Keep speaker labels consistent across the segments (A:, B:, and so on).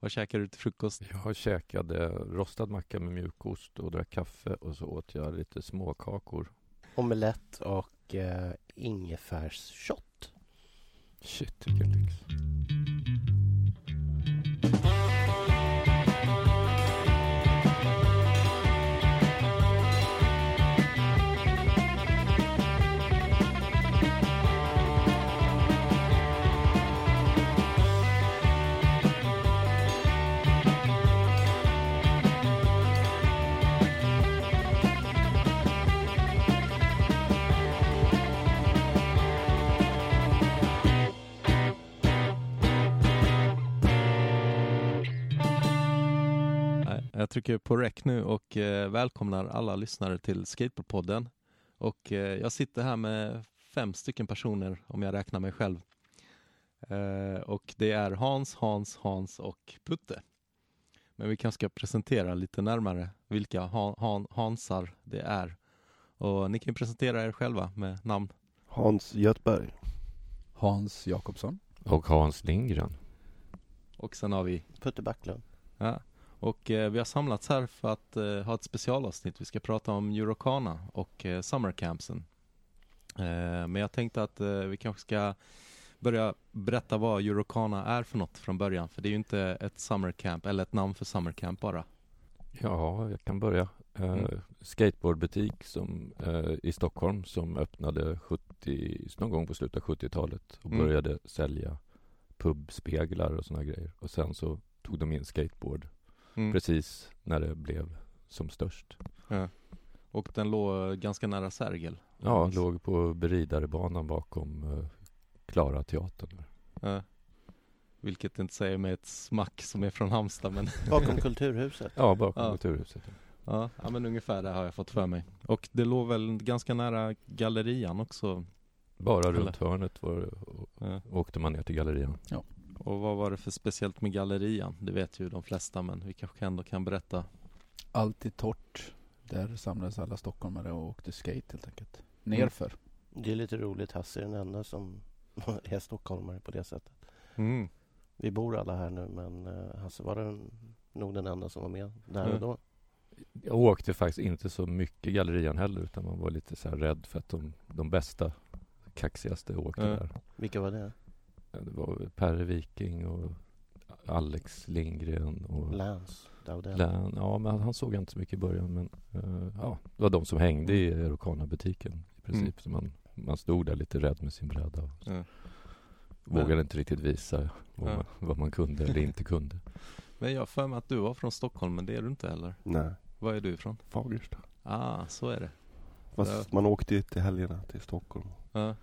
A: Vad käkar du till frukost?
B: Jag käkade rostad macka med mjukost och drack kaffe och så åt jag lite småkakor.
C: Omelett och eh, ingefärsshot.
B: Shit, vilken lyx.
A: Nej, jag trycker på rec nu och eh, välkomnar alla lyssnare till Skateboardpodden. Och eh, jag sitter här med fem stycken personer om jag räknar mig själv. Eh, och det är Hans, Hans, Hans och Putte. Men vi kanske ska presentera lite närmare vilka han, han, Hansar det är. Och ni kan ju presentera er själva med namn.
C: Hans Göthberg.
D: Hans Jakobsson.
B: Och Hans Lindgren.
A: Och sen har vi
C: Putte Backlund.
A: Ja. Och eh, vi har samlats här för att eh, ha ett specialavsnitt. Vi ska prata om Eurocana och eh, summercampsen. Eh, men jag tänkte att eh, vi kanske ska börja berätta vad Eurocana är för något från början. För det är ju inte ett summercamp eller ett namn för summercamp bara.
B: Ja, jag kan börja. Eh,
A: Mm.
B: Skateboardbutik som, eh, i Stockholm som öppnade 70, någon gång på slutet av 70-talet och
A: Mm.
B: började sälja pubspeglar och sådana grejer. Och sen så tog de in skateboard Mm. precis när det blev som störst.
A: Och den låg eh, ganska nära Sergel.
B: Ja, låg på Beridarebanan bakom eh, Klara teatern.
A: Ja. vilket inte säger mig ett smack som är från Halmstad men
C: Bakom Kulturhuset.
B: Ja, bakom
A: Ja.
B: Kulturhuset.
A: Ja, ja men ungefär det har jag fått för mig. Och det låg väl ganska nära gallerian också.
B: Bara
A: Eller?
B: runt hörnet var, och,
A: Ja.
B: åkte man ner till gallerian.
A: Och vad var det för speciellt med gallerian? Det vet ju de flesta men vi kanske ändå kan berätta.
D: Alltid torrt. Där samlades alla stockholmare och åkte skate helt enkelt.
A: Mm.
D: Nerför.
C: Det är lite roligt. Hasse är den enda som är stockholmare på det sättet. Vi bor alla här nu men eh, Hasse var den, nog den enda som var med där
A: Mm.
C: och då.
B: Jag åkte faktiskt inte så mycket gallerian heller utan man var lite så här rädd för att de, de bästa, kaxigaste åkte
A: Ja.
B: där.
C: Vilka var det?
B: Ja, Det var Per Viking och Alex Lindgren och
C: Lance Daudell.
B: Län. Ja, men han såg jag inte så mycket i början men eh, ja, det var de som hängde i Eurocana-butiken i princip.
A: Mm.
B: Så man, man stod där lite rädd med sin bräda och
A: Ja.
B: vågade inte riktigt visa vad,
A: Ja.
B: man, vad man kunde eller inte kunde.
A: Men jag har för mig att du var från Stockholm men det är du inte heller.
E: Nej,
A: Var är du ifrån?
E: Fagersta.
A: Ah, så är det.
E: Fast man åkte ju till helgerna till Stockholm.
A: Ja,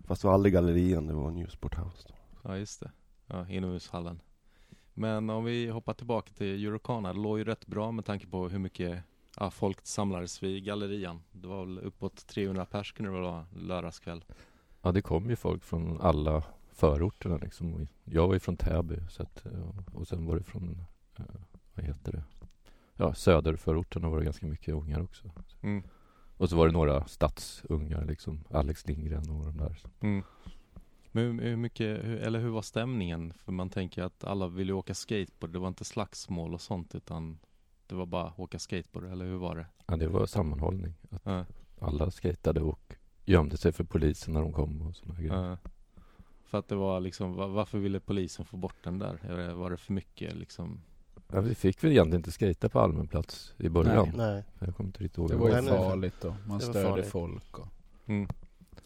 E: Fast det var aldrig gallerian, det var Newsport House. Då.
A: ja just det. Ja, inomhushallen. Men om vi hoppar tillbaka till Eurocana. Det låg ju rätt bra med tanke på hur mycket ja, folk samlades vid gallerian. Det var väl uppåt 300 pers kunde det väl vara lördagskväll.
B: Ja, det kom ju folk från alla förorterna liksom. Och Jag var ju från Täby så att, eh, och sen var det från, eh, vad heter det? Ja, söderförorterna var det ganska mycket ungar också.
A: Mm.
B: Och så var det några stadsungar liksom, Alex Lindgren och de där.
A: Mm. Men hur, hur mycket, hur, eller hur var stämningen? För man tänker att alla ville åka skateboard, det var inte slagsmål och sånt utan det var bara åka skateboard, eller hur var det?
B: Ja, det var sammanhållning. Att
A: Ja,
B: alla skatade och gömde sig för polisen när de kom och sådana grejer.
A: ja. För att det var liksom, va- varför ville polisen få bort den där? Är det- Var det för mycket liksom?
B: Ja, vi fick väl egentligen inte skata på allmän plats i början.
C: Nej,
B: Jag kommer inte riktigt ihåg.
D: Det
B: vad
D: var ju
C: Nej, men-
D: farligt då. Man
C: Det var
D: störde
C: farligt.
D: folk. Och...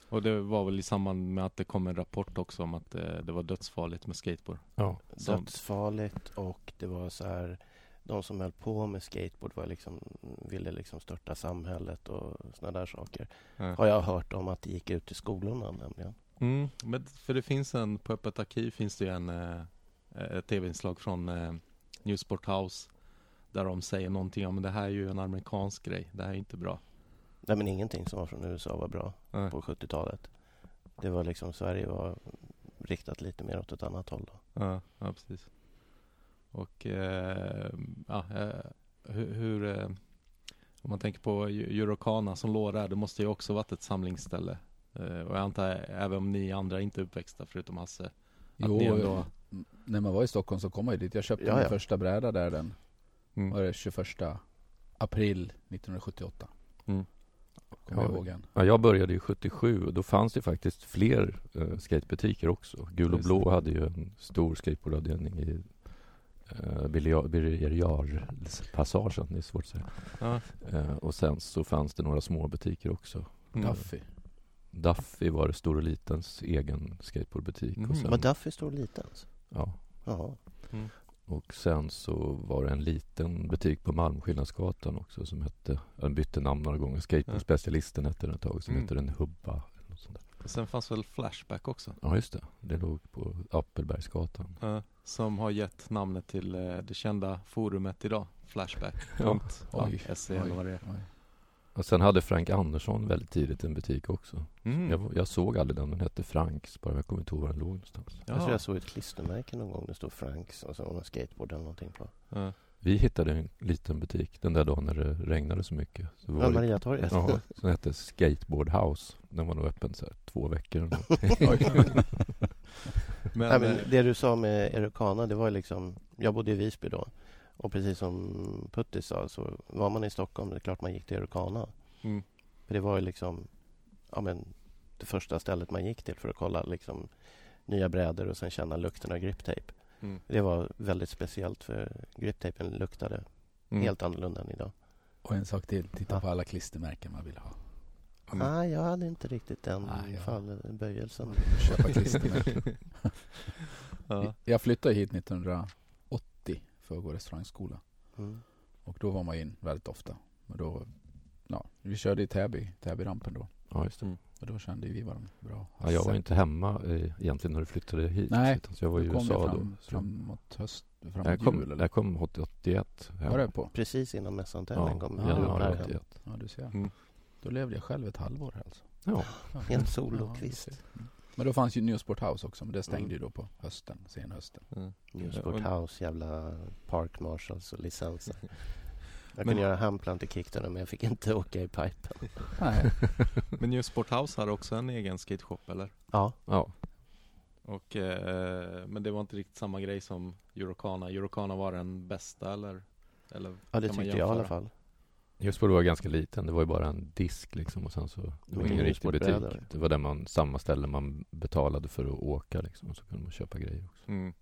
A: Och det var väl i samband med att det kom en rapport också om att eh, det var dödsfarligt med skateboard?
B: Ja.
A: Som-
C: dödsfarligt och det var så här de som höll på med skateboard var liksom, ville liksom störta samhället och såna där saker.
A: Ja.
C: Har jag hört om att det gick ut i skolorna nämligen.
A: Mm, men för det finns en, på Öppet arkiv finns det ju en eh, ett tv-inslag från eh, Newsport House där de säger någonting om det här är ju en amerikansk grej, det här är inte bra.
C: Nej men ingenting som var från USA var bra
A: Nej.
C: på 70-talet. Det var liksom, Sverige var riktat lite mer åt ett annat håll då.
A: Ja, ja precis. Och eh, ja, eh, hur, hur eh, om man tänker på Eu- Eurocana som låg där, det måste ju också varit ett samlingsställe. Eh, och jag antar även om ni andra inte är uppväxta förutom Hasse, att
D: Jo,
A: ni ändå
D: när man var i Stockholm så kom man ju dit. Jag köpte
C: Ja,
D: min
C: ja.
D: första bräda där den
A: Mm.
D: var det 21 april 1978.
A: Mm.
D: Kommer jag
B: Ja.
D: ihåg än.
B: Ja, jag började ju 77 och då fanns det faktiskt fler eh, skatebutiker också. Gul och
A: Just
B: blå hade ju en stor skateboardavdelning i eh, Birger- Birger Jarl-passagen, det är svårt att säga.
A: Ja.
B: Eh, och sen så fanns det några små butiker också.
A: Mm.
D: Duffy.
B: Duffy var Stor och Litens egen skateboardbutik.
A: Mhm.
B: Och sen,
A: Mm.
C: Var Duffy stor och liten? alltså?
B: ja,
C: Ja.
B: och sen så var det en liten butik på Malmskillnadsgatan också som hette, den bytte namn några gånger, Skateboardspecialisten hette den ett tag, sen
A: Mm.
B: hette den Hubba. eller något sånt där.
A: Sen fanns väl Flashback också?
B: Ja just det, det låg på Appelbergsgatan.
A: eh, som har gett namnet till eh, det kända forumet idag, Flashback.
B: Ja.
D: Oj,
A: Ja, SE eller vad det är.
D: Oj.
B: Och sen hade Frank Andersson väldigt tidigt en butik också.
A: Mm.
B: Jag, jag såg aldrig den, den hette Franks bara, jag kommer inte ihåg var den låg någonstans.
A: Mm. Ja.
C: Jag tror jag såg ett klistermärke någon gång. Det stod Franks och så var det en skateboard eller någonting på.
A: Ja.
B: Vi hittade en liten butik den där dagen när det regnade så mycket. Så var
C: Ja,
B: det-
C: Mariatorget.
B: Ja, den hette Skateboard House. Den var nog öppen så här två veckor eller
A: Men,
B: något.
C: Nej,
A: eh,
C: men det du sa med Erokana, det var ju liksom... Jag bodde i Visby då. Och precis som Putti sa, så var man i Stockholm, det är klart man gick till Erokana.
A: Mm.
C: För det var ju liksom ja, men, det första stället man gick till för att kolla liksom, nya brädor och sen känna lukten av griptape.
A: Mm.
C: Det var väldigt speciellt för griptapen luktade
A: Mm.
C: helt annorlunda än idag.
D: Och en sak till, titta
C: Ja.
D: på alla klistermärken man vill ha.
A: Mm.
C: Nej, jag hade inte riktigt den
D: Nej, ja.
C: fall, böjelsen.
D: Köpa klistermärken.
A: ja.
D: Jag flyttade hit 1980 för att gå restaurangskola.
C: Mm.
D: Och då var man in väldigt ofta. Men då, ja, vi körde i Täby, Täbyrampen då.
B: Ja, just det.
D: Och då kände vi varandra bra.
B: Ja, jag var ju inte hemma eh, egentligen när du flyttade hit.
D: Nej,
B: utan så jag var i
D: Då kom jag
B: USA
D: fram,
B: då. Så
D: framåt höst, framåt
B: jag kom,
D: jul eller?
B: jag kom 80 81 hem.
D: Var det på?
C: Precis innan mässantävlingen
B: Ja,
C: kom
D: Ja,
C: du upp
B: januari
C: här
D: verkligen.
C: hem.
B: 81.
D: Ja, du ser.
A: Mm.
D: Då levde jag själv ett halvår här alltså.
B: Ja,
D: Ja.
C: Helt sol
D: Ja,
C: och kvist.
D: du ser. Mm. Men då fanns ju Newsport House också, men det stängde
C: Mm.
D: ju då på hösten, sen hösten.
A: Mm.
C: Newsport
A: Ja,
C: House, jävla Park Marshals och licenser. Jag
A: Men-
C: kunde göra handplant i kickdown men jag fick inte åka i pipen.
D: Nej,
A: Men New Sport House hade också en egen skateshop eller?
C: Ja,
B: ja.
A: Och, eh, men det var inte riktigt samma grej som Eurocana. Eurocana var den bästa eller? eller
C: ja det
A: kan man
C: tyckte jag i alla
A: jämföra?
C: fall.
B: Husbord var ganska liten. Det var ju bara en disk liksom och sen så det var
C: Mycket
B: ingen riktig butik.
C: Husbordbrädor.
B: Det var där man, samma ställe man betalade för att åka liksom och så kunde man köpa grejer också.
A: Mm.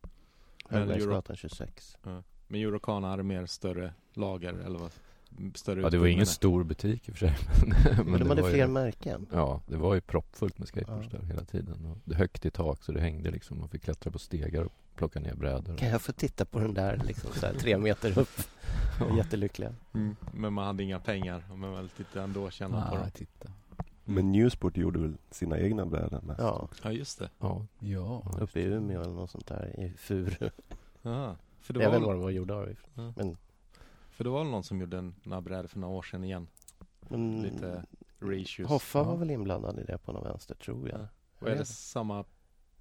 A: Men Euro,
C: Högbergsgatan 26.
A: men Eurocana hade mer större lager eller vad? Större
B: Ja, det var
A: utrymme.
B: ingen stor butik i och för sig.
C: Men, de hade
B: var ju-
C: fler märken.
B: Ja, det var ju proppfullt med skateboards där hela tiden. Och det högt i tak så det hängde liksom. Man fick klättra på stegar och plocka ner brädor.
C: Kan jag få titta på den där liksom så här, tre meter upp? Jag är jättelycklig.
A: Mm. Men man hade inga pengar. Men väl lite ändå känna på dem.
D: Nej titta.
B: Mm.
E: Men Newsport gjorde väl sina egna brädor mest?
C: Ja,
A: Ja just det.
B: Ja,
D: Ja,
B: ja.
C: uppe i Umeå eller något sånt där i Furu.
A: Aha. För det
C: Jag vet
A: var väl,
C: inte vad de var gjorda av.
A: Ja.
C: Men
A: för det var väl någon som gjorde en nabrad för några år sedan igen.
C: mm,
A: Lite reissues.
C: Hoffa var
A: Ja.
C: väl inblandad i det på någon vänster tror jag.
A: Ja. Och är det samma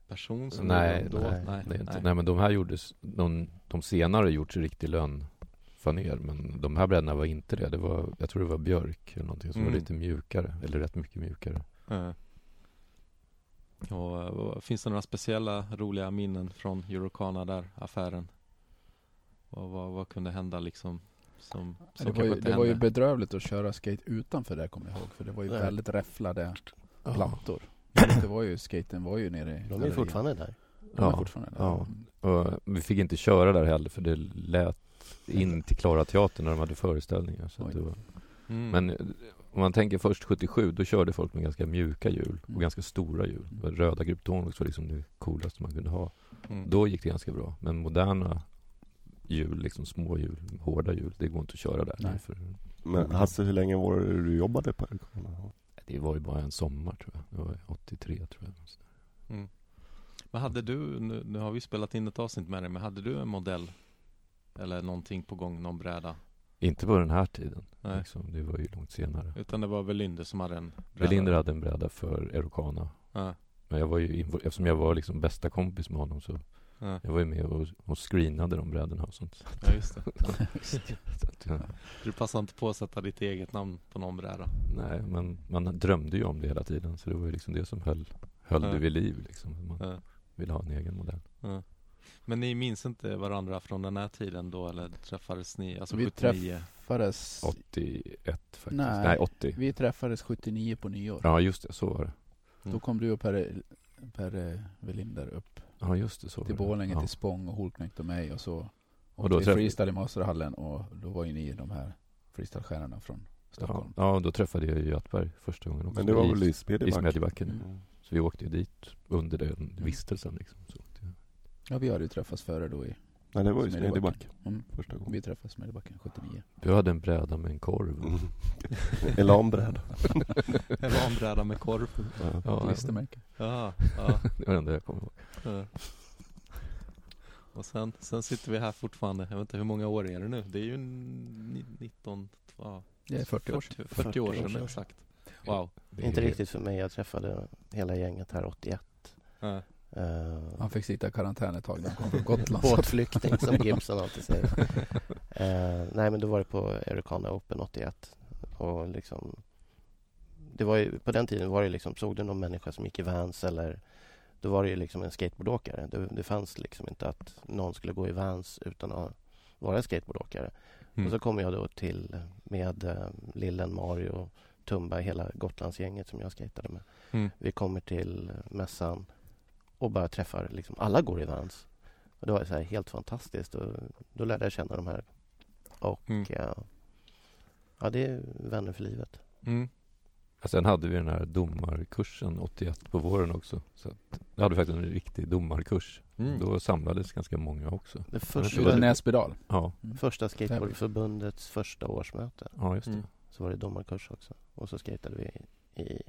A: person som
B: Nej,
A: gjorde dem då?
C: nej,
B: Det är inte, nej. men de här gjordes, de, de senare gjorts i riktig lönnfaner men de här brädorna var inte det. det var, jag tror det var björk eller någonting som
A: Mm.
B: var lite mjukare, eller rätt mycket mjukare.
A: Eh. Och, eh, vad- finns det några speciella roliga minnen från Eurocana där, affären? Och vad, vad kunde hända liksom? Som, som
D: det var,
A: kanske
D: ju,
A: inte
D: det var ju
A: hände?
D: bedrövligt att köra skate utanför det kommer jag ihåg, för det var ju
C: Nej.
D: väldigt räfflade
B: Ja.
D: plattor. Det var ju, skaten var ju nere i
C: De är ju
D: gallerian.
C: fortfarande där.
D: De är
B: Ja.
D: fortfarande där. Mm.
B: Ja. Och vi fick inte köra där heller för det lät in till Klara Teatern när de hade föreställningar. Så att
D: Oj.
B: det var,
A: Mm.
B: Men eh, om man tänker först 77, då körde folk med ganska mjuka hjul och
D: Mm.
B: ganska stora hjul. Det var Röda Gryptonlux var liksom det coolaste man kunde ha.
A: Mm.
B: Då gick det ganska bra. Men moderna hjul, liksom små hjul, hårda hjul, det går inte att köra där.
D: Nej.
B: För
E: Men Hasse, hur länge var det du jobbade på Erkana?
B: det var ju bara en sommar tror jag. Det var 83 tror jag.
A: Men hade du, nu, nu har vi spelat in ett avsnitt med dig, men hade du en modell? Eller någonting på gång, någon bräda?
B: Inte på den här tiden.
A: Nej.
B: Liksom, det var ju långt senare.
A: Utan det var Velinder som hade en bräda?
B: Belinder hade en bräda för Erokana.
A: Ja,
B: Men jag var ju, invo- eftersom jag var liksom bästa kompis med honom så
A: ja,
B: jag var ju med och, och screenade de brädorna och sånt.
A: ja just det.
B: Så att, ja.
A: Du passade inte på att sätta ditt eget namn på någon bräda?
B: Nej, men man drömde ju om det hela tiden. Så det var ju liksom det som höll, höll
A: Ja.
B: det vid liv. Liksom. Man
A: Ja.
B: ville ha en egen modell.
A: Men ni minns inte varandra från den här tiden då eller träffades ni? Alltså
D: vi
A: 79?
D: träffades,
B: 81 faktiskt.
D: Nej.
B: Nej, 80.
D: vi träffades 79 på nyår.
B: Ja, just det. Så var det.
D: Då kom du och Per, per Velinder upp
B: Ja, just det. Så
D: till
B: var det.
D: Borlänge,
B: ja.
D: till Spång och Holknekt och mig och så
B: Och
D: och
B: då
D: då till
B: träff-
D: freestyle i Masterhallen och då var ju ni de här freestylestjärnorna från Stockholm.
B: Ja, ja, då träffade jag ju Göthberg första gången också.
E: Men det var
B: I-
E: väl i
B: i
E: Smedjebacken?
B: Smedjebacken.
E: Mm.
B: Så vi åkte ju dit under den vistelsen liksom. Så åkte jag.
D: Ja, vi hade ju träffats före då i
E: Nej, det var ju
D: Smedjebacken.
E: Smedjebacken
D: Mm.
E: första gången.
D: Vi träffades i Smedjebacken 79.
B: Du hade en bräda med en korv.
E: Mm. Elanbräda.
A: Eller armbräda med korv?
E: Ja.
B: Ja,
D: Klistermärke.
A: Ja, ja.
B: det var det enda jag kommer ihåg.
A: ja. Och sen, sen sitter vi här fortfarande. Jag vet inte hur många år är det nu? Det är ju ni- 19, ja,
D: Det är 40 år sedan.
A: 40, 40 år
C: 40 år
A: sedan
C: sedan.
A: exakt. Wow.
B: Det
C: Inte
B: är-
C: riktigt för mig. Jag träffade hela gänget här 81.
A: Ja.
C: Uh,
D: Han fick sitta i karantän ett tag när han kom från Gotland. så att-
C: Båtflykting som Gibson alltid säger. Eh, nej men då var det på Ericana Open 81. Och liksom, det var ju, på den tiden var det liksom, såg du någon människa som gick i Vans eller då var det ju liksom en skateboardåkare. Det, det fanns liksom inte att någon skulle gå i Vans utan att vara skateboardåkare.
A: Mm.
C: Och så kom jag då till med eh, Lillen, Mario, Tumba, hela Gotlandsgänget som jag skatade med.
A: Mm.
C: Vi kommer till eh, mässan och bara träffar, liksom, alla går i Vans. Och det var så här helt fantastiskt. Och då lärde jag känna de här. Och
A: Mm.
C: ja, ja, det är vänner för livet.
A: Mm.
B: Ja, sen hade vi den här domarkursen 81 på våren också. Så att, jag hade faktiskt en riktig domarkurs.
A: Mm.
B: Då samlades ganska många också.
C: Det
B: det var
D: Utan
C: första,
B: det.
D: nässpedal.
B: Ja,
C: första skateboardförbundets första årsmöte
B: ja just det.
A: Mm.
C: så var det domarkurs också. Och så skatade vi i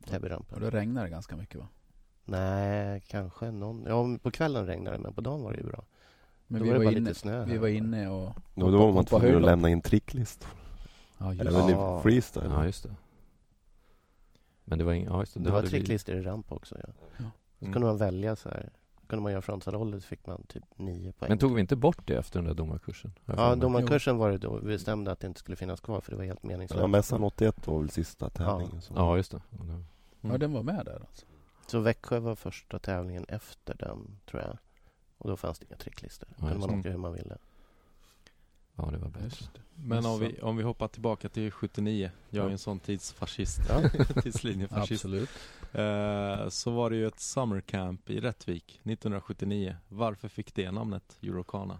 D: Och
C: Täbyrampen.
D: då regnade det ganska mycket va?
C: Nej, kanske någon... Ja, men på kvällen regnade det, men på dagen var det ju bra.
D: Men
C: då
D: vi
C: var
D: var,
C: det bara
D: inne,
C: lite snö.
D: vi
C: här.
D: var inne och...
E: Det var då man
D: Hoppa
E: tvungen att
D: höjdhopp.
E: lämna in tricklistor.
D: Ja, just
E: Eller
D: det.
E: var
C: Ja.
E: det freestyle?
B: Ja, just det. Men det var ingen... Ja, just det.
C: Det
B: då
C: var
B: hade vi-
C: tricklistor i ramp också. Ja.
D: Ja.
C: Så kunde man välja så här. Kunde man göra frontside så fick man typ nio poäng.
B: Men tog vi inte bort det efter den där domarkursen? Har jag
C: Ja,
B: för mig.
C: domarkursen var det då. Vi bestämde att det inte skulle finnas kvar för det var helt meningslöst.
E: Ja, mässan 81 var väl sista tävlingen som...
B: Ja, just det. Ja, det-
A: Mm.
D: ja, den var med där alltså.
C: Så Växjö var första tävlingen efter den, tror jag. Och då fanns det inga tricklistor. Då kunde
B: just
C: man
A: det.
C: åka hur man ville.
B: Ja, det var bättre.
D: Just det.
A: Men om vi, om vi hoppar tillbaka till 79, jag är ju en sån tidsfascist,
C: Ja.
A: tidslinjefascist.
D: Absolut.
A: Eh, så var det ju ett summercamp i Rättvik 1979. Varför fick det namnet Eurocana?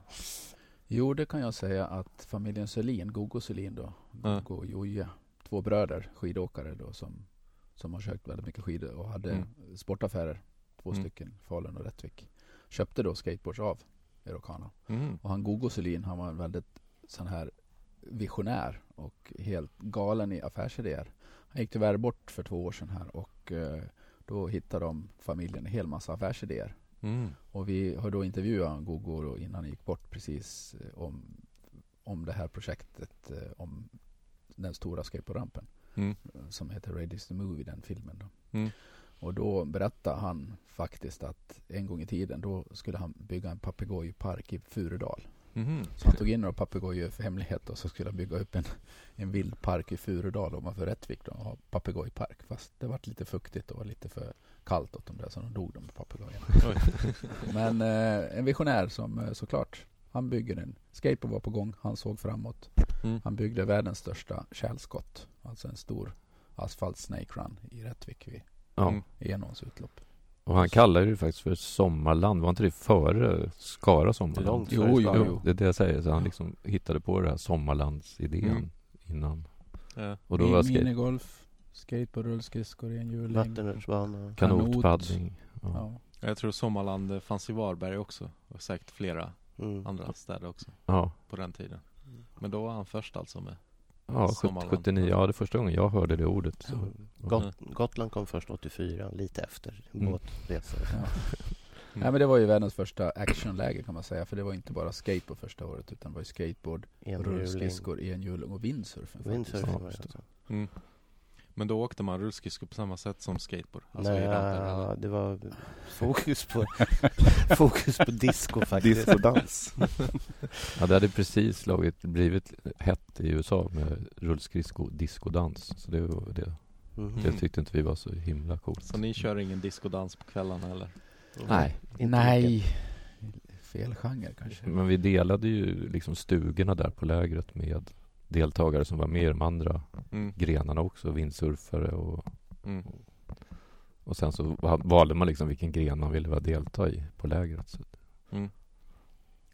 D: Jo, det kan jag säga att familjen Sölin, Gogo Sölin då,
A: Ja.
D: Gogo och Joje, två bröder, skidåkare då som, som har köpt väldigt mycket skidor och hade
A: Mm.
D: sportaffärer, två
A: Mm.
D: stycken, Falun och Rättvik. Köpte då skateboards av Eurocana.
A: Mm.
D: Och han Gogo Sölin, han var en väldigt sån här visionär och helt galen i affärsidéer. Han gick tyvärr bort för två år sedan här och eh, då hittade de familjen en hel massa affärsidéer.
A: Mm.
D: Och vi har då intervjuat Gogo då innan han gick bort precis eh, om, om det här projektet eh, om den stora skateboardrampen
A: Mm.
D: eh, som heter Ready to Move i den filmen. Då.
A: Mm.
D: Och då berättar han faktiskt att en gång i tiden då skulle han bygga en papegojpark i Furudal.
A: Mhm.
D: Så han tog in några papegojor för hemlighet och så skulle han bygga upp en, en vildpark i Furudal ovanför Rättvik då, och ha papegojpark. Fast det var lite fuktigt och lite för kallt åt dem där så de dog de papegojorna.
A: Oj.
D: Men eh, en visionär som eh, såklart, han bygger en. Skateboard var på gång, han såg framåt.
A: Mm.
D: Han byggde världens största kärlskott, alltså en stor asfalt snake run i Rättvik vid
B: Ja.
A: Mm.
D: Enåns utlopp.
B: Och han kallade det faktiskt för sommarland. Var inte det före Skara sommarland?
C: Långt Jo, före
D: Skara. jo, jo.
B: Det är det jag säger. Så han liksom hittade på det här sommarlandsidén
A: Mm.
B: innan.
A: Ja.
B: Och då var skate,
D: Minigolf, skateboard, rullskridskor, enhjuling.
C: Vattenrutschbana.
D: kanot.
B: kanot, paddling. Ja.
D: Ja.
A: Jag tror Sommarland eh, fanns i Varberg också och säkert flera
C: Mm.
A: andra städer också
B: Ja.
A: på den tiden. Men då var han först alltså med.
B: Ja,
A: Sommarland.
B: 79. Ja, det är första gången jag hörde det ordet. Så.
C: Got- Gotland kom först 84, lite efter
B: Mm.
C: båtresor.
D: Nej men det var ju världens första actionläger kan man säga. För det var inte bara skateboard första året utan det var ju skateboard,
C: Enhjuling.
D: rullskridskor, enhjuling och windsurfen. faktiskt.
C: Windsurfing
B: Ja,
C: var det
B: just det.
C: också.
A: Mm. Men då åkte man rullskridskor på samma sätt som skateboard? Alltså i ramper, eller?
C: Nej, det var fokus på, fokus på disco faktiskt.
E: Discodans.
B: Ja, det hade precis slagit, blivit hett i USA med rullskridsko, diskodans. Så det, var det.
C: Mhm.
A: Mm.
B: det tyckte inte vi var så himla coolt.
A: Så ni kör ingen diskodans på kvällarna eller?
C: Inte-
B: Nej.
C: inte
D: Nej. fel genre kanske.
B: Men vi delade ju liksom stugorna där på lägret med deltagare som var med i de andra
A: Mm.
B: grenarna också, vindsurfare och,
A: Mm.
B: och sen så va- valde man liksom vilken gren man ville vara delta i på lägret. Så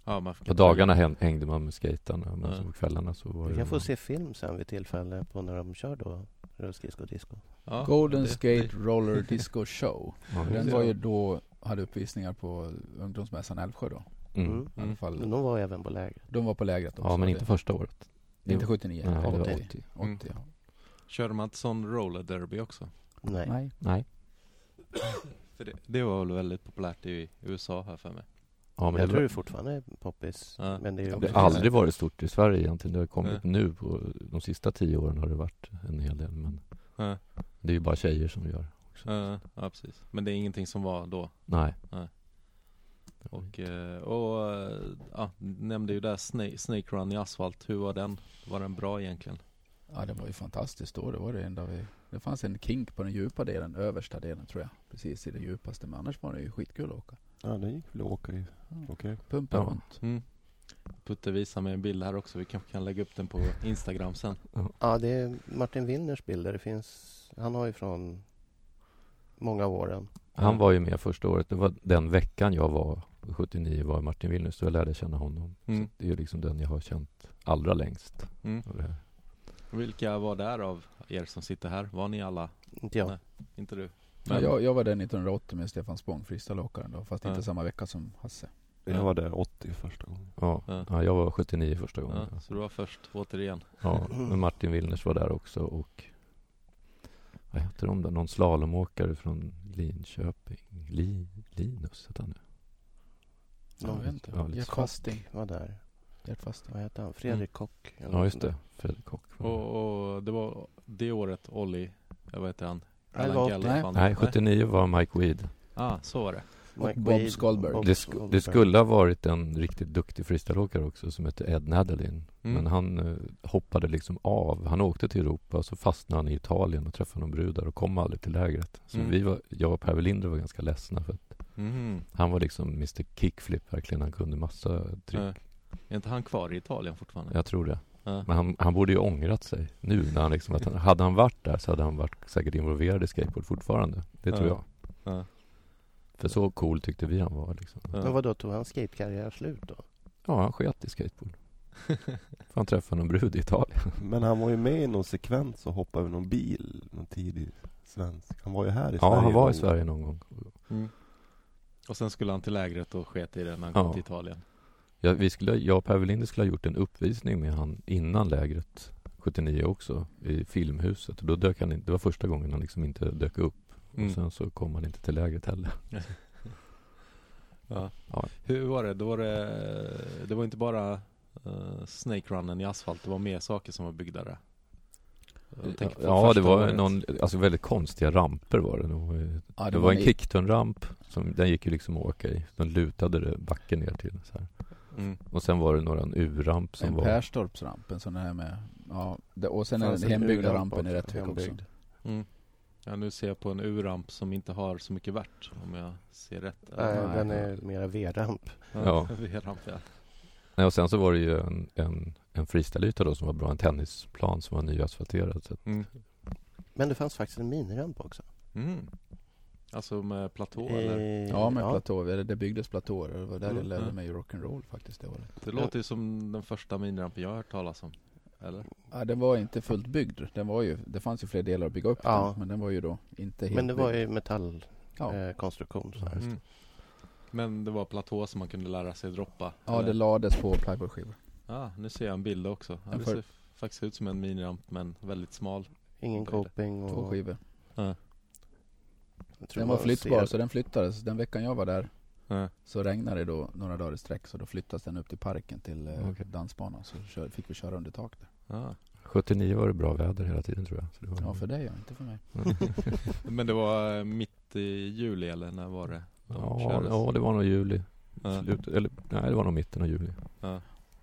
A: Ja, man fick
B: på dagarna hän- hängde man med skejtarna, men
A: Ja.
B: så på kvällarna så var
C: Vi
B: det...
C: kan få se film sen vid tillfälle på när de kör då rullskridsko och disco.
A: Ja,
D: Golden
A: det-
D: Skate Roller Disco Show.
B: Ja,
D: Den
B: just
D: var ju då, hade uppvisningar på ungdomsmässan Älvsjö då.
B: det. Mm.
C: Mm.
D: I alla
A: Mm.
C: Men
D: fall.
C: de var även på lägret.
D: De var på lägret också.
B: Ja, men inte
D: Det-
B: första året.
D: inte 79.
B: Nej, det
D: eller
B: var
D: 80.
B: 80.
D: 80
A: Mm.
D: ja.
A: Körde man ett sån roller derby också?
C: Nej.
D: Nej.
B: Nej.
A: För det, det var väl väldigt populärt i USA här för mig.
B: Ja, men
C: jag
B: det
C: tror
B: var-
C: det fortfarande är poppis.
A: Ja.
C: Men det är ju
D: Ja,
B: Det
D: men
C: också-
B: har aldrig varit stort i Sverige egentligen. Det har kommit
A: Nej.
B: nu på de sista tio åren har det varit en hel del. Men
A: Ja,
B: det är ju bara tjejer som gör också.
A: ja, ja, precis. Men det är ingenting som var då.
B: Nej.
A: Nej. Och, eh, och eh, ja, nämnde ju där snake, snake Run i asfalt. Hur var den? Var den bra egentligen?
D: Ja, det var ju fantastiskt då. Det var det enda vi... Det fanns en kink på den djupa delen, översta delen tror jag. Precis i det djupaste. Men annars var det ju skitkul att åka.
E: Ja, det gick väl att åka i. Okej.
D: Pumpa
B: Ja.
D: runt.
A: Mm. Putte visar mig en bild här också. Vi kanske kan lägga upp den på Instagram sen.
C: Ja, det är Martin Winners bilder. Det finns... Han har ju från många av åren.
B: Han var ju med första året. Det var den veckan jag var 79 var Martin Wilnus. Då jag lärde känna honom.
A: Mm.
B: Det är ju liksom den jag har känt allra längst.
A: Mm.
B: av det här.
A: Vilka var där av er som sitter här? Var ni alla?
C: Inte jag.
A: Nej. Inte du?
D: Ja, jag, jag var där 1980 med Stefan Spång, freestyleåkaren då. Fast
A: Ja.
D: inte samma vecka som Hasse.
E: Jag var där 80 första gången.
B: Ja.
A: Ja.
B: ja, jag var 79 första gången.
A: Ja, så du var först återigen.
B: Ja, men Martin Wilners var där också och vad heter de där? Någon slalomåkare från Linköping? Li, Linus hette han nu.
D: Ja, jag vet inte.
B: ja, lite
D: Gert
B: så.
D: Fasting.
C: var där.
D: Gert Fasting.
C: Vad hette han? Fredrik Kock? eller
B: Mm. Ja,
C: något
B: just
C: sånt där.
B: det. Fredrik Kock. var där.
A: Och, och det var det året Olli, jag vet inte han,
C: Nej, det var
A: Allan Geller
D: nej.
A: fann-
B: Nej, 79 var Mike Weed.
A: Ah, så var det.
D: Och
C: Mike
D: Bob
C: Wade,
D: Skolberg.
C: Bob
B: Det, sk- det skulle ha varit en riktigt duktig freestyleåkare också som hette Ed Nadelin.
A: Mm.
B: Men han eh, hoppade liksom av. Han åkte till Europa och så fastnade han i Italien och träffade någon brud där och kom aldrig till lägret. Så
A: Mm.
B: vi var, jag och Per Welinder var ganska ledsna för att
A: Mhm.
B: han var liksom Mr Kickflip verkligen. Han kunde massa trick.
A: Eh, Är inte han kvar i Italien fortfarande?
B: Jag tror det.
A: Ja.
B: Men han, han borde ju ångrat sig nu när han liksom, att han, hade han varit där så hade han varit säkert involverad i skateboard fortfarande. Det tror
A: Ja.
B: jag.
A: Ja.
B: För så cool tyckte vi han var liksom.
A: Ja.
C: Men vadå, tog hans skatekarriär slut då?
B: Ja, han sket i skateboard. För han träffade någon brud i Italien.
E: Men han var ju med i någon sekvens och hoppade över någon bil. Någon tidig svensk. Han var ju här i Sverige.
B: Ja, han var i
E: någon-
B: Sverige någon gång.
A: Mm. Och sen skulle han till lägret och sket i det när han
B: Ja.
A: kom till Italien.
B: Ja, vi skulle, jag och Per Welinder skulle ha gjort en uppvisning med han innan lägret 79 också i Filmhuset. Och då dök han in, Det var första gången han liksom inte dök upp.
A: Mm.
B: Och sen så kom han inte till lägret heller.
A: Hur var det? Då var det, det var inte bara eh, Snake Runnen i asfalt, det var mer saker som var byggda där. Jag tänker på
B: Ja,
A: första
B: det var
A: året.
B: någon, alltså väldigt konstiga ramper var det. eh, Det var ju
D: Ja,
B: Det var en
D: ni-
B: kickturn-ramp, som, den gick ju liksom att åka i. Den lutade det backen ner till så här.
A: Mm.
B: Och sen var det några en U-ramp som
D: En
B: var...
D: Perstorps ramp, en sån här med... Ja, det, och sen är
E: Fanns
D: den
E: en
D: hembyggda
E: urramp
D: rampen i
E: också,
D: rätt hög också.
E: hembyggd.
A: Mm. Ja, nu ser jag på en U-ramp som inte har så mycket värt om jag ser rätt.
C: Nej,
D: Nej.
C: Eh, den är mera V-ramp.
B: Ja.
A: V-ramp ja.
B: Nej, och sen så var det ju en, en, en freestyleyta då som var bra, en tennisplan som var nyasfalterad. Så att,
A: Mm.
C: Men det fanns faktiskt en miniramp också.
A: Mm. Alltså med platå eller?
C: Eh,
D: Ja, med platåer. Det byggdes platåer och det var där
A: Mm,
D: jag lärde
A: mm.
D: mig rock'n'roll faktiskt det året.
A: Det låter ju som den första minirampen jag har hört talas om. Eller?
D: Ja, den var inte fullt byggd. Den var ju, det fanns ju fler delar att bygga upp
C: Ja.
D: den, men den var ju då inte helt
C: Men det var
D: byggd.
C: ju metallkonstruktion.
D: Ja,
C: Eh, konstruktion, så.
B: Ja, just
A: Mm. Men det var platå som man kunde lära sig droppa?
D: ja
A: eller?
D: det lades på plywoodskivor.
A: ah, nu ser jag en bild också. Ja,
D: En
A: det
D: för-
A: ser faktiskt ut som en miniramp men väldigt smal.
C: Ingen coping
D: Två
C: och...
D: skivor.
C: jag tror
D: Den var
C: man
D: flyttbar
C: ser-
D: så den flyttades. Den veckan jag var där
A: Ja.
D: så regnade det då några dagar i sträck så då flyttades den upp till parken till eh,
B: Okej.
D: dansbanan så kör, fick vi köra under tak där.
A: Ah.
B: 79 var det bra väder hela tiden tror jag. Så det var,
C: Mm.
D: Ja, för dig ja, inte för mig.
A: Men det var eh, mitt i juli eller när var det? de
B: ja,
A: kördes.
B: ja, det var nog juli.
A: Ja.
B: Slutet, eller nej, det var nog mitten av juli.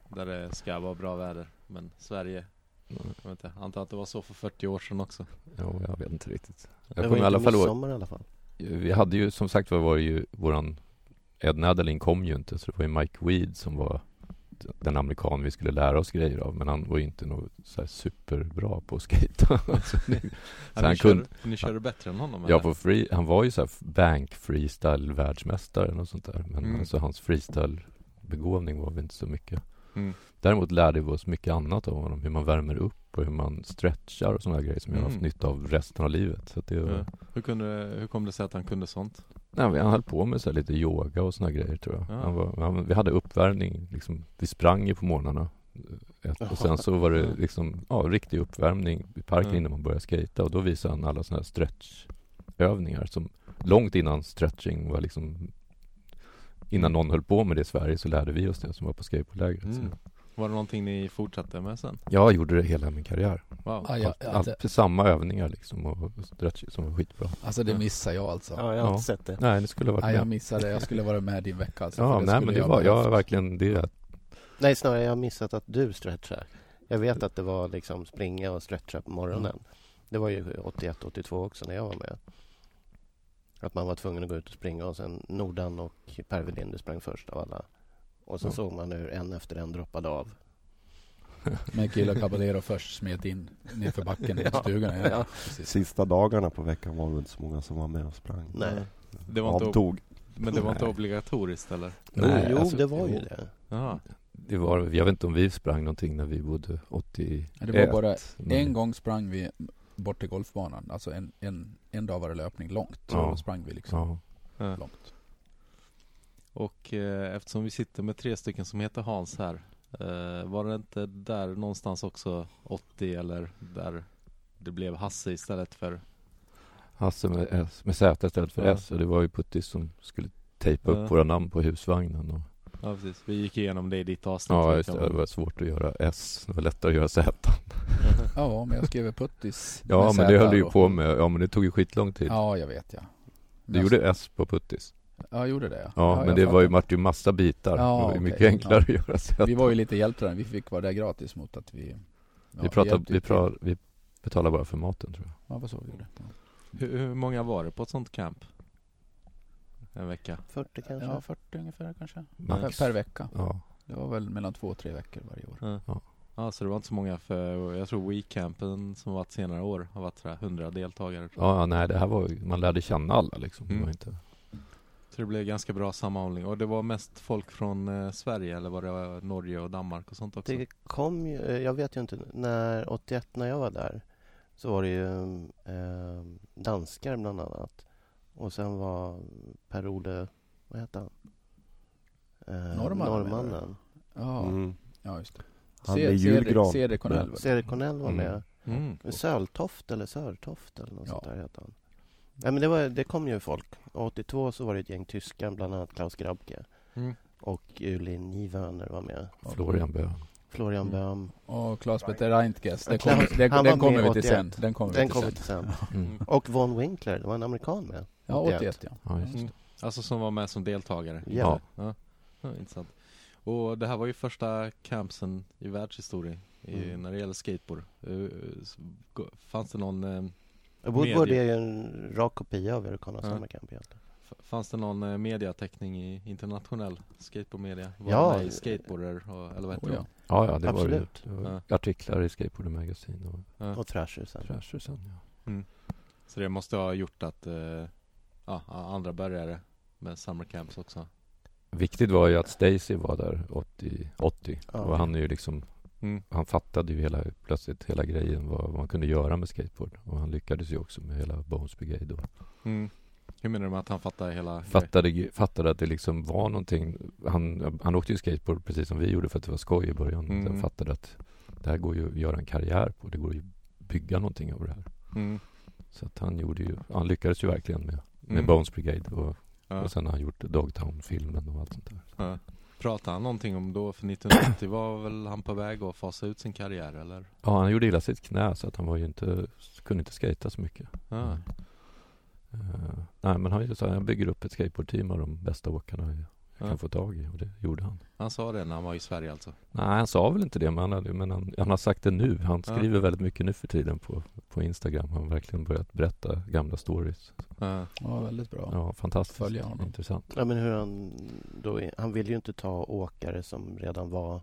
A: Där det ska vara bra väder. Men Sverige, jag vet inte, antar att det var så för 40 år sedan också.
B: Ja, jag vet inte riktigt.
C: Det
B: Jag
C: var
B: kommer i alla
C: inte
B: fall ihåg,
C: midsommar i alla fall.
B: vi hade ju som sagt var, var det ju våran Ed Nadelin kom ju inte så det var ju Mike Weed som var den amerikan vi skulle lära oss grejer av men han var ju inte något så här superbra på att skejta. Alltså,
A: Ja,
B: Så
A: ni,
B: han
A: körde,
B: kunde-
A: ni körde bättre än honom?
B: ja,
A: eller?
B: på free, han var ju så här bank freestyle världsmästare och sånt där men
A: Mm.
B: alltså hans freestyle begåvning var väl inte så mycket.
A: Mm.
B: Däremot lärde vi oss mycket annat av honom, hur man värmer upp och hur man stretchar och sådana här grejer som jag har haft
A: Mm.
B: nytta av resten av livet. Så att det,
A: Ja. Hur, kunde, hur kom det sig att han kunde sånt?
B: Nej, men han höll på med så här lite yoga och såna grejer tror jag.
A: Ja.
B: Han var, han, vi hade uppvärmning, liksom, vi sprang ju på morgnarna. eh, Och sen så var
A: Ja.
B: det liksom, ja, riktig uppvärmning i parken
A: Ja.
B: innan man började skata Och då visade han alla såna här stretchövningar som långt innan stretching var liksom Innan någon höll på med det i Sverige så lärde vi oss det som var på skateboardlägret.
A: Mm.
B: Så-
A: Var det någonting ni fortsatte med sen?
B: Jag gjorde det hela min karriär.
A: Wow.
D: Ja, jag,
B: allt,
D: jag,
B: allt, samma övningar liksom och och stretch som var skitbra.
D: alltså det missar jag alltså.
C: Ja, jag har
B: Ja.
C: inte sett det.
B: Nej, det skulle ha varit
D: Nej, jag
B: med.
D: missade. Jag skulle vara med din vecka alltså.
B: Ja,
D: för
B: nej
D: skulle
B: men det var, jag har
D: behövt.
B: verkligen det
C: Nej, snarare jag har missat att du stretchar. Jag
D: Mm.
C: vet att det var liksom springa och stretcha på morgonen. Det var ju 81, 82 också när jag var med. Att man var tvungen att gå ut och springa och sen Nordan och Per Welander sprang först av alla. Och sen
D: Mm.
B: Ja.
C: såg man hur en efter en droppade av.
D: Men Killa Caballero först smet in nerför backen i
C: Ja,
D: stugan. igen.
C: ja.
D: Precis.
E: Sista dagarna på veckan var det inte så många som var med och sprang.
D: Mm.
C: Nej.
A: Det var inte ob-
E: Avtog.
A: men det var inte
B: Nej.
A: obligatoriskt eller?
B: Nej,
C: jo,
B: alltså,
C: det var ju
B: jo.
C: det.
A: Jaha.
B: Det var, jag vet inte om vi sprang någonting när vi bodde 80
D: Ja, Det var bara
B: men-
D: en gång sprang vi bort till golfbanan. Alltså en, en, en dag var det löpning långt. Så
B: Ja.
D: då sprang vi liksom
B: Ja,
A: Ja.
D: långt.
A: Och eh, eftersom vi sitter med tre stycken som heter Hans här eh, Var det inte där någonstans också 80 eller där det blev Hasse istället för
B: Hasse med, S, med Z istället för
A: Ja.
B: S och det var ju Puttis som skulle tejpa upp
A: Ja.
B: våra namn på husvagnen och,
A: Ja precis, vi gick igenom det i ditt avsnitt
B: Ja
A: vet
B: just
A: jag.
B: det, det var svårt att göra S, det var lättare att göra Z
D: Ja, men jag skrev puttis.
B: Ja
D: med
B: men det
D: Z
B: höll du ju
D: och-
B: på med, ja men det tog ju skitlång tid
D: Ja, jag vet ja.
B: Du
D: Men
B: gjorde S på Puttis?
D: jag- Ja, jag gjorde det ja.
B: Ja,
D: jag
B: men det var ju,
D: fattar.
B: vart ju massa bitar,
D: Ja,
B: det var ju
D: okej.
B: mycket enklare att göra Z
D: Vi var ju lite hjältar. Vi fick vara där gratis mot att vi... ja,
B: Vi pratade,
D: hjälpte
B: vi,
D: till.
B: pra, vi betalade bara för maten tror jag
D: Ja, vad så vi gjorde. Ja.
A: hur, hur många var det på ett sånt camp? En vecka?
C: 40 kanske.
D: Ja, 40 ungefär kanske. Per,
B: Max.
D: per vecka.
B: Ja,
D: Det var väl mellan två och tre veckor varje år.
A: Ja.
B: Ja.
A: Ja, så det var inte så många för jag tror WeCampen som har varit senare år har varit sådär 100 deltagare.
B: ja ja, nej det här var ju- man lärde känna alla liksom, det
A: Mm.
B: var inte
A: Så det blev ganska bra sammanhållning. Och det var mest folk från eh, Sverige eller var det eh, Norge och Danmark och sånt också?
C: Det kom ju, eh, jag vet ju inte, när 81 när jag var där så var det ju eh, danskar bland annat. Och sen var Per-Ole, vad hette han? Eh,
D: Norrmannen, menar
C: Norrmannen.
D: Ja,
E: Mm.
D: ja just det.
E: Han blev julgran.
D: Ceder Cornell. väl?
C: Cedric Cornell var
B: Mm.
C: med.
A: Mm.
C: Söltoft eller Sörtoft eller något
D: Ja.
C: sånt där hette han. Nej men det, var, det kom ju folk. 82 så var det ett gäng tyskar, bland annat Klaus Grabke.
A: Mm.
C: Och Uli Nivaner var med.
D: Ja.
B: Florian Böhm
C: Florian
A: Mm.
C: Böhm.
D: Och Claes Peter Reintges. Den,
C: Claes-
D: kommer- den,
C: han var med
D: den kommer
C: i
D: vi till
C: 81.
D: sen. Den kommer
C: Den
D: vi till
C: kom
D: sen.
C: inte sen.
B: Mm.
C: Och Von Winkler, det var en amerikan med.
D: Ja,
C: 81.
D: 81 ja.
B: Ja, just.
A: Mm. Alltså som var med som deltagare?
C: Ja.
A: ja. Ja, intressant. Och det här var ju första campsen i världshistorien i,
C: Mm.
A: när det gäller skateboard. Eh, s- gå- Fanns det någon, eh,
C: Woodward
A: Medie.
C: är ju en rak kopia av Eric Connors
A: Ja.
C: sommarkamp egentligen.
A: f- fanns det någon eh, mediateckning i internationell skateboardmedia? Var
C: Ja.
A: det med i skateboarder och, eller vad heter
D: Oh, ja.
B: Ja, ja, det
C: Absolut.
B: var det. det var Artiklar i Skateboard Magazine och
A: det? Ja.
C: Och Thrasher sen.
B: Thrasher sen, ja.
A: Så det måste ha gjort att eh, ja, andra började med summer camps också?
B: Viktigt var ju att Stacy var där 80, 80.
C: Ja.
B: och han är ju liksom
A: Mm.
B: han fattade ju hela, plötsligt hela grejen vad, vad man kunde göra med skateboard och han lyckades ju också med hela Bones Brigade och
A: Mm. Hur menar du med att han fattar hela grejen?
B: fattade, ju- fattade att det liksom var någonting han, han åkte ju skateboard precis som vi gjorde för att det var skoj i början
A: Mm.
B: han fattade att det här går ju att göra en karriär på det går ju att bygga någonting av det här
A: Mm.
B: så att han gjorde ju han lyckades ju verkligen med, med
A: Mm.
B: Bones Brigade och
A: Ja.
B: Och sen har han gjort Dogtown-filmen och allt sånt där.
A: Ja. Pratade han någonting om då? För 1980 var väl han på väg att fasa ut sin karriär eller?
B: Ja, han gjorde illa sitt knä så att han var ju inte, kunde inte skata så mycket.
A: Ja.
B: Mm. Eh, nej, men han, sa, jag bygger upp ett skateboardteam av de bästa åkarna jag
A: Ja.
B: kan få tag i. Och det gjorde han.
A: Han sa det när han var i Sverige alltså?
B: Nej, han sa väl inte det, men han, hade- men han, han har sagt det nu. Han
A: Ja.
B: skriver väldigt mycket nu för tiden på på Instagram har han verkligen börjat berätta gamla stories.
A: Ja.
D: Ja, väldigt bra.
B: Ja, fantastiskt.
D: Följa honom.
B: Intressant.
C: Ja, men hur han då... Är, han vill ju inte ta åkare som redan var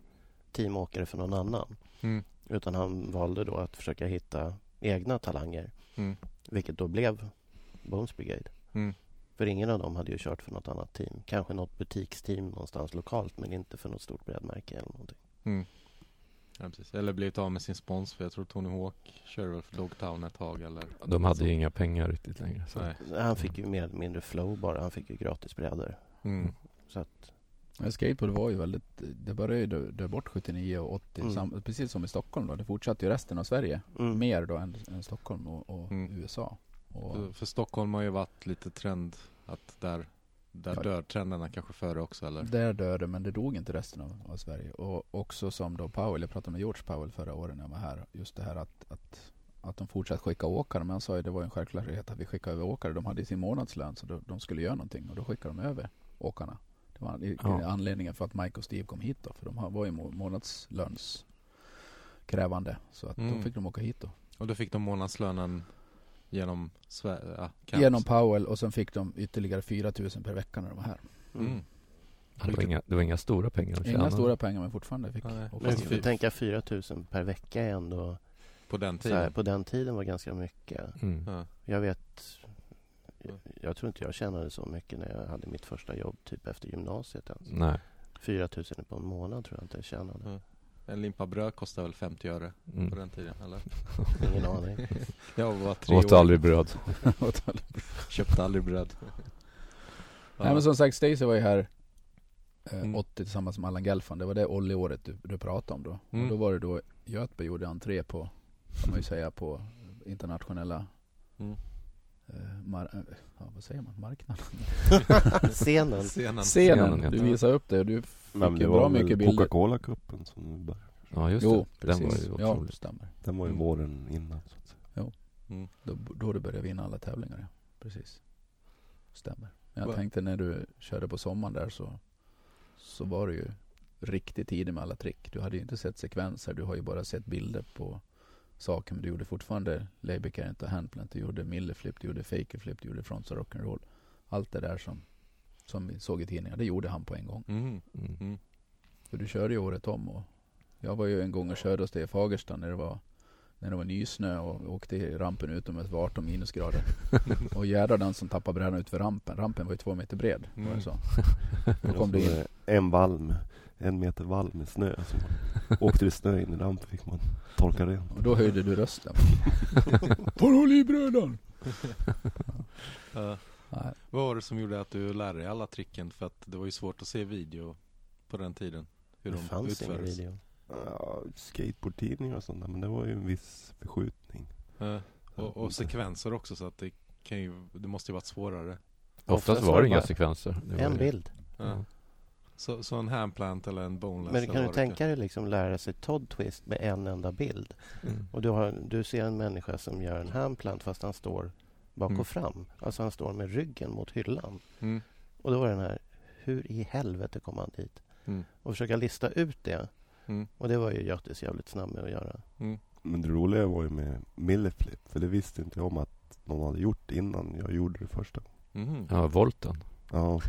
C: teamåkare för någon annan.
A: Mm.
C: Utan han valde då att försöka hitta egna talanger.
A: Mm.
C: Vilket då blev Bones Brigade.
A: Mm.
C: För ingen av dem hade ju kört för något annat team. Kanske något butiksteam någonstans lokalt men inte för något stort brädmärke eller någonting.
A: Mm. Ja, precis. Eller blivit av med sin spons för jag tror Tony Hawk körde väl för Dogtown ett tag eller
B: De hade ju inga pengar riktigt längre. Så.
A: Nej.
C: Han fick ju mer eller mindre flow bara. Han fick ju gratis brädor.
A: Mm.
C: Så att,
D: Men Eh, skateboard var ju väldigt, det började ju dö, dö bort 79 och 80,
C: Mm.
D: sam, precis som i Stockholm då. Det fortsatte ju resten av Sverige.
C: mm.
D: Mer då än, än Stockholm och, och
A: Mm.
D: USA. Och,
A: För, för Stockholm har ju varit lite trend att där, där
D: Ja.
A: dör trenderna kanske före också eller?
D: Där dör det, men det dog inte resten av, av Sverige. Och också som då Powell, jag pratade med George Powell förra året när jag var här. Just det här att, att, att de fortsatte skicka åkare. Men han sa ju det var ju en självklarhet att vi skickade över åkare. De hade ju sin månadslön så de, de skulle göra någonting och då skickade de över åkarna. Det var an-
B: Ja.
D: anledningen för att Mike och Steve kom hit då. För de har- var ju må- månadslönskrävande. Så att
A: Mm.
D: då fick de åka hit då.
A: Och då fick de månadslönen genom äh, Sverige? Ja, Camps.
D: Genom Powell och sen fick de ytterligare 4 000 per vecka när de var här.
A: mm.
B: Det, var inga, det var inga stora pengar de
D: Inga
B: tjänade.
D: stora pengar men fortfarande fick
A: Nej.
D: åka
C: Men
A: Fast
C: du
D: hit.
C: får
A: fy-
C: tänka 4 000 per vecka är ändå...
A: På den
C: Så här,
A: tiden?
C: på den tiden var ganska mycket.
B: Mm.
A: Ja.
C: Jag vet... Jag tror inte jag tjänade så mycket när jag hade mitt första jobb typ efter gymnasiet ens.
A: Mm.
B: Nej.
C: 4 000 på en månad tror jag inte jag tjänade.
A: En limpa bröd kostade väl 50 öre på
B: Mm.
A: den tiden eller?
C: Ingen aning.
A: Jag var tre
B: Åt
A: år,
B: aldrig bröd.
A: köpte aldrig bröd. Ja.
D: Nej men som sagt, Stacey var ju här eh,
A: Mm.
D: 80 tillsammans med Allan Gelfand. Det var det Olli-året du, du pratade om då.
A: Mm.
D: Och då var det då Götberg gjorde entré på, kan man ju säga, på internationella
A: Mm.
D: eh, mar- eh, ja, vad säger man? Marknaden?
C: Scenen.
A: Scenen.
B: Scenen,
D: Scenen!
B: ja.
D: Du visade upp det. Du fick
E: Men
D: ju
E: det
D: bra
E: var väl
D: mycket bilder.
E: Coca-Cola-cupen som bör-
B: Ja just
D: Jo,
B: det. Den
D: precis.
B: var ju
D: ja, det
B: otrolig.
D: stämmer.
E: Den var ju
A: Mm.
E: våren innan. Så att säga.
D: Då, då du började vinna alla tävlingar, ja. Precis. Stämmer. Men jag
A: Va-
D: tänkte när du körde på sommaren där så, så var du ju riktigt tidig med alla trick. Du hade ju inte sett sekvenser, du har ju bara sett bilder på saker. Men du gjorde fortfarande Labour Current och Handplant, du gjorde Milleflip, du gjorde Fakerflip, du gjorde Frontside Rock'n'Roll. Allt det där som, som vi såg i tidningar, det gjorde han på en gång.
A: Mm.
B: Mm.
D: För du körde ju året om och jag var ju en gång och körde hos dig i Fagersta när det var när det var nysnö och åkte i rampen utomhus var 18 minusgrader. Och jädrar den som tappade brädan ut för rampen. Rampen var ju två meter bred. Var
A: Mm.
D: det så?
E: Och
D: kom
E: så
D: du in.
E: var det En valm, en meter valm med snö. Så åkte det snö in i rampen fick man torka rent.
D: Och då höjde du rösten. Får håll i brödan!
A: Ja.
D: Nej.
A: Vad var det som gjorde att du lärde dig alla tricken? För att det var ju svårt att se video på den tiden. Hur
C: Det
A: de
C: fanns ingen
A: utfördes.
C: video.
E: Ja, skateboardtidningar och sånt där, men det var ju en viss förskjutning.
A: Ja. Och, och sekvenser också så att det kan ju, det måste ju varit svårare.
B: Oftast var det inga sekvenser. Det var
C: En
B: ju-
C: bild.
A: Ja. Så, så en handplant eller en boneless
C: Men
A: eller
C: kan du
A: vad det
C: tänka dig liksom lära sig Todd Twist med en enda bild?
B: Mm.
C: Och du, har, du ser en människa som gör en handplant fast han står bak
A: Mm.
C: och fram. Alltså han står med ryggen mot hyllan.
A: Mm.
C: Och då var den här, hur i helvete kom han dit?
A: Mm.
C: Och försöka lista ut det.
A: Mm.
C: Och det var ju Göttis jävligt snabb med att göra.
E: Men det roliga var ju med milleflip, för det visste inte jag om att någon hade gjort innan jag gjorde det första.
A: Mhm.
B: Ja, volten.
E: Ja,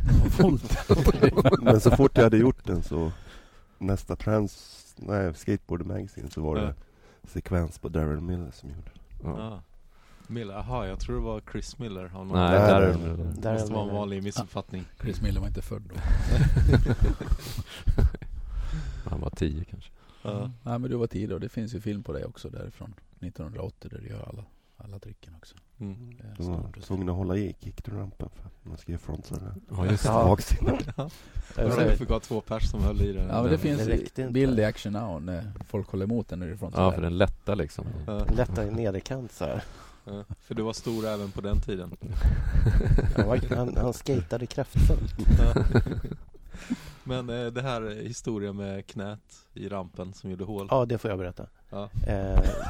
E: men så fort jag hade gjort den så nästa trans, nej, skateboard magazine så var det sekvens på Daryl Miller som gjorde det.
B: Ja.
A: Ja. Miller, aha, jag tror det var Chris Miller av någon
B: Nej,
E: Nej,
B: där
E: nej.
B: är det. där.
A: Det måste vara en
C: Miller.
A: vanlig missuppfattning.
D: Chris Miller var inte född då.
B: Han var tio kanske.
A: Ja.
D: Nej men du var tidig och det finns ju film på dig också därifrån. 1980 där du gör alla, alla tricken också.
A: Mm.
D: Det är
E: De var
D: stort att se.
E: tvungna att hålla i kickdrum-rampen för att man ska ge frontside.
B: Ja, just det.
C: Ja.
E: Baksidan.
A: Det var därför vi två pers som höll i den.
D: Ja men det
A: Den-
D: finns
C: det räckte inte.
D: bild i action now när folk håller emot den nerifrån.
B: Ja, för den lätta liksom.
A: Ja,
C: Lätta i nederkant så här.
A: ja. För du var stor även på den tiden.
C: Han, var, han, han skatade kraftfullt.
A: Ja. Men eh, det här historien med knät i rampen som gjorde hål.
C: Ja, det får jag berätta.
A: Ja.
C: Eh,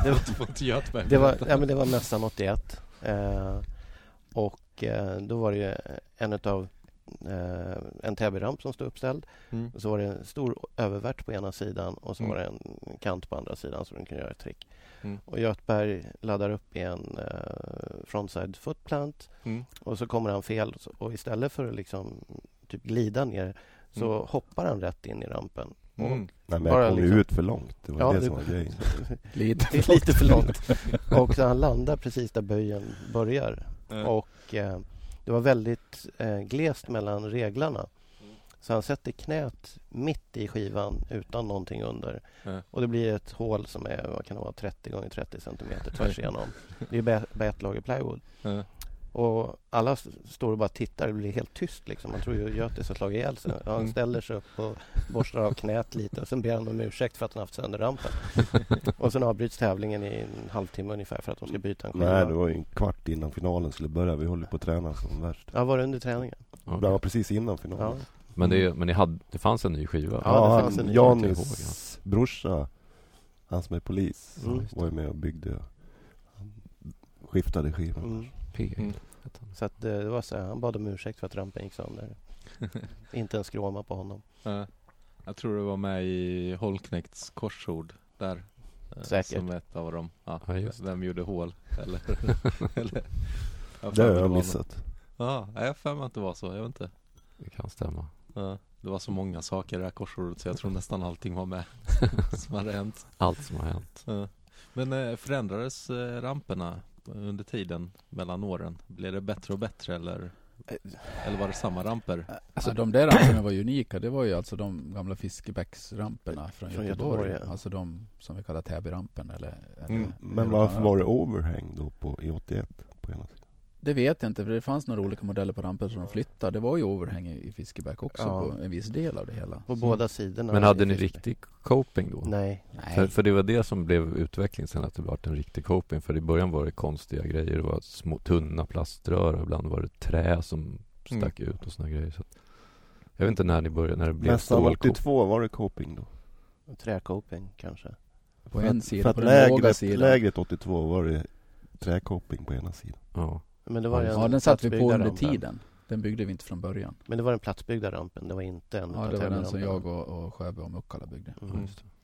C: det, var,
A: Det får inte Götberg
C: det, var,
A: berätta.
C: ja, men det var mässan 81. Eh, och eh, då var det ju en utav eh, en Täbyramp som stod uppställd.
A: Mm.
C: Och så var det en stor övervärt på ena sidan och så
A: Mm.
C: var det en kant på andra sidan så de kunde göra ett trick.
A: Mm.
C: Och Göthberg laddar upp i en eh, frontside footplant
A: Mm.
C: och så kommer han fel och så- och istället för att liksom typ glida ner så
A: Mm.
C: hoppar han rätt in i rampen.
A: Mm.
E: Nej, men
C: Bara
E: jag kom
C: liksom-
E: ju ut för långt. Det var
C: Ja,
E: det
C: det-
E: som var grejen.
D: Lite
C: Det är lite för långt. Och så han landar precis där böjen börjar.
A: Eh,
C: Och eh, det var väldigt eh, glest mellan reglarna. Så han sätter knät mitt i skivan utan någonting under.
A: Ja.
C: Och det blir ett hål som är, vad kan det vara, 30 gånger 30 centimeter tvärs igenom. Det är bä- bätlager plywood.
A: eh,
C: Och alla s- står och bara tittar. Det blir helt tyst liksom. Man tror ju Götis har slagit ihjäl sig. Ja, Han
A: Mm.
C: ställer sig upp och borstar av knät lite. Och sen ber han om ursäkt för att han haft sönder rampen. Och sen avbryts tävlingen i en halvtimme ungefär för att de ska byta en skiva.
E: Nej, det var ju en kvart innan finalen skulle börja. Vi höll ju på att träna som värst.
C: Ja, var det under träningen?
E: Det var precis innan finalen.
C: Ja.
B: Men, det, men ni hade, det fanns en ny skiva?
C: Ja, det
E: Ja,
C: fanns
E: han,
C: en-
B: jag kommer inte ihåg,
E: Janis brorsa, han som är polis,
C: Mm. Ja, just
E: var ju med och byggde. Han skiftade skivan.
C: Mm.
B: P.
A: Mm.
B: hette han.
C: Så att eh, det var så här, han bad om ursäkt för att rampen gick sönder. Inte en skråma på honom.
A: eh. Jag tror det var med i Holknekts korsord där. eh,
C: Säkert.
A: Som ett av dem. Ja,
B: Ja, just
A: vem gjorde hål? Eller, eller, Jag har
E: Det
A: för mig
E: har jag
A: var
E: missat.
A: någon- Ja, nej, jag har för mig att det var så. Jag vet inte.
B: Det kan stämma.
A: Ja, det var så många saker i det här korsordet så jag tror nästan allting var med som hade hänt.
B: Allt som har hänt.
A: Ja. Men eh, förändrades eh, ramperna under tiden mellan åren? Blev det bättre och bättre eller, eller var det samma ramper?
D: Alltså de där ramperna var ju unika. Det var ju alltså de gamla Fiskebäcksramperna från,
C: Från
D: Göteborg.
C: Göteborg, ja.
D: Alltså de som vi kallar Täbyrampen eller, eller
A: Mm,
E: Men varför var det overhang då på, i 81? På ena sidan?
D: Det vet jag inte, för det fanns några olika modeller på rampen som de flyttade. Det var ju overhäng i i Fiskebäck också
C: Ja.
D: på en viss del av det hela.
B: Mm.
C: På båda sidorna.
B: Men hade ni
C: i Fiskebäck.
B: riktig coping då?
C: Nej.
B: För,
D: Nej,
B: för det var det som blev utvecklingen sen, att det blev en riktig coping. För i början var det konstiga grejer. Det var små tunna plaströr och ibland var det trä som stack ut och såna grejer. Så att, jag vet inte när ni började, när det blev
E: Mässan
B: stålcoping.
E: 82, var det coping då?
C: Träcoping kanske.
D: på
E: För
D: en
E: att-
D: sida,
E: för att
D: på den låga
E: lägret,
D: sidan.
E: lägret 82 var det träcoping på ena sidan.
B: Ja.
C: Men det var ju
B: Ja,
C: en
D: Ja, den satt vi på
C: platsbyggda
D: under
C: rampen.
D: tiden. Den byggde vi inte från början.
C: Men det var den platsbyggda rampen. Det var inte en
D: Ja,
C: utav
D: det var den som
C: tävlingsrampen.
D: jag och, och Sjöberg och Muckala byggde.
C: Mm.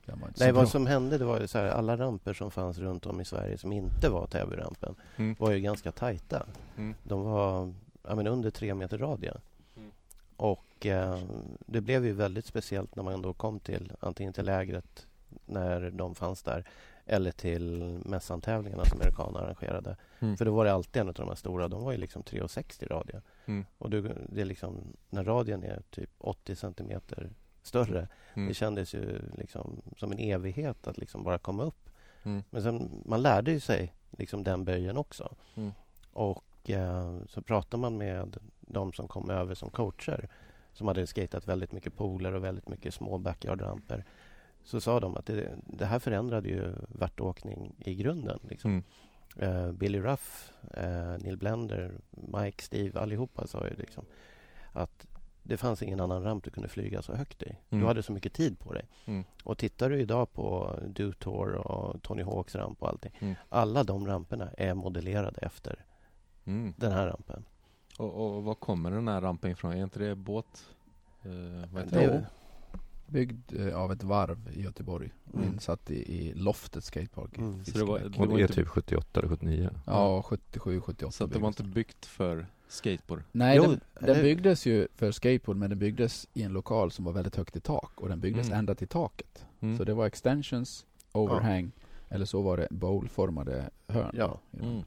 D: Den var inte
C: Nej,
D: så bra.
C: vad som hände det var ju så här, alla ramper som fanns runt om i Sverige som inte var Täbyrampen
A: Mm.
C: var ju ganska tajta.
A: Mm.
C: De var ja, men under tre meter radie.
A: Mm.
C: Och eh, det blev ju väldigt speciellt när man då kom till antingen till lägret när de fanns där eller till mässantävlingarna som Amerikanerna arrangerade.
A: Mm.
C: För då var det alltid en av de här stora. De var ju liksom 3,60 radie.
A: Mm.
C: Och det, det är liksom när radien är typ 80 centimeter större
A: Mm.
C: det kändes ju liksom som en evighet att liksom bara komma upp.
A: Mm.
C: Men sen, man lärde ju sig liksom den böjen också.
A: Mm.
C: Och eh, så pratade man med de som kom över som coacher som hade skatat väldigt mycket pooler och väldigt mycket små backyard-ramper. Så sa de att det, det här förändrade ju värtåkning i grunden. Liksom.
A: Mm.
C: Eh, Billy Ruff, eh, Neil Blender, Mike, Steve, allihopa sa ju liksom att det fanns ingen annan ramp du kunde flyga så högt i.
A: Mm.
C: Du hade så mycket tid på dig.
A: Mm.
C: Och tittar du idag på Do Tour och Tony Hawks ramp och allting.
A: Mm.
C: Alla de ramperna är modellerade efter
A: Mm.
C: den här rampen.
A: Och, och var kommer den här rampen ifrån? Är inte det båt? Eh, vad heter
C: Det
A: det?
C: är-
D: Jo, byggd eh, av ett varv i Göteborg.
C: Mm.
D: Insatt i, i Loftet Skatepark. i
C: Mm.
A: Så det var-
D: Fiskebäck.
B: Och
A: var
B: det är
A: inte-
B: typ 78 eller 79.
D: Ja, 77, 78
A: Så att det var inte byggt för skateboard?
D: Nej,
C: Jo,
D: den, den
C: eller-
D: byggdes ju för skateboard men den byggdes i en lokal som var väldigt högt i tak och den byggdes
A: Mm.
D: ända till taket.
A: Mm.
D: Så det var extensions, overhang eller så var det bowlformade hörn.
C: Ja.
D: i den.
A: Mm.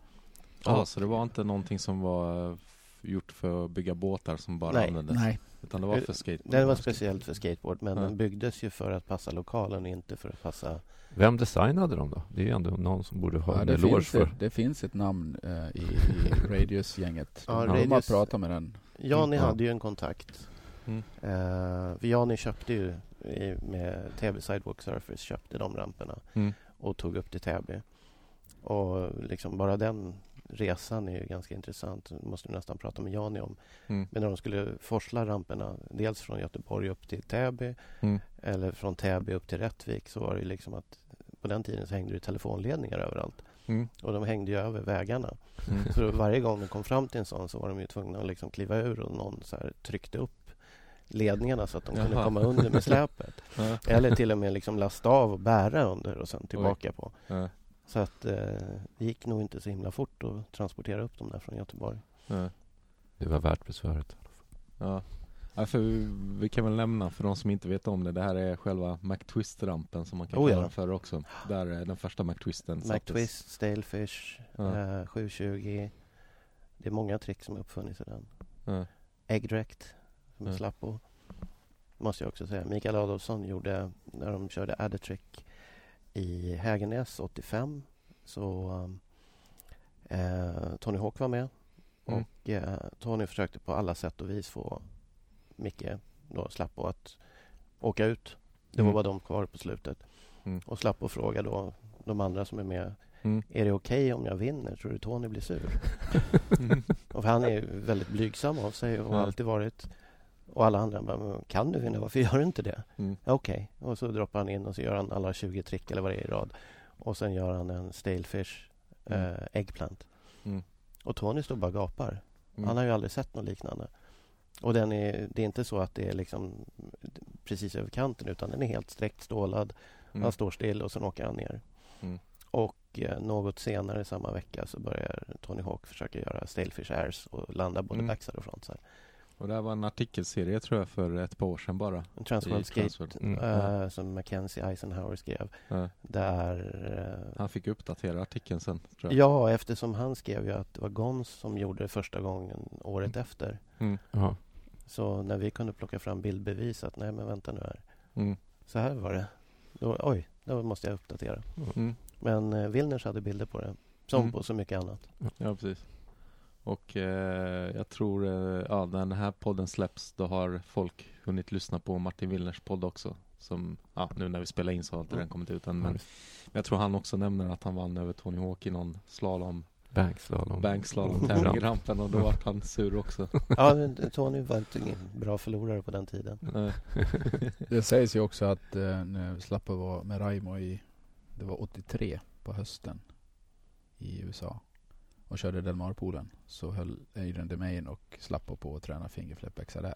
C: Ja.
A: Ja, så det var inte någonting som var eh, f- gjort för att bygga båtar som bara
C: Nej.
A: användes?
D: Nej,
A: Utan det var
C: Eh,
A: för skateboard?
C: Den var speciellt för skateboard men
A: Ja.
C: den byggdes ju för att passa lokalen inte för att passa...
B: Vem designade dem då? Det är ju ändå någon som borde ha
D: ja,
B: en
D: det,
B: eloge
D: finns
B: för.
D: ett, det finns ett namn eh, i, i Radius-gänget.
C: Ja,
D: De- De har
C: Radius-
D: pratat med den.
C: Jani
B: Mm.
C: hade ju en kontakt.
A: Mm.
C: Eh, för Jani köpte ju i, med Täby Sidewalk Surfers köpte de ramperna
A: Mm.
C: och tog upp till Täby. Och liksom bara den resan är ju ganska intressant. Det måste du nästan prata med Jani om.
A: Mm.
C: Men när de skulle forsla ramperna, dels från Göteborg upp till Täby
A: Mm.
C: eller från Täby upp till Rättvik så var det ju liksom att på den tiden så hängde det telefonledningar överallt.
A: Mm.
C: Och de hängde ju över vägarna.
A: Mm.
C: Så varje gång de kom fram till en sån så var de ju tvungna att liksom kliva ur och någon så här tryckte upp ledningarna så att de kunde
A: Jaha.
C: komma under med släpet.
A: Ja,
C: Eller till och med liksom lasta av och bära under och sen tillbaka på.
A: ja,
C: Så att eh, det gick nog inte så himla fort att transportera upp dem där från Göteborg.
A: ja,
B: Det var värt besväret.
A: ja. Ja, för vi, vi kan väl nämna för de som inte vet om det, det här är själva McTwist-rampen som man kan
C: Oh, ja.
A: kalla den för också. Där eh, den första McTwisten sattes.
C: McTwist, Stalefish,
A: Ja.
C: eh, 720. Det är många trick som har uppfunnits i den.
A: Ja.
C: Äggdräkt, som är
A: Ja.
C: slapp på. Måste jag också säga. Mikael Adolfsson gjorde, när de körde Addertrick i Hägernäs 85, så eh, Tony Hawk var med.
A: Mm.
C: Och eh, Tony försökte på alla sätt och vis få Micke, då Slappo, att åka ut. Det var
A: Mm.
C: bara de kvar på slutet.
A: Mm.
C: Och Slappo fråga då de andra som är med.
A: Mm.
C: Är det okej om jag vinner? Tror du Tony blir sur? Och han är ju väldigt blygsam av sig och har
A: Mm. Ja.
C: alltid varit. Och alla andra bara, "Men kan du vinna? Varför gör du inte det?
A: Mm.
C: Ja, Okej. Och så droppar han in och så gör han alla 20 trick eller vad det är i rad. Och sen gör han en stalefish
A: Mm.
C: eh, eggplant.
A: Mm.
C: Och Tony står bara och gapar.
A: Mm.
C: Han har ju aldrig sett något liknande. Och den är, det är inte så att det är liksom precis över kanten utan den är helt sträckt stålad.
A: Mm.
C: Han står still och sen åker han ner.
A: Mm.
C: Och eh, något senare samma vecka så börjar Tony Hawk försöka göra Stalefish Airs och landa både
A: Mm.
C: backside och frontside.
A: Och det här var en artikelserie tror jag för ett par år sedan bara.
C: En Transworld
A: I
C: Skate
A: Transworld.
B: Mm.
C: eh, som Mackenzie Eisenhower skrev.
A: Ja.
C: Där... eh,
A: Han fick uppdatera artikeln sen tror jag.
C: Ja, eftersom han skrev ju att det var Gons som gjorde det första gången året
A: Mm.
C: efter.
B: Ja.
C: Så när vi kunde plocka fram bildbevis att nej men vänta nu här.
A: Mm.
C: Så här var det. Då, oj, då måste jag uppdatera.
A: Mm.
C: Men eh, Wilners hade bilder på det. Som
A: Mm.
C: på så mycket annat.
A: Ja, precis. Och eh, jag tror, eh, ja, när den här podden släpps då har folk hunnit lyssna på Martin Willners podd också. Som, ja, nu när vi spelar in så har inte
C: Mm.
A: den kommit ut än.
B: Ja,
A: Men
B: visst.
A: jag tror han också nämner att han vann över Tony Hawk i någon slalom,
B: Bankslalom.
A: bankslalom tävling och då vart han sur också.
C: Ja, men Tony var inte ingen bra förlorare på den tiden.
A: Eh,
D: Det sägs ju också att eh, när Slappa var med Raimo i, det var 83 på hösten i USA och körde Delmar-poolen så höll Adrian Demain och Slappo på att träna fingerfläppväxlar där.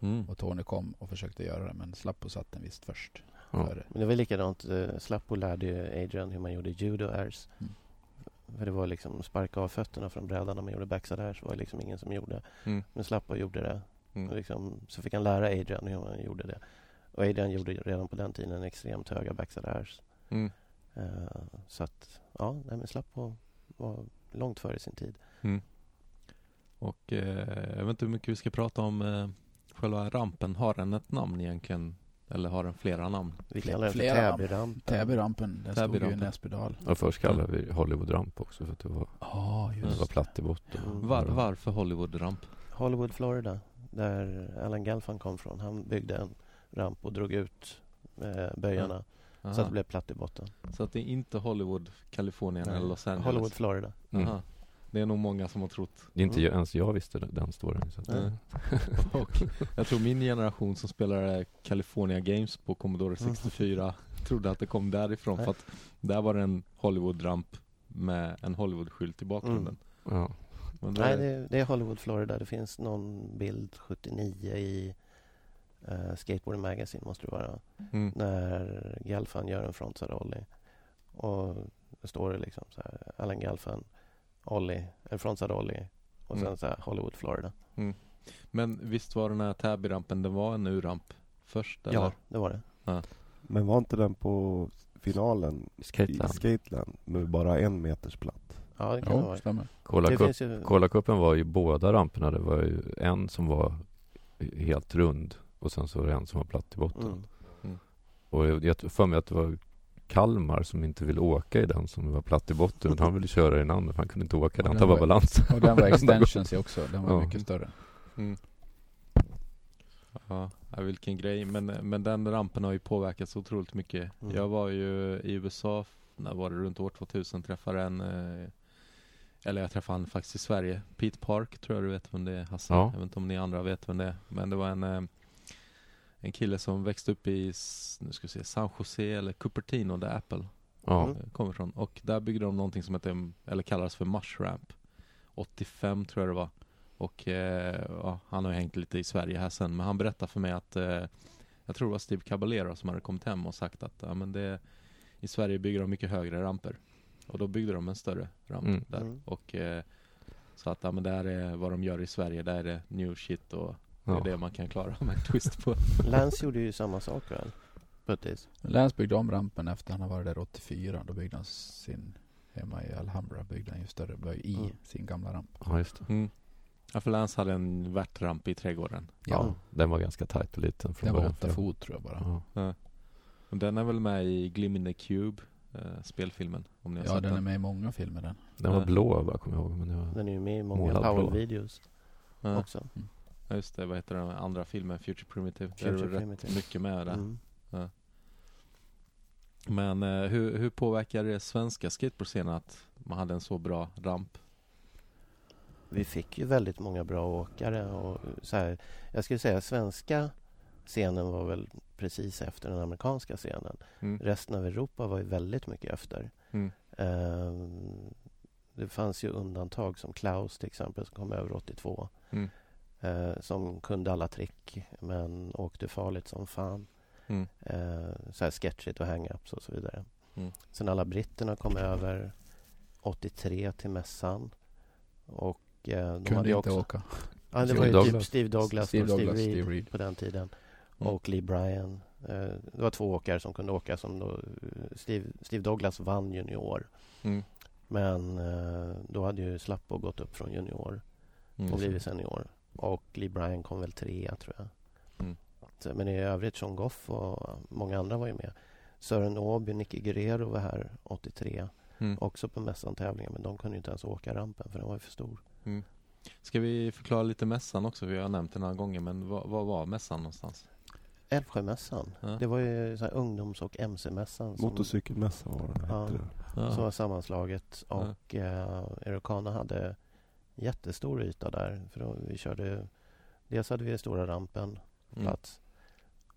A: Mm.
D: Och Tony kom och försökte göra det men Slappo satt den visst först.
B: Ja.
D: Före.
C: Men det var likadant. eh, Slappo lärde ju Adrian hur man gjorde judo airs.
D: Mm.
C: För det var liksom sparka av fötterna från brädan när man gjorde backside airs. var det liksom ingen som gjorde.
A: Mm.
C: Men Slappo gjorde det. Och
A: Mm.
C: liksom, så fick han lära Adrian hur man gjorde det. Och Adrian gjorde ju redan på den tiden extremt höga backside airs.
A: Mm.
C: Eh, så att, ja, nej men Slappo var långt före sin tid.
A: Och eh, jag vet inte hur mycket vi ska prata om eh, själva rampen. Har den ett namn egentligen? Eller har den flera namn?
C: Vi kallar den för
D: Flera namn.
C: Täbyrampen.
D: Täbyrampen, den stod ju i
A: Täbyrampen.
D: Näsbydal.
B: Ja, först kallade vi Hollywood Ramp också för att det var,
D: Ja,
B: det
D: just
B: var platt i botten.
C: Mm.
A: Var, varför Hollywood-ramp?
C: Hollywood, Florida, där Alan Galfan kom från. Han byggde en ramp och drog ut eh, böjarna så att
A: Aha.
C: det blev platt i botten.
A: Så att det är inte Hollywood, Kalifornien
C: Nej.
A: eller Los Angeles?
C: Hollywood, Florida.
B: Mm.
A: Aha. Det är nog många som har trott. Mm.
B: Det är inte
C: Mm.
B: ens jag visste den- den storyn. Så att,
C: Nej.
A: Och jag tror min generation som spelade California Games på Commodore
C: Mm.
A: 64 trodde att det kom därifrån. För att där var det en Hollywood-ramp med en Hollywood-skylt i bakgrunden.
B: ja.
A: Men
C: Mm. Nej, det, det är Hollywood, Florida. Det finns någon bild 79 i eh, Skateboard Magazine, måste det vara.
A: Mm.
C: När Galfan gör en frontside ollie. Och då står det liksom så här, Alan Galfan, ollie, en frontside ollie. Och sen
A: Mm.
C: så här, Hollywood, Florida.
A: Men visst var den här Täby-rampen, den var en U-ramp först? Eller?
C: Ja, det var det.
E: Men var inte den på finalen i
B: Skateland.
E: Skateland med bara en meters platt?
C: Ja, det kan det
D: Jo,
C: vara.
D: stämmer.
C: Det
B: Cola Cup
C: finns ju...
B: Kolakuppen var ju båda ramperna. Det var ju en som var helt rund och sen så var det en som var platt i botten.
C: Mm.
B: Och jag jag tror för mig att det var Kalmar som inte ville åka i den som var platt i botten. utan Han ville köra i den andra för han kunde inte åka i den. Han
D: den
B: tappade
D: var-
B: balansen.
D: Och den var extensions i också, den var
B: Ja.
D: mycket större.
A: Mm. Ja, ja, vilken grej. Men, men den rampen har ju påverkat så otroligt mycket.
C: Mm.
A: Jag var ju i USA, f- när var det? Runt år 2000 träffade en eh, eller jag träffade han faktiskt i Sverige. Pete Park tror jag du vet vem det är Hasse.
B: Ja.
A: Jag vet inte om ni andra vet vem det är. Men det var en, eh, en kille som växte upp i, s- nu ska vi se, San Jose eller Cupertino där Apple
B: Ja,
A: eh, kommer från. Och där byggde de någonting som heter, eller kallades för Mushramp 85 tror jag det var. Och eh, ja, han har ju hängt lite i Sverige här sen, men han berättade för mig att eh, jag tror det var Steve Caballero som hade kommit hem och sagt att ja, men det, i Sverige bygger de mycket högre ramper. Och då byggde de en större ramp
B: Mm.
A: där.
C: Mm.
A: Och eh, så att, ja men där är vad de gör i Sverige, där är det new shit och
B: ja.
A: det är det man kan klara med en twist på.
C: Lance gjorde ju samma sak väl? Puttis.
D: Läns byggde om rampen efter han har varit där 84. Då byggde han sin, hemma i Alhambra, byggde han ju större böj i
C: Mm.
D: sin gamla ramp.
B: ja, just det.
A: Mm. Ja, för Lance hade en värtramp i trädgården.
B: Ja. Den var ganska tajt och liten från
D: Den var
B: början.
D: åtta fot tror jag bara.
B: Ja.
A: Och den är väl med i Glim in the Cube, eh, spelfilmen, om ni har
D: Ja,
A: sett
D: den
A: den.
D: är med i många filmer den.
B: Den var
A: Ja.
B: blå vad jag kommer ihåg. Men det var...
C: Den är ju med i många
B: Målad blå.
C: Powell-videos
A: Ja.
C: också.
A: Ja, just det, vad heter den andra filmen? Future Primitive. det är
C: Future
A: väl
C: Primitive.
A: rätt mycket med där.
C: Mm.
A: Men eh, hur, hur påverkar det svenska skateboardscenen att man hade en så bra ramp?
C: Vi fick ju väldigt många bra åkare och så här, Jag skulle säga svenska scenen var väl precis efter den amerikanska scenen.
A: Mm.
C: Resten av Europa var ju väldigt mycket efter.
A: Mm.
C: Ehm, det fanns ju undantag som Klaus till exempel som kom över 82.
A: Mm.
C: eh, som kunde alla trick men åkte farligt som fan.
A: Mm.
C: Eh, så här sketchigt och hang-ups och så vidare.
A: Mm.
C: Sen alla britterna kom över 83 till mässan. Och eh, de hade
D: Kunde
C: ju
D: inte
C: också...
D: åka.
C: Ja, det
B: Steve
C: var ju typ
B: Douglas.
C: Steve Douglas
D: Steve
C: och Steve
D: Douglas,
C: Reed
D: Steve Reed.
C: på den tiden.
A: Mm.
C: Och Lee Bryan. Eh, det var två åkare som kunde åka. Som då, eh, Steve, Steve Douglas vann junior.
A: Mm.
C: Men eh, då hade ju Slappo gått upp från junior
A: Mm.
C: och blivit senior. Och Lee Bryan kom väl trea, tror jag.
A: Mm.
C: Så, men i övrigt, Sean Goff och många andra var ju med. Sören Åby, Nicky Guerrero var här 83.
A: Mm.
C: Också på mässan tävlingar, men de kunde ju inte ens åka rampen för den var ju för stor.
A: Ska vi förklara lite mässan också? Vi har nämnt den några gånger, men vad, vad var mässan någonstans?
C: Älvsjömässan,
A: Ja.
C: det var ju så här ungdoms och mc-mässan som,
E: Motorcykelmässa var den
C: Ja.
E: hette
A: Ja.
C: som var sammanslaget.
A: Ja.
C: Och eh, Eurocana hade jättestor yta där. För då, vi körde, dels hade vi den stora rampen,
A: Mm.
C: plats.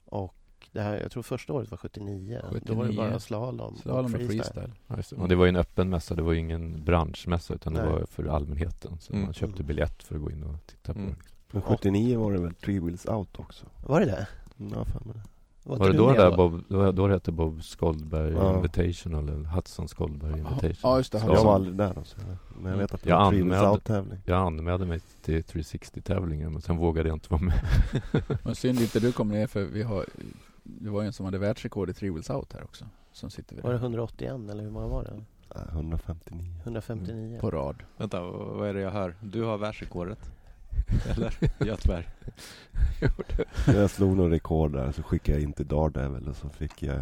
C: Och det här, jag tror första året var 79. Då var det
D: 79.
C: bara slalom,
D: Slalom och freestyle.
B: Ja, just det. Och det var ju en öppen mässa, det var ju ingen branschmässa utan det
C: Nej.
B: var för allmänheten. Så
A: Mm.
B: man köpte
C: Mm.
B: biljett för att gå in och titta på
A: Mm.
B: det.
E: Men 79 var det väl Three Wheels Out också?
C: Var det det?
E: Mm, Ja, fan med det.
C: Var,
B: Var
C: du
B: det då
C: med
B: det där Bob, då, då det hette Bob Skoldberg
E: Ja.
B: Invitational eller Hudson Skoldberg Invitational?
D: Ja, just det.
B: Så
D: Han
E: Jag
D: som-
E: var aldrig där då, så jag, men jag vet att det
B: Jag
E: var Three Wheels
B: anmälde-
E: Out-tävling.
B: Jag anmälde mig till 360-tävlingen men sen vågade jag inte vara med.
D: Men synd inte du kom ner för vi har, det var ju en som hade världsrekord i Three Wheels Out här också. Som sitter vid
C: Var det
D: det
C: 181 eller hur många var det?
E: Nej, 159.
C: 159?
D: på rad.
A: Vänta, vad är det jag hör? Du har världsrekordet? Eller? Göteborg?
E: Jag slog några rekord där, så skickade jag in till Daredevil och så fick jag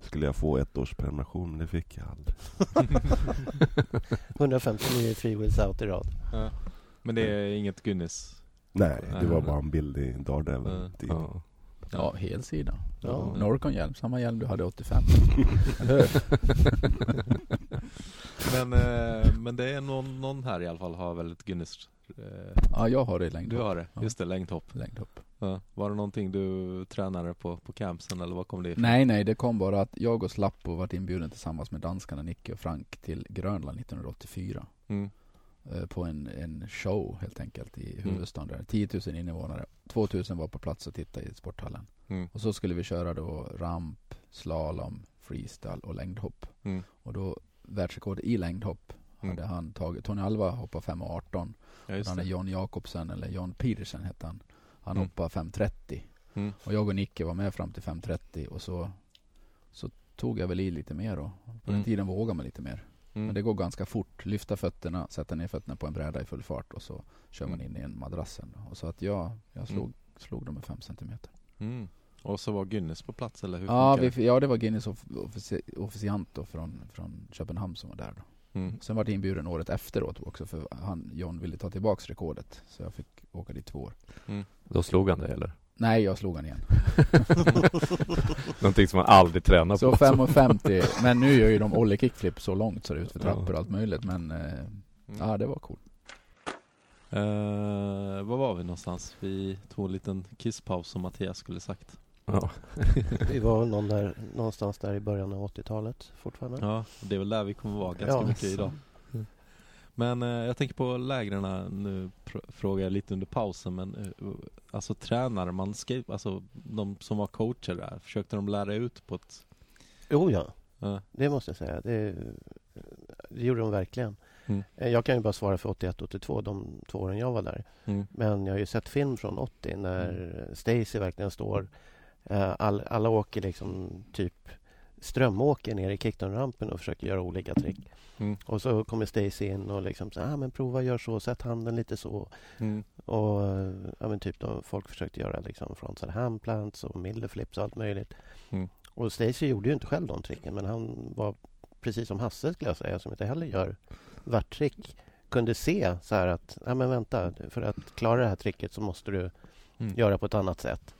E: skulle jag få ett års prenumeration, men det fick jag aldrig.
C: 159 free wheels out i rad.
A: Ja. Men det är inget Guinness?
E: Nej, det var
A: Nej.
E: bara en bild i Daredevil.
A: Mm.
E: typ.
B: Ja.
D: Ja, helsida.
C: Ja.
D: Norcon-hjälm, samma hjälm du hade 85.
A: Men, eh, men det är någon, någon här i alla fall har väl ett Guinness eh,
D: Ja, jag har det i längdhopp.
A: Du har det,
D: Ja.
A: just det, längdhopp
D: längdhopp.
A: ja. Var det någonting du tränade på, på campsen eller vad kom det ifrån?
D: Nej, nej, det kom bara att jag och Slappo varit inbjuden tillsammans med danskarna Nicky och Frank till Grönland 1984.
A: Mm.
D: eh, På en, en show helt enkelt i huvudstaden där. 10 000 invånare. 2 000 var på plats och tittade i sporthallen.
A: Mm.
D: Och så skulle vi köra då ramp, slalom, freestyle och längdhopp.
A: Mm.
D: Och då världsrekord i längdhopp
A: Mm.
D: hade han tagit. Tony Alva hoppade 5,18.
A: Ja, just
D: Han
A: det.
D: är John Jakobsen, eller John Petersen hette han. Han
A: Mm.
D: hoppade 5.30.
A: Mm.
D: Och jag och Nicke var med fram till 5.30 och så, så tog jag väl i lite mer då. På
A: Mm.
D: den tiden vågade man lite mer.
A: Mm.
D: Men det går ganska fort. Lyfta fötterna, sätta ner fötterna på en bräda i full fart och så kör man
A: Mm.
D: in i en madrassen. Och så att jag, jag slog, slog dem med 5 centimeter.
A: Mm. Och så var Guinness på plats eller hur
D: Ja,
A: funkar
D: vi, ja, det var Guinness of, offici- officiant då från, från Köpenhamn som var där
A: det?
D: då.
A: Mm.
D: Sen var jag inbjuden året efteråt också för han, John ville ta tillbaks rekordet. Så jag fick åka dit två år.
B: Då slog han dig eller?
D: Nej, jag slog han igen.
B: Någonting som man aldrig tränar
D: Så
B: på.
D: 5,50 Men nu gör ju de ollie kickflip så långt så det är ut för trappor och
B: Ja.
D: allt möjligt Men eh,
A: Mm.
D: ja, det var coolt
A: Eh, var var vi någonstans? Vi tog en liten kisspaus som Mattias skulle sagt
B: Ja.
C: Vi var väl någon där, någonstans där i början av 80-talet fortfarande.
A: Ja, det är väl där vi kommer vara ganska
C: Ja.
A: mycket idag. Men eh, jag tänker på lägren nu, pr- frågar jag lite under pausen, men eh, alltså tränar man skate, alltså de som var coacher där, försökte de lära ut på ett... eh?
C: Jo, ja.
A: Ja,
C: Det måste jag säga. Det, det gjorde de verkligen.
A: Mm.
C: Eh, Jag kan ju bara svara för 81 82, de två åren jag var där.
A: mm,
C: Men jag har ju sett film från 80 när Stacy verkligen står... eh, All, alla åker liksom typ strömåker ner i kickdown-rampen och försöker göra olika trick.
A: Mm.
C: Och så kommer Stacy in och liksom så, här, ah, men prova, gör så, sätt handen lite så.
A: mm,
C: Och eh, ja, men typ de, folk försökte göra liksom frontside handplants och millerflips och allt möjligt.
A: Mm.
C: Och Stacy gjorde ju inte själv de tricken men han var precis som Hasse skulle jag säga som inte heller gör värttrick kunde se så här att ja men vänta för att klara det här tricket så måste du
A: mm.
C: göra på ett annat sätt.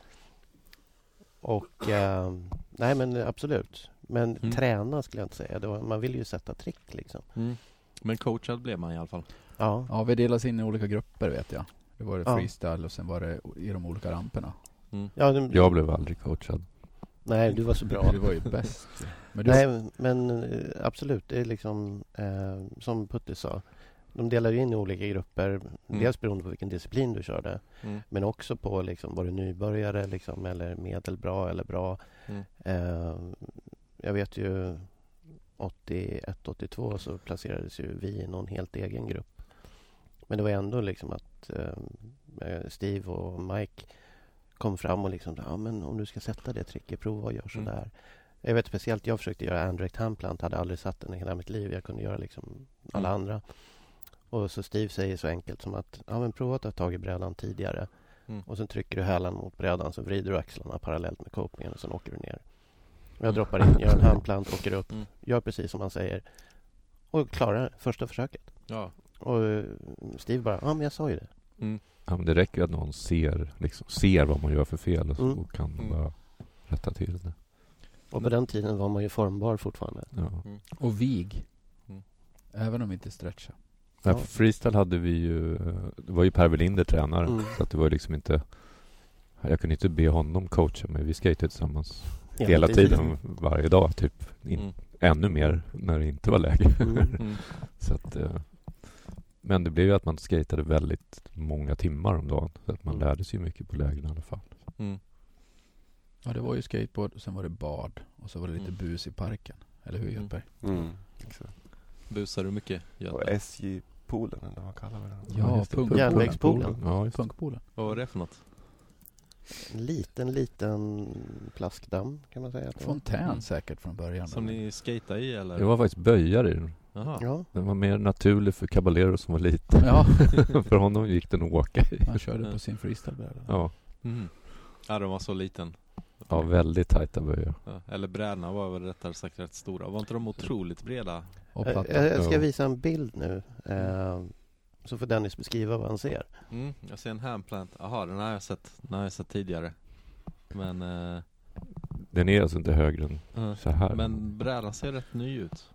C: Och eh, nej men absolut. Men
A: Mm.
C: träna skulle jag inte säga. Det var, man vill ju sätta trick liksom.
A: Mm. Men coachad blev man i alla fall.
C: Ja.
D: Ja, vi delades in i olika grupper vet jag. Det var det
C: Ja.
D: freestyle och sen var det i de olika ramperna.
A: Mm.
C: ja du,
B: Jag blev aldrig coachad.
C: Nej, du var så bra.
D: Du var ju bäst. Men du,
C: Nej, men eh, absolut. Det är liksom eh, som Putte sa. De delar ju in i olika grupper.
D: Mm.
C: Dels beroende på vilken disciplin du körde.
A: Mm.
C: Men också på liksom, var du nybörjare liksom, eller medelbra eller bra.
A: Mm.
C: Eh, jag vet ju 81-82 så placerades ju vi i någon helt egen grupp. Men det var ändå liksom att eh, Steve och Mike kom fram och liksom ja men om du ska sätta det tricket, prova och gör
A: Mm.
C: sådär. Jag vet speciellt, jag försökte göra Andrect Handplant, hade aldrig satt den i hela mitt liv. Jag kunde göra liksom alla
A: Mm.
C: andra. Och så Steve säger så enkelt som att ja men prova att ta tag i brädan tidigare.
A: Mm.
C: Och sen trycker du hälen mot brädan så vrider du axlarna parallellt med copingen och sen åker du ner. Jag
A: Mm.
C: droppar in, gör en handplant, åker upp,
A: Mm.
C: gör precis som han säger. Och klarar första försöket.
A: Ja.
C: Och eh, Steve bara, ja men jag sa ju det.
A: Mm.
B: Ja, men det räcker ju att någon ser, liksom, ser vad man gör för fel och, så,
C: Mm.
B: och kan
A: Mm.
B: bara rätta till det.
C: Och på den tiden var man ju formbar fortfarande.
B: Ja.
D: och vig.
A: Mm.
D: Även om inte stretcha.
B: Nej,
C: Ja.
B: för freestyle hade vi ju... eh, Det var ju Per Welinder tränare.
C: Mm.
B: Så att det var ju liksom inte... Jag kunde inte be honom coacha mig. Vi skejtade tillsammans hela, tiden. Varje dag typ. In,
A: Mm.
B: Ännu mer när det inte var läge.
C: Mm.
A: Mm.
B: Så att, eh, men det blev ju att man skatade väldigt många timmar om dagen. Så att man
C: Mm.
B: lärde sig ju mycket på lägren i alla fall.
A: Mm.
D: Ja, det var ju skateboard och sen var det bad. Och så var det lite
A: Mm.
D: bus i parken. Eller hur
A: Mm.
D: Göthberg?
E: Mm. Exakt.
A: Busar du mycket
E: Och
A: Göte?
E: SJ-poolen eller vad kallar vi den?
D: Ja,
B: just det.
D: punk-
B: Punkpoolen.
C: Järnvägspoolen.
B: Ja, just det.
D: Funkpoolen.
A: Vad var det för något?
C: En liten, liten plaskdamm kan man säga. att det var.
D: Fontän
A: Mm.
D: säkert från början.
A: Som ni skejtade i eller?
B: Det var faktiskt böjar i den.
A: Jaha.
C: Ja.
B: Den var mer naturlig för Caballero som var liten.
D: Ja,
B: för honom gick den att åka i.
D: han körde
A: Ja.
D: på sin freestylebräda.
B: Ja,
A: Mm. Ja, den var så liten.
B: ja väldigt tajta böjar.
A: Ja, Eller brädorna var väl rättare sagt rätt stora. Var inte de otroligt breda?
D: Och
C: Jag,
D: platta.
C: jag Eh, jag ska
B: Ja.
C: visa en bild nu. Eh, så får Dennis beskriva vad han ser.
A: Mm. Jag ser en handplant. Jaha, den har jag sett, den har jag sett tidigare. Men, eh,
B: Den är alltså inte högre än
A: eh,
B: så här.
A: men brädan ser rätt ny ut.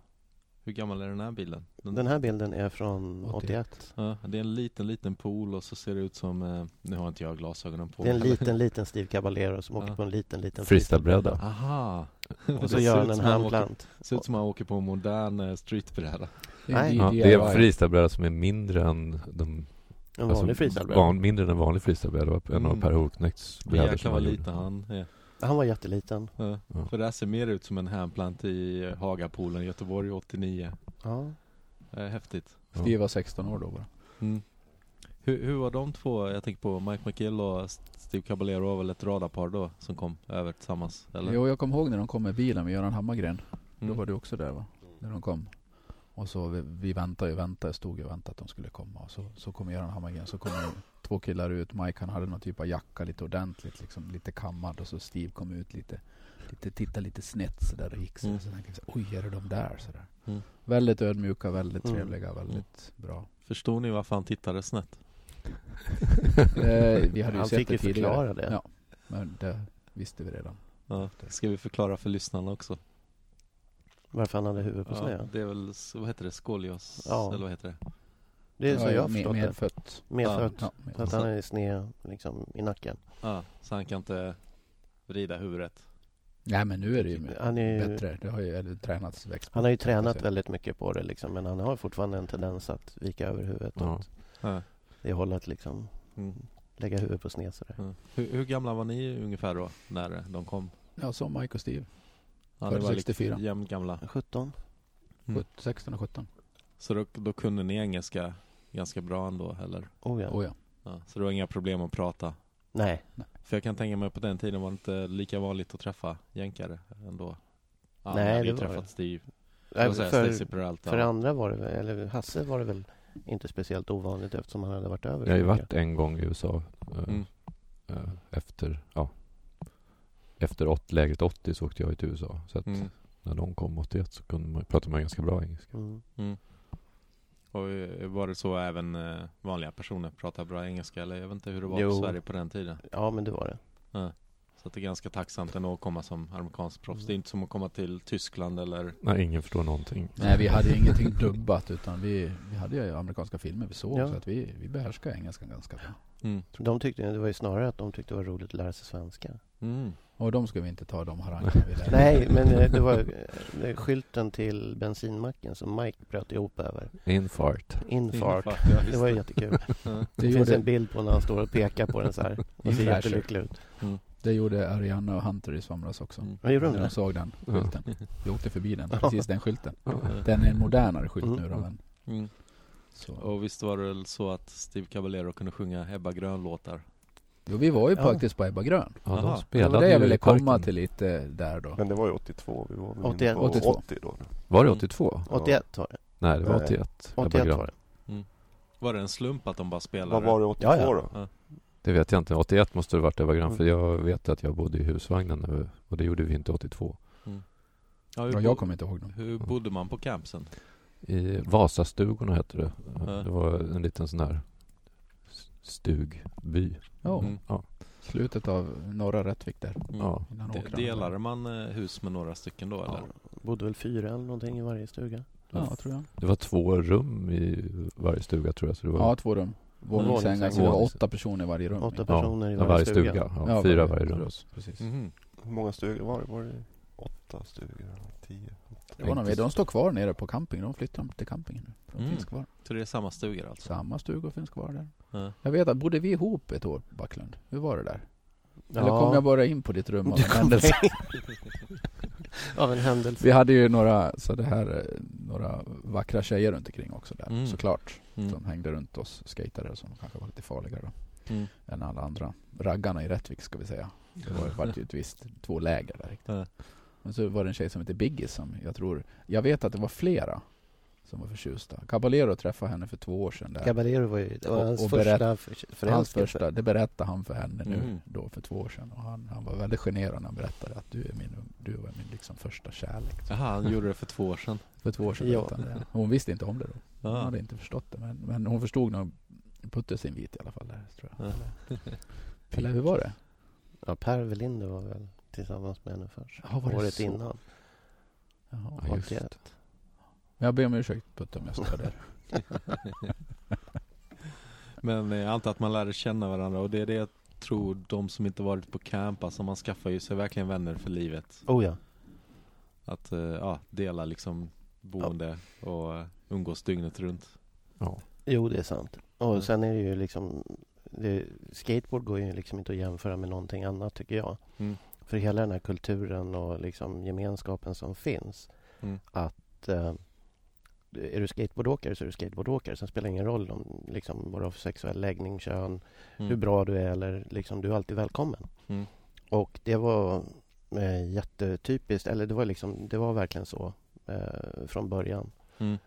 A: Hur gammal är den här bilden? Den,
C: Den här bilden är från
D: 81.
C: 81.
A: ja, det är en liten, liten pool och så ser det ut som, eh, nu har inte jag glasögonen på.
C: Det är en liten, liten Steve Caballero som
A: Ja.
C: åker på en liten, liten
B: Freestylebräda.
A: Aha!
C: freestyle. Och så
A: Det
C: gör
A: ser
C: han
A: ut
C: en
A: som han åker-
C: handplant.
A: Ser ut som han åker på en modern eh, streetbräda.
C: Nej.
B: Ja, det är en freestylebräda som är mindre än de... alltså
C: En
A: Alltså,
C: vanlig freestylebräda.
B: van, Mindre än en vanlig freestylebräda. Det var en av
A: Mm.
B: Per Holknekts brädor
A: Jäklar
B: som
A: vad
B: han
A: liten
B: gjorde.
A: han är.
C: Han var jätteliten.
A: Ja.
B: Ja.
A: För det här ser mer ut som en handplant i eh, Hagapoolen, Göteborg 89.
C: Ja.
A: Eh, Häftigt.
D: Steve var 16 år då bara.
A: Hur, hur var de två, jag tänker på Mike McGill och Steve Caballero var väl ett radarpar då som kom över tillsammans? Eller?
D: Jo, jag kommer ihåg när de kom med bilen med Göran Hammargren.
A: Mm.
D: Då var du också där va? När de kom. Och så vi, vi väntade och väntade, stod och väntade att de skulle komma. Och så, så kom Göran Hammargren, så kom det två killar ut. Mike han hade någon typ av jacka lite ordentligt, liksom, lite kammad. Och så Steve kom ut lite, lite tittade lite snett sådär och gick sådär.
A: Mm.
D: Så tänkte jag så, oj är det de där? Sådär.
A: Mm.
D: Väldigt ödmjuka, väldigt
C: Mm.
D: trevliga, väldigt bra.
A: Förstod ni varför han tittade snett?
D: Eh, vi hade ju
C: Han
D: sett
C: fick
D: det
C: ju
D: tidigare.
C: förklara det.
D: Ja. Men det visste vi redan.
A: Ja. Ska vi förklara för lyssnarna också?
C: Varför han hade huvudet på
A: Ja,
C: sned.
A: det är väl, s- vad heter det, skolios?
C: Ja.
A: Eller vad heter det?
C: Det är så
D: Ja,
C: jag har
D: med-
C: förstått det.
D: Medfött.
C: Medfött.
D: Ja, med-
C: Så att han är sned liksom, i nacken.
A: Ja, så han kan inte vrida huvudet.
D: Nej men nu är det ju
C: Han är ju-
D: bättre. Det har ju eller, tränats växt.
C: Han har ju tränat
D: Alltså.
C: väldigt mycket på det liksom, men han har fortfarande en tendens att vika över huvudet
B: Ja.
C: åt
A: Ja.
C: det hållet liksom.
A: Mm.
C: Lägga huvudet på sned sådär.
A: Ja. Hur, hur gamla var ni ungefär då, när de kom?
D: Ja, som Mike och Steve.
A: Ja,
D: Född
A: ni var
D: 64.
A: lite jämnt gamla.
C: 17?
A: Mm.
D: 16 och 17.
A: Så då, då kunde ni engelska ganska bra ändå, eller?
C: Oh ja.
D: Oh, ja.
A: Ja. Så det var inga problem att prata?
C: Nej.
A: För jag kan tänka mig på den tiden var det inte lika vanligt att träffa jänkare ändå. Ja,
C: Nej,
A: jag hade ju
C: det var
A: träffat
C: det.
A: Steve,
C: Nej,
A: jag säga,
C: för,
A: Stacy Peralta.
C: för andra var det väl, eller Hasse var det väl inte speciellt ovanligt eftersom han hade varit över.
B: Jag har ju
C: så mycket.
B: varit en gång i USA eh,
A: Mm.
B: eh, efter, ja, efter åt, lägret 80 så åkte jag till USA. Så att
A: Mm.
B: när de kom 81 så kunde man, pratade man ganska bra engelska.
C: Mm.
A: Och eh, var det så även eh, vanliga personer pratade bra engelska? Eller jag vet inte hur det var i
C: Jo.
A: Sverige på den tiden.
C: Ja, men det var det.
A: Så att det är ganska tacksamt ändå att komma som amerikansk proffs.
C: Mm.
A: Det är inte som att komma till Tyskland eller
B: Nej, ingen förstår någonting.
D: Nej, vi hade ju ingenting dubbat utan vi, vi hade ju amerikanska filmer vi såg
C: Ja.
D: så att vi, vi behärskar engelskan ganska bra.
A: mm.
C: De tyckte, det var ju snarare att de tyckte det var roligt att lära sig svenska.
A: Mm.
D: Och de ska vi inte ta, de harangerna vi lärde.
C: Nej, men eh, det var eh, skylten till bensinmacken som Mike bröt ihop över.
B: Infart.
C: Infart.
A: Infart, ja,
C: Det
A: just
C: var ju
A: det.
C: jättekul.
D: Det
C: Det finns en
D: gjorde,
C: bild på när han står och pekar på den så här. Och ser
D: Flasher.
C: jättelycklig ut.
D: det gjorde Ariana och Hunter i somras också.
A: Mm.
C: Vad gjorde de
D: När de
C: det?
D: såg den
B: Ja.
D: skylten. Vi åkte förbi den,
C: Ja.
D: precis den skylten.
A: Ja.
D: Den är en modernare skylt
C: Mm.
D: nu då men
A: Mm.
D: så.
A: Och visst var det väl så att Steve Caballero kunde sjunga Ebba Grön-låtar?
D: Jo, vi var ju
C: Ja.
D: faktiskt på Ebba Grön.
B: Ja,
A: Aha.
B: de
D: Det
B: spelade
D: var det jag
B: ju i
D: ville komma
B: parken.
D: till lite där då.
E: Men det var ju 82, vi var väl
C: 81,
E: inne på
D: 82.
E: 80 då.
B: Var det 82?
C: 81 var det.
B: Nej, det var
D: Eh,
E: Nej.
B: 81. Ebba
C: 81
B: Grön.
C: var det.
A: Var det en slump att de bara spelade?
E: Vad var det 82
C: Ja, ja.
E: då?
B: Det vet jag inte. 81 måste det varit Ebba Grön.
E: Mm.
B: För jag vet att jag bodde i husvagnen nu, och det gjorde vi inte 82.
A: Ja, hur,
D: Ja,
A: bo-
D: jag kommer inte ihåg dem.
A: hur bodde man på campsen?
B: I Vasastugorna hette det.
A: Ja.
B: Det var en liten sån här s- stugby.
D: Ja,
A: Mm.
B: Ja.
D: slutet av norra Rättvik där.
A: Mm.
B: Ja.
D: Innan
A: De,
D: åkrarna.
A: delade man eh, hus med några stycken då eller?
C: Ja, bodde väl fyra eller någonting i varje stuga.
D: Ja, tror jag.
B: Det var två rum i varje stuga tror jag. Så det var
D: Ja, två rum. Våningssängar. Så det var
B: Våningssäng.
D: åtta personer i varje rum.
C: Åtta
B: Ja,
C: personer i
B: ja,
C: varje, stuga.
B: Ja, fyra varje
D: för
B: rum.
D: oss, Precis.
A: Mhm.
E: Hur många stugor var det? Var det åtta stugor? eller Tio?
D: Det var någon,
B: Inte-
D: de står kvar nere på camping. De flyttar till campingen nu. De
A: Mm.
D: finns kvar.
A: Så det är samma stugor alltså?
D: Samma stuga finns kvar där.
A: Ja.
D: Jag vet att bodde vi ihop ett år, Backlund? Hur var det där?
C: Ja.
D: Eller kom jag bara in på ditt rum av
C: Du
D: en
C: kom
D: händelse?
C: Av en händelse.
D: Vi hade ju några, så det här, eh, några vackra tjejer runt omkring också där
A: Mm.
D: såklart.
A: Mm.
D: Som hängde runt oss skatare som kanske var lite farligare då,
A: Mm.
D: än alla andra. Raggarna i Rättvik ska vi säga. Det var, var ju ett visst två läger där. riktigt.
A: Ja.
D: Men så var det en tjej som hette Biggie som jag tror, jag vet att det var flera som var förtjusta. Caballero träffade henne för två år sedan där.
C: Caballero var ju det var
D: Och-
C: hans
D: och
C: första
D: berätt-
C: för-
D: Hans
C: förälskelse.
D: första, det berättade han för henne nu
A: Mm.
D: då för två år sedan och han, han var väldigt generad när han berättade att du är min, du var min liksom första kärlek.
A: Jaha, han gjorde det för två år sedan.
D: För två år sedan
C: Ja.
D: berättade han det. Hon visste inte om det då. Hon
A: Ja.
D: hade inte förstått det men, men hon förstod nog Puttes invit i alla fall där tror jag.
A: Ja.
D: Eller hur var det?
C: Ja, Per Velinder var väl tillsammans med henne först.
D: Ja, var det
C: Året
D: så?
C: innan.
D: Jaha.
B: Ja, just det.
C: 81.
D: Men Jag ber om ursäkt Putte om jag stör dig.
A: Men eh, jag antar att man lärde känna varandra och det är det jag tror de som inte varit på camp, alltså man skaffar ju sig verkligen vänner för livet.
C: Oh ja.
A: Att eh, ja, dela liksom boende och eh, umgås dygnet runt.
B: Ja.
C: Jo, det är sant. Och
A: Mm.
C: sen är det ju liksom... Det, skateboard går ju liksom inte att jämföra med någonting annat, tycker jag.
A: Mm.
C: För hela den här kulturen och liksom gemenskapen som finns.
A: Mm.
C: Att... Eh, är du skateboardåkare så är du skateboardåkare. Sen spelar det ingen roll om, liksom, vad du har för sexuell läggning, kön,
A: Mm.
C: hur bra du är eller liksom, du är alltid välkommen.
A: Mm.
C: Och det var eh, jättetypiskt, eller det var liksom, det var verkligen så eh, från början.
A: Mm.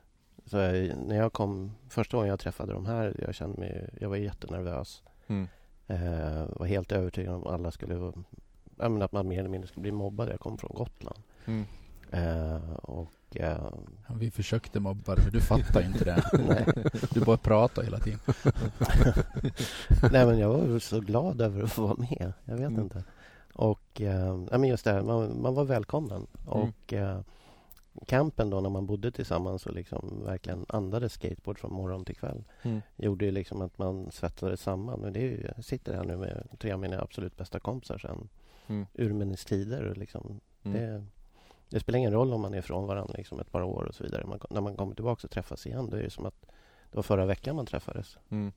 C: Så eh, när jag kom, första gången jag träffade de här, jag kände mig, jag var jättenervös.
A: Mm.
C: Eh, var helt övertygad om att alla skulle, jag menar, att man mer eller mindre skulle bli mobbad. Jag kom från Gotland.
A: Mm.
C: Eh, och eh,
D: Ja, Vi försökte mobba dig men du fattar ju inte det.
C: nej,
D: Du bara pratar hela tiden.
C: nej men jag var så glad över att få vara med. Jag vet
A: Mm.
C: inte. Och eh, nej, men just det, här, man, man var välkommen.
A: Mm.
C: Och eh, campen då när man bodde tillsammans och liksom verkligen andades skateboard från morgon till kväll
A: Mm.
C: gjorde ju liksom att man svettades samman. Och det är ju, jag sitter här nu med tre av mina absolut bästa kompisar sen
A: Mm.
C: urminnes tider. och Liksom.
A: Mm.
C: Det, det spelar ingen roll om man är ifrån varandra liksom ett par år och så vidare. Man, när man kommer tillbaka och träffas igen, då är det som att det var förra veckan man träffades.
A: Mm.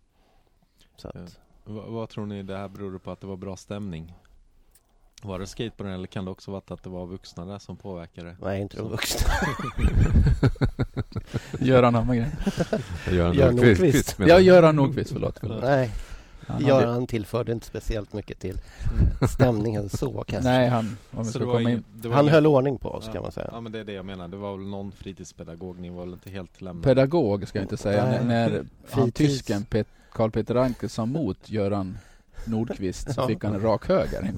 C: Så att,
A: Ja. Va- vad tror ni det här beror på att det var bra stämning? Var det skateboarden eller kan det också vara att det var vuxna där som påverkade?
C: Nej, inte de
A: Så-
C: vuxna.
D: Göran Hammargren.
B: Göran
C: Göran
B: Nordqvist.
C: Nordqvist.
B: menar
D: Ja,
B: jag.
D: Göran Nordqvist, förlåt. förlåt.
C: Nej,
D: Han hade-
C: Göran tillförde inte speciellt mycket till stämningen så kanske.
D: Nej, han, om vi
A: Så
D: ska
A: det var
D: komma in.
A: ingen- det var
C: Han
A: ingen-
C: höll ordning på oss
A: Ja.
C: kan man säga.
A: Ja men det är det jag menar, det var väl någon fritidspedagog, ni var väl inte helt lämnade?
D: Pedagog ska jag inte säga.
C: Nej.
D: När, när han
C: Fritids.
D: tysken Pet, Carl Peter Anker sa mot Göran Nordqvist så
C: Ja.
D: fick han en rak höger.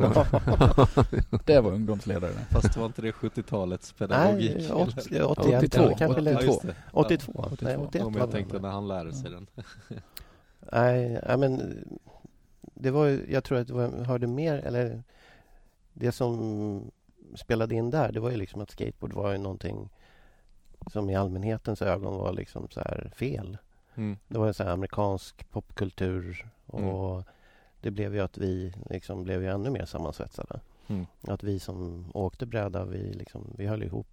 D: Det var ungdomsledare. det.
A: Fast var inte det 70-talets pedagogik?
C: Nej,
A: eller?
C: 80, ja, 81,
D: 82,
C: ja,
A: Ja,
C: kanske lite-
A: just det.
C: 82. Nej,
D: 82.
C: 81
A: Om
C: var
A: jag
C: det.
A: tänkte när han lärde sig den.
C: Nej, ja, men det var ju- jag tror att det var, hörde mer, eller det som spelade in där, det var ju liksom att skateboard var ju någonting som i allmänhetens ögon var liksom så här fel.
A: Mm.
C: Det var ju så här amerikansk popkultur och
A: Mm.
C: det blev ju att vi liksom blev ju ännu mer sammansvetsade.
A: Mm.
C: Att vi som åkte bräda, vi liksom, vi höll ihop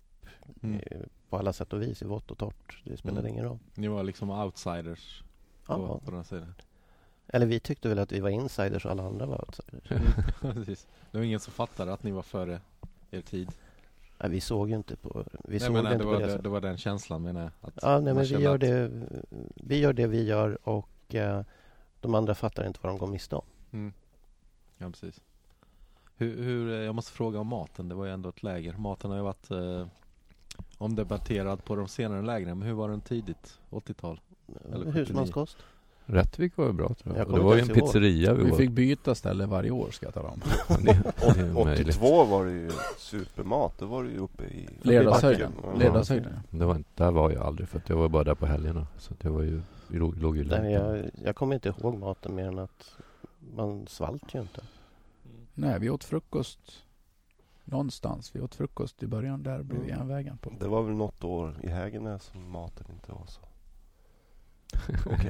A: Mm.
C: eh, på alla sätt och vis i vått och torrt. Det spelade
A: Mm.
C: ingen roll.
A: Ni var liksom outsiders
C: Ja.
A: på, på den här sidan.
C: Eller vi tyckte väl att vi var insiders och alla andra var outsiders.
A: Precis. det var ingen som fattade att ni var före er tid.
C: Nej, vi såg ju inte på, vi såg
A: nej, men,
C: inte
A: det,
C: på
A: var,
C: det
A: det,
C: sättet.
A: det var den känslan menar jag. Att
C: Ja, nej,
A: man
C: men vi
A: kände
C: gör,
A: att-
C: det, vi gör det vi gör och eh, de andra fattar inte vad de går miste om.
A: Mm. Ja, precis. Hur, hur, eh, jag måste fråga om maten, det var ju ändå ett läger. Maten har ju varit eh, omdebatterad på de senare lägren, men hur var den tidigt? 80-tal? Eller 79.
C: Husmanskost.
B: Rättvik var ju bra tror jag.
C: Jag
B: Och det
C: kommer
B: var ju en
C: inte ens ihåg.
B: pizzeria vi,
D: Vi
B: var
D: fick byta ställe varje år ska jag tala om.
B: på. Det, det är möjligt.
E: 82 var det ju supermat. Då var det ju uppe i...
D: Ledardshöjden.
E: uppe i backen. Ja.
D: Ledardshöjden.
B: Det var, inte- där var jag aldrig för att jag var bara där på helgerna. Så det var ju, vi låg, låg ju
C: Nej,
B: långt.
C: jag, jag kommer inte ihåg maten mer än att man svalt ju inte.
D: Nej, vi åt frukost någonstans. Vi åt frukost i början där
E: Mm.
D: bredvid järnvägen. På.
E: Det var väl något år i Hägernäs som maten inte var så...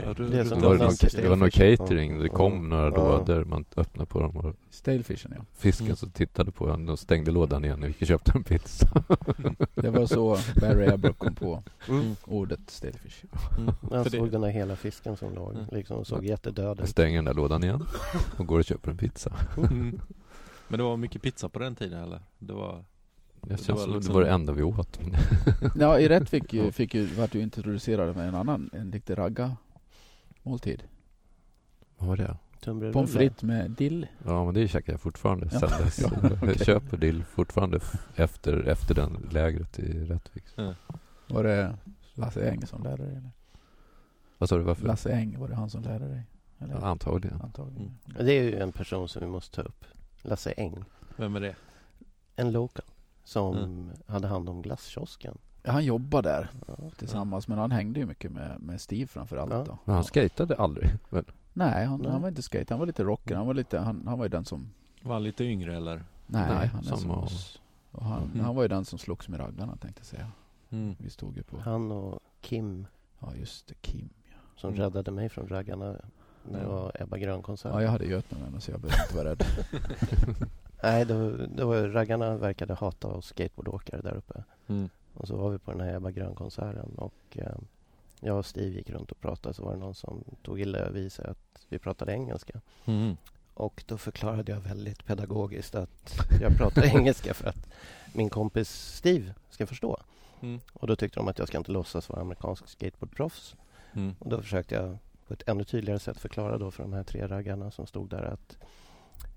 A: Ja, du-
C: Det är
A: du-
C: som
B: Det
A: du-
B: var,
A: du-
C: de
B: någon,
C: svenska
B: det var någon catering. Det
E: Ja.
B: kom några
E: Ja.
B: lådor. Man öppnade på dem och
D: Stalefishen ja.
B: fisken
A: Mm.
B: så tittade på en och stängde lådan igen. och Vi gick och köpte en pizza.
D: Det var så Barry Abbott kom på
A: Mm.
D: ordet stalefish.
A: Mm.
C: Man
A: För det-
C: såg den här hela fisken som låg
A: Mm.
C: liksom och såg jättedöd
B: Jag
C: ut.
B: stänger den där lådan igen och går och köper en pizza.
A: Mm. Men det var mycket pizza på den tiden eller? Det var...
B: Det
A: var
B: känns som
A: liksom-
B: det var det enda vi åt.
D: Ja, i Rättvik ju, fick ju, vart du introducerad med en annan, en riktig ragga-måltid.
B: Vad var det?
D: Pommes frites med dill.
B: Ja men det käkar jag fortfarande
D: Ja.
B: sen dess.
D: Ja, okej.
B: Jag köper dill fortfarande f- efter, efter den lägret i Rättvik.
D: Var det Lasse Eng som lärde dig? Eller?
B: Vad sa du varför?
D: Lasse Eng, var det han som lärde dig? Eller?
B: Ja, antagligen.
D: Antagligen.
C: Det är ju en person som vi måste ta upp. Lasse Eng.
A: Vem är det?
C: En local. Som
A: Mm.
C: hade hand om glasskiosken.
D: Ja, Han jobbade där
C: Ja.
D: tillsammans, men han hängde ju mycket med, med Steve framför allt.
C: Ja.
D: Då.
B: Men han skatade aldrig. väl?
D: Nej, han,
C: Nej.
D: han var inte skate. Han var lite rocker. Han var, lite, han, han var ju den som...
A: Var han lite yngre eller?
D: Nej,
B: Nej,
D: han är
B: samma
D: som
B: och-
D: oss. Och han,
A: Mm.
D: han var ju den som slogs med raggarna tänkte jag säga.
A: Mm.
D: Vi stod ju på...
C: Han och Kim
D: Ja, just det. Kim.
C: som
A: Mm.
C: räddade mig från raggarna när det
A: Ja.
C: var Ebba Grön-konsert.
D: Ja, jag hade göt med mig så jag behövde inte vara rädd.
C: Nej, då, då var raggarna verkade hata oss skateboardåkare där uppe.
A: Mm.
C: Och så var vi på den här Ebba Grön-konserten och eh, jag och Steve gick runt och pratade så var det någon som tog illa vid sig att vi pratade engelska.
A: Mm.
C: Och då förklarade jag väldigt pedagogiskt att jag pratar engelska för att min kompis Steve ska förstå.
A: Mm.
C: Och då tyckte de att jag ska inte låtsas vara amerikansk skateboardproffs.
A: Mm.
C: Och då försökte jag på ett ännu tydligare sätt förklara då för de här tre raggarna som stod där att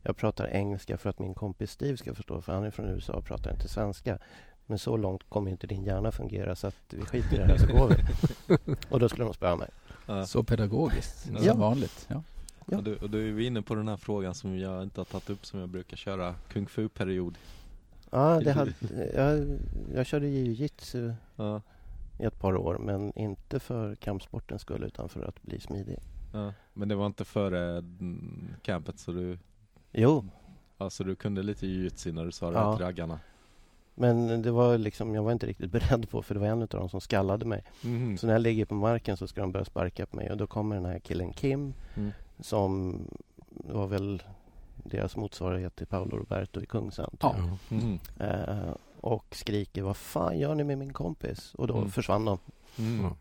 C: jag pratar engelska för att min kompis Steve ska förstå för han är från USA och pratar inte svenska. Men så långt kommer ju inte din hjärna fungera så att vi skiter i det här så går vi. Och då skulle de spöa mig.
A: Ja.
D: Så pedagogiskt,
A: Ja.
D: som vanligt. Ja.
C: Ja.
A: Och, du, och du är vi inne på den här frågan som jag inte har tagit upp som jag brukar köra kung fu-period.
C: Ja, det hade, jag, jag körde jiu-jitsu
A: Ja,
C: i ett par år men inte för kampsportens skull utan för att bli smidig.
A: ja. Men det var inte före mm, campet så du,
C: Jo,
A: alltså du kunde lite jujutsu när du sa det
C: Ja.
A: här till raggarna.
C: men det var liksom, jag var inte riktigt beredd på för det var en av dem som skallade mig.
A: Mm.
C: Så när jag ligger på marken så ska de börja sparka på mig och då kommer den här killen Kim
A: Mm.
C: som var väl deras motsvarighet till Paolo Roberto i Kungsan.
D: Ja.
A: Mm.
C: Eh, och skriker Vad fan gör ni med min kompis? Och då
A: Mm.
C: försvann de.
A: Mm.
B: Ja.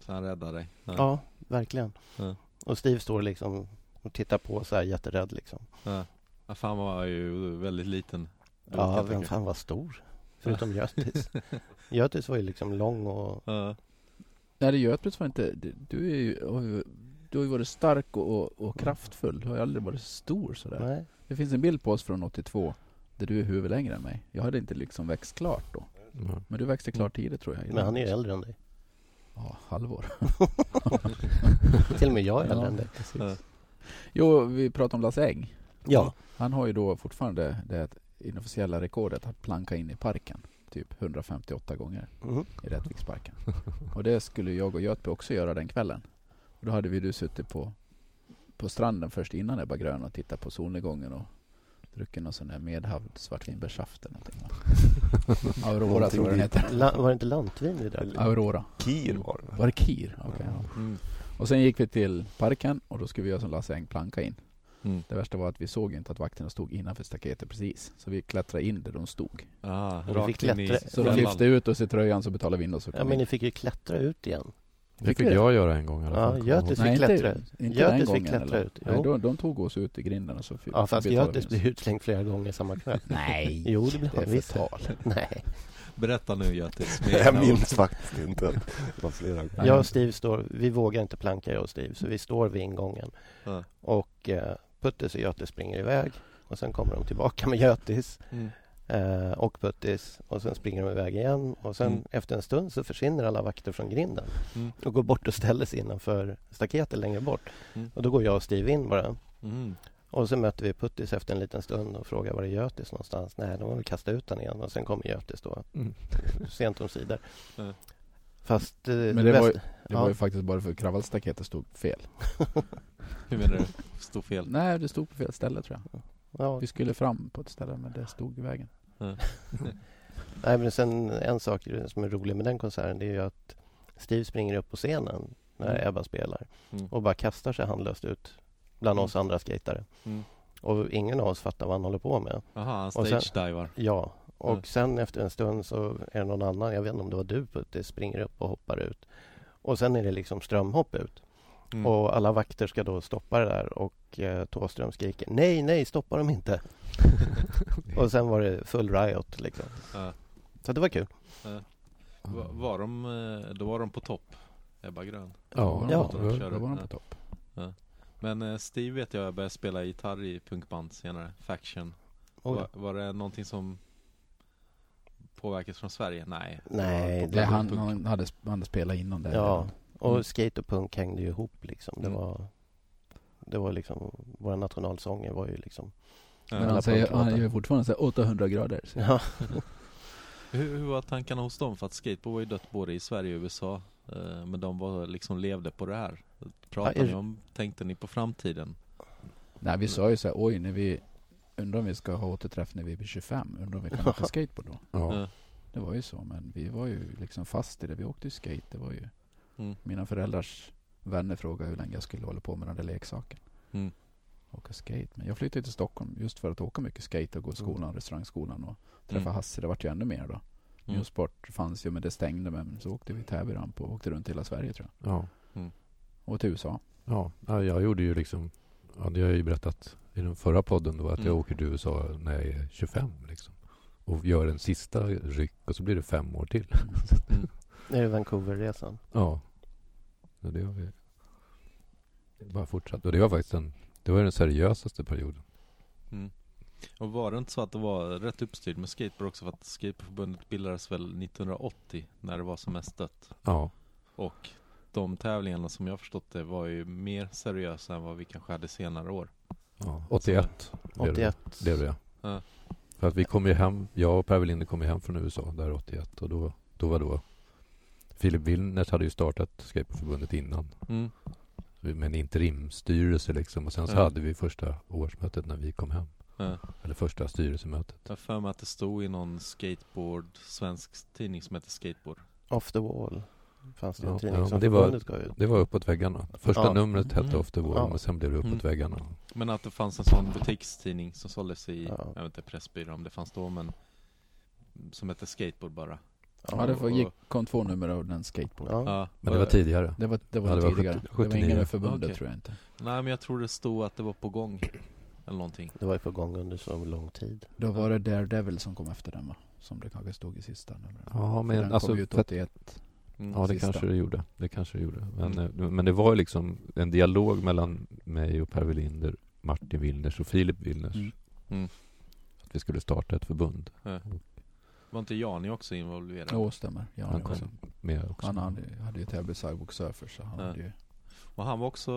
A: Så han räddade dig?
C: Ja, verkligen.
A: Ja.
C: Och Steve står liksom och tittar på så här jätterädd liksom.
A: Ja. Ja, fan man var ju väldigt liten. Då kan
C: Ja,
A: jag
C: vem
A: tänka.
C: fan var stor? Förutom Götis. Götis var ju liksom lång och
A: Ja.
D: Nej, det Götblad var inte... det- Du, är ju, har ju- du har ju varit stark och, och, och kraftfull. Du har ju aldrig varit stor sådär.
C: nej.
D: Det finns en bild på oss från 82 där du är huvudet längre än mig. Jag hade inte liksom växt klart då.
B: Ja.
D: Men du växte klart tidigt tror jag.
C: Mm. Men han är ju äldre än dig.
D: Ja, halvår.
C: Till och med jag är äldre än dig.
D: precis.
A: Ja.
D: Jo, vi pratade om Lasse Äng.
C: Ja.
D: Han har ju då fortfarande det inofficiella rekordet att planka in i parken. Typ 158 gånger
E: Mm.
C: Mhm.
D: i Rättviksparken. och det skulle jag och Götby också göra den kvällen. Och då hade vi du suttit på, på stranden först innan Ebba Grön och tittat på solnedgången och druckit någon sån där medhavd svartvinbärssaft eller någonting. va? Aurora tror jag den heter.
C: La, var det inte lantvin vi drack?
D: Aurora.
E: Kir var det
D: Var det Kir? Okej, ja.
A: Mm.
D: Och sen gick vi till parken och då skulle vi göra som Lasse Äng, planka in.
A: Mm.
D: Det värsta var att vi såg ju inte att vakterna stod innanför staketet precis. Så vi klättrade in där de stod.
A: Ah,
C: Och vi
A: rakt in i
C: klättrade-
D: Så de
A: fällan.
D: lyfte ut oss i tröjan så betalade vi in oss och
C: Ja, men ni fick ju klättra ut igen.
B: Det
D: Fick
B: fick
D: vi?
B: jag göra en gång i alla
C: Ja,
B: fall. kommer
C: Götis
B: jag ihåg.
D: Nej,
C: fick
D: inte,
C: klättra ut.
D: inte
C: Götis
D: den
C: fick
D: gången
C: klättra
D: eller?
C: ut, jo.
D: Nej, de, de tog oss ut i grinden och så fi-
C: Ja, fast
D: betalade
C: Götis
D: vi in
C: blev utslängd flera gånger samma kväll.
D: oss. Nej,
C: Jo, det blev
D: det
C: han
D: är
C: visst.
D: förtal.
C: Nej.
A: Berätta nu Götis. med
E: Jag
A: egna ord.
E: minns faktiskt inte att det var flera gånger.
D: Nej.
C: Jag och Steve står, vi vågar inte planka jag och Steve, så vi står vid ingången.
A: Ja.
C: Och eh, Puttis och Götis springer iväg. Och sen kommer de tillbaka med Götis
A: Mm.
C: eh, och Puttis. Och sen springer de iväg igen. Och sen
A: Mm.
C: efter en stund så försvinner alla vakter från grinden.
A: Mm.
C: Och går bort och ställer sig innanför staketet längre bort.
A: Mm.
C: Och då går jag och Steve in bara.
A: Mm.
C: Och så möter vi Puttis efter en liten stund och frågar var är Götis någonstans? Nej, de har väl kastat ut den igen och sen kommer Götis då.
B: Mm.
C: Sent omsider.
A: Ja.
C: Fast eh,
D: Men det var ju-
C: bästa-
D: Det var
C: Ja.
D: ju faktiskt bara för kravallstaketet stod fel.
A: Hur menar du? Stod fel?
D: Nej, det stod på fel ställe tror jag.
C: ja,
D: Vi skulle fram på ett ställe men det stod i vägen.
C: Nej, men sen en sak som är rolig med den konserten det är ju att Steve springer upp på scenen när
A: Mm.
C: Ebba spelar
A: Mm.
C: och bara kastar sig handlöst ut bland
A: Mm.
C: oss andra skatare.
A: Mm.
C: Och ingen av oss fattar vad han håller på med.
A: Jaha, han
C: Och sen-
A: stage-divar.
C: Ja, och
A: Mm.
C: sen efter en stund så är det någon annan, jag vet inte om det var du Putte, springer upp och hoppar ut. Och sen är det liksom strömhopp ut.
A: Mm.
C: Och alla vakter ska då stoppa det där och eh, Thåström skriker nej, nej, stoppa dem inte. och sen var det full riot liksom.
A: Ja.
C: Så det var kul.
A: Va- Var de, eh, då var de på topp, Ebba Grön.
B: Ja,
D: Då var de
C: Ja.
D: på
B: det
D: topp.
B: var-
D: Då var de på topp.
A: Men eh, Steve vet jag började spela gitarr i punkband senare, Faction.
C: Oj.
A: Var, var det någonting som påverkas från Sverige? Nej. det var
C: Nej,
A: på-
C: det-
D: Nej, han,
A: punk.
D: han, hade, sp- han hade spelat innan det.
C: Ja, och
A: Mm.
C: skate och punk hängde ju ihop liksom. Det
A: Mm.
C: var Det var liksom Våra nationalsånger var ju liksom
A: Ja.
D: Men
C: alla
D: han, säger,
C: punklåtar.
D: han gör fortfarande så här 800 grader. Så.
C: Ja,
A: Hur, hur var tankarna hos dem? För att skateboard var ju dött både i Sverige och USA. eh, Men de var, liksom levde på det här. Pratade
C: Ja, är-
A: ni om, tänkte ni på framtiden?
D: Nej, vi sa ju så här, oj, när vi, undrar om vi ska ha återträff när vi blir 25, undrar om vi kan åka skateboard då.
B: Ja.
A: Eh,
D: Det var ju så, men vi var ju liksom fast i det. Vi åkte ju skate, det var ju
A: Mm.
D: mina föräldrars vänner frågade hur länge jag skulle hålla på med den där leksaken.
A: Mm.
D: Åka skate. Men jag flyttade till Stockholm just för att åka mycket skate och gå i skolan, restaurangskolan och träffa
A: Mm.
D: Hasse. Det vart ju ännu mer då. Newsport fanns ju, men det stängde. Men så åkte vi till Täby ramp och åkte runt hela Sverige tror jag.
B: Ja.
D: Och till USA.
B: Ja, ja, jag gjorde ju liksom, ja, det har jag ju berättat i den förra podden då, att
A: Mm.
B: jag åker till USA när jag är 25 liksom. Och gör en sista ryck och så blir det fem år till.
C: det är ju Vancouverresan.
B: Ja. ja det har vi bara fortsatt. Och det var faktiskt den, det var den seriösaste perioden.
A: Och var det inte så att det var rätt uppstyrt med skateboard också? För att Skateboardförbundet bildades väl 1980 när det var som mest dött.
B: Ja.
A: Och de tävlingarna som jag förstått det var ju mer seriösa än vad vi kanske hade senare år.
B: ja. 81 blev det.
C: 81.
B: Det blev jag.
A: Ja.
B: För att vi kom ju hem, jag och Per Welinder kom ju hem från USA där 81 och då, då var då Filip Wilnert hade ju startat Skateboardförbundet innan
A: Mm.
B: med en interimstyrelse liksom. Och sen så
A: Ja.
B: hade vi första årsmötet när vi kom hem.
A: Ja.
B: Eller första styrelsemötet.
A: Jag har för mig att det stod i någon skateboard, svensk tidning som heter Skateboard.
C: Off the wall. fanns det
B: Ja,
C: ju en
B: ja,
C: tidning
B: men
C: som
B: det var-
C: förbundet gav ut.
B: Det var Uppåt väggarna. Första
C: Ja.
B: numret hette
A: Mm.
B: After War
C: Ja.
B: men sen blev det Uppåt
A: Mm.
B: väggarna.
A: Men att det fanns en sån butikstidning som såldes i,
C: Ja.
A: jag vet inte Pressbyrån om det fanns då men Som hette Skateboard bara
D: Ja, det var,
A: och-
D: gick, kom två nummer av den skateboard.
C: Ja.
A: Ja.
B: Men det var tidigare.
D: Det var, det var,
B: Ja, det var
D: tidigare.
B: 70
D: det var ingen
B: 79.
D: med förbundet
A: Okej.
D: tror jag inte.
A: Nej men jag tror det stod att det var på gång Eller någonting
C: Det var ju på gång under så lång tid.
D: Då var det Daredevil som kom efter den va? Som det kanske stod i sista numret.
B: Ja,
D: För den
B: men alltså,
D: kom ju ut
B: för att-
D: 81.
A: mm.
B: Ja, det
D: sista.
B: kanske det gjorde. Det kanske det gjorde. Men,
A: Mm.
B: eh, men det var ju liksom en dialog mellan mig och Per Willinder, Martin Willners och Filip Willners.
D: Mm.
A: Mm.
B: Att vi skulle starta ett förbund
A: Var inte Jani också involverad?
D: Jo, stämmer. Ja,
B: Han
D: det var
B: kom
D: så.
B: med också.
D: han hade, hade ju Täby Sidewalk Surfers. Så han
A: Ja.
D: hade ju,
A: Och han var också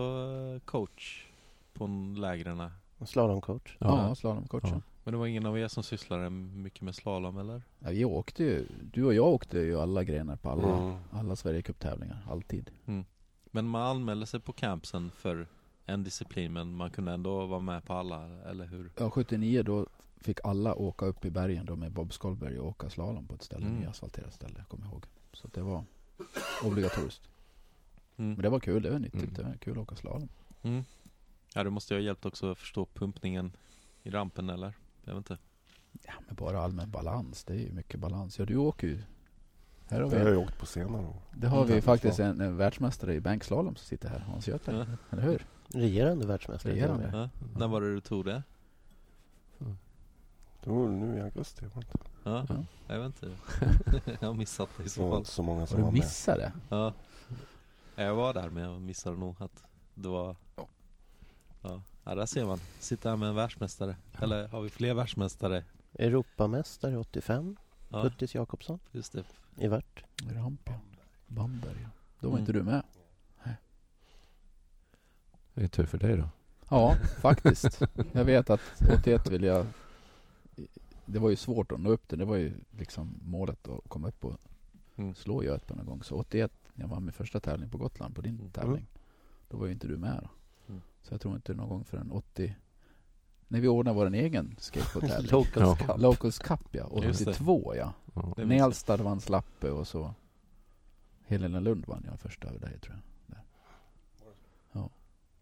A: eh, coach på n- lägren
C: Slalomcoach.
D: ja,
B: Ja.
D: slalomcoachen.
A: Men det var ingen av er som sysslade mycket med slalom eller?
D: Ja, vi åkte ju, du och jag åkte ju alla grenar på alla,
E: Mm.
D: alla Sverigecup-tävlingar, alltid.
A: Men man anmälde sig på campsen för en disciplin men man kunde ändå vara med på alla, eller hur?
D: Ja, 79 då fick alla åka upp i bergen då med Bob Skolberg och åka slalom på ett ställe,
A: Mm.
D: mm. asfalterat ställe, kommer jag ihåg. Så det var obligatoriskt. Men
A: Mm.
D: det var kul, det var nyttigt,
B: Mm.
D: det var kul att åka slalom.
A: Mm. Ja, det måste ju ha hjälpt också att förstå pumpningen i rampen eller? Jag vet inte.
D: Ja, men bara allmän balans, det är ju mycket balans. Ja, du åker ju. Här har
E: Det har
D: vi,
E: jag åkt på senare år.
D: det har
C: Mm.
D: vi faktiskt en, en världsmästare i bänkslalom som sitter här, Hans Göthberg.
A: Ja.
D: Eller hur?
C: Regerande världsmästare.
D: Regerande.
A: Ja. När var det du tog det?
E: Det var väl nu i augusti. var det inte?
A: Ja,
D: Ja.
A: jag vet inte. jag har missat det i
E: Det
A: så
E: var
A: fall.
E: inte så många
D: Har
E: som
D: du
E: var med.
D: missat det?
A: Ja. Jag var där men jag missade nog att det var... Ja, ja där ser man. Sitter här med en världsmästare. Eller har vi fler världsmästare?
C: Europamästare 85.
A: Ja,
C: Puttis Jakobsson
A: just det.
C: i vart.
D: Rampen, Bamberg. ja. Då var
A: Mm.
D: inte du med.
B: Det är tur för dig då.
D: Ja, faktiskt. Jag vet att 81 vill jag... Det var ju svårt att nå upp den. Det var ju liksom målet att komma upp och
A: Mm.
D: slå Götberg någon gång. Så 81, när jag var min första tävling på Gotland, på din
A: Mm.
D: tävling, då var ju inte du med. Då.
A: Mm.
D: Så jag tror inte någon gång förrän 80... När vi ordnade vår egen skateboardtävling.
C: Locals
B: Ja.
C: Cup.
D: Locals Cup, ja.
A: Just det.
D: 82, ja.
A: Det
B: Ja.
A: minns jag.
D: Nelstad vann Slappe och så Helena Lund vann jag första över dig, tror jag.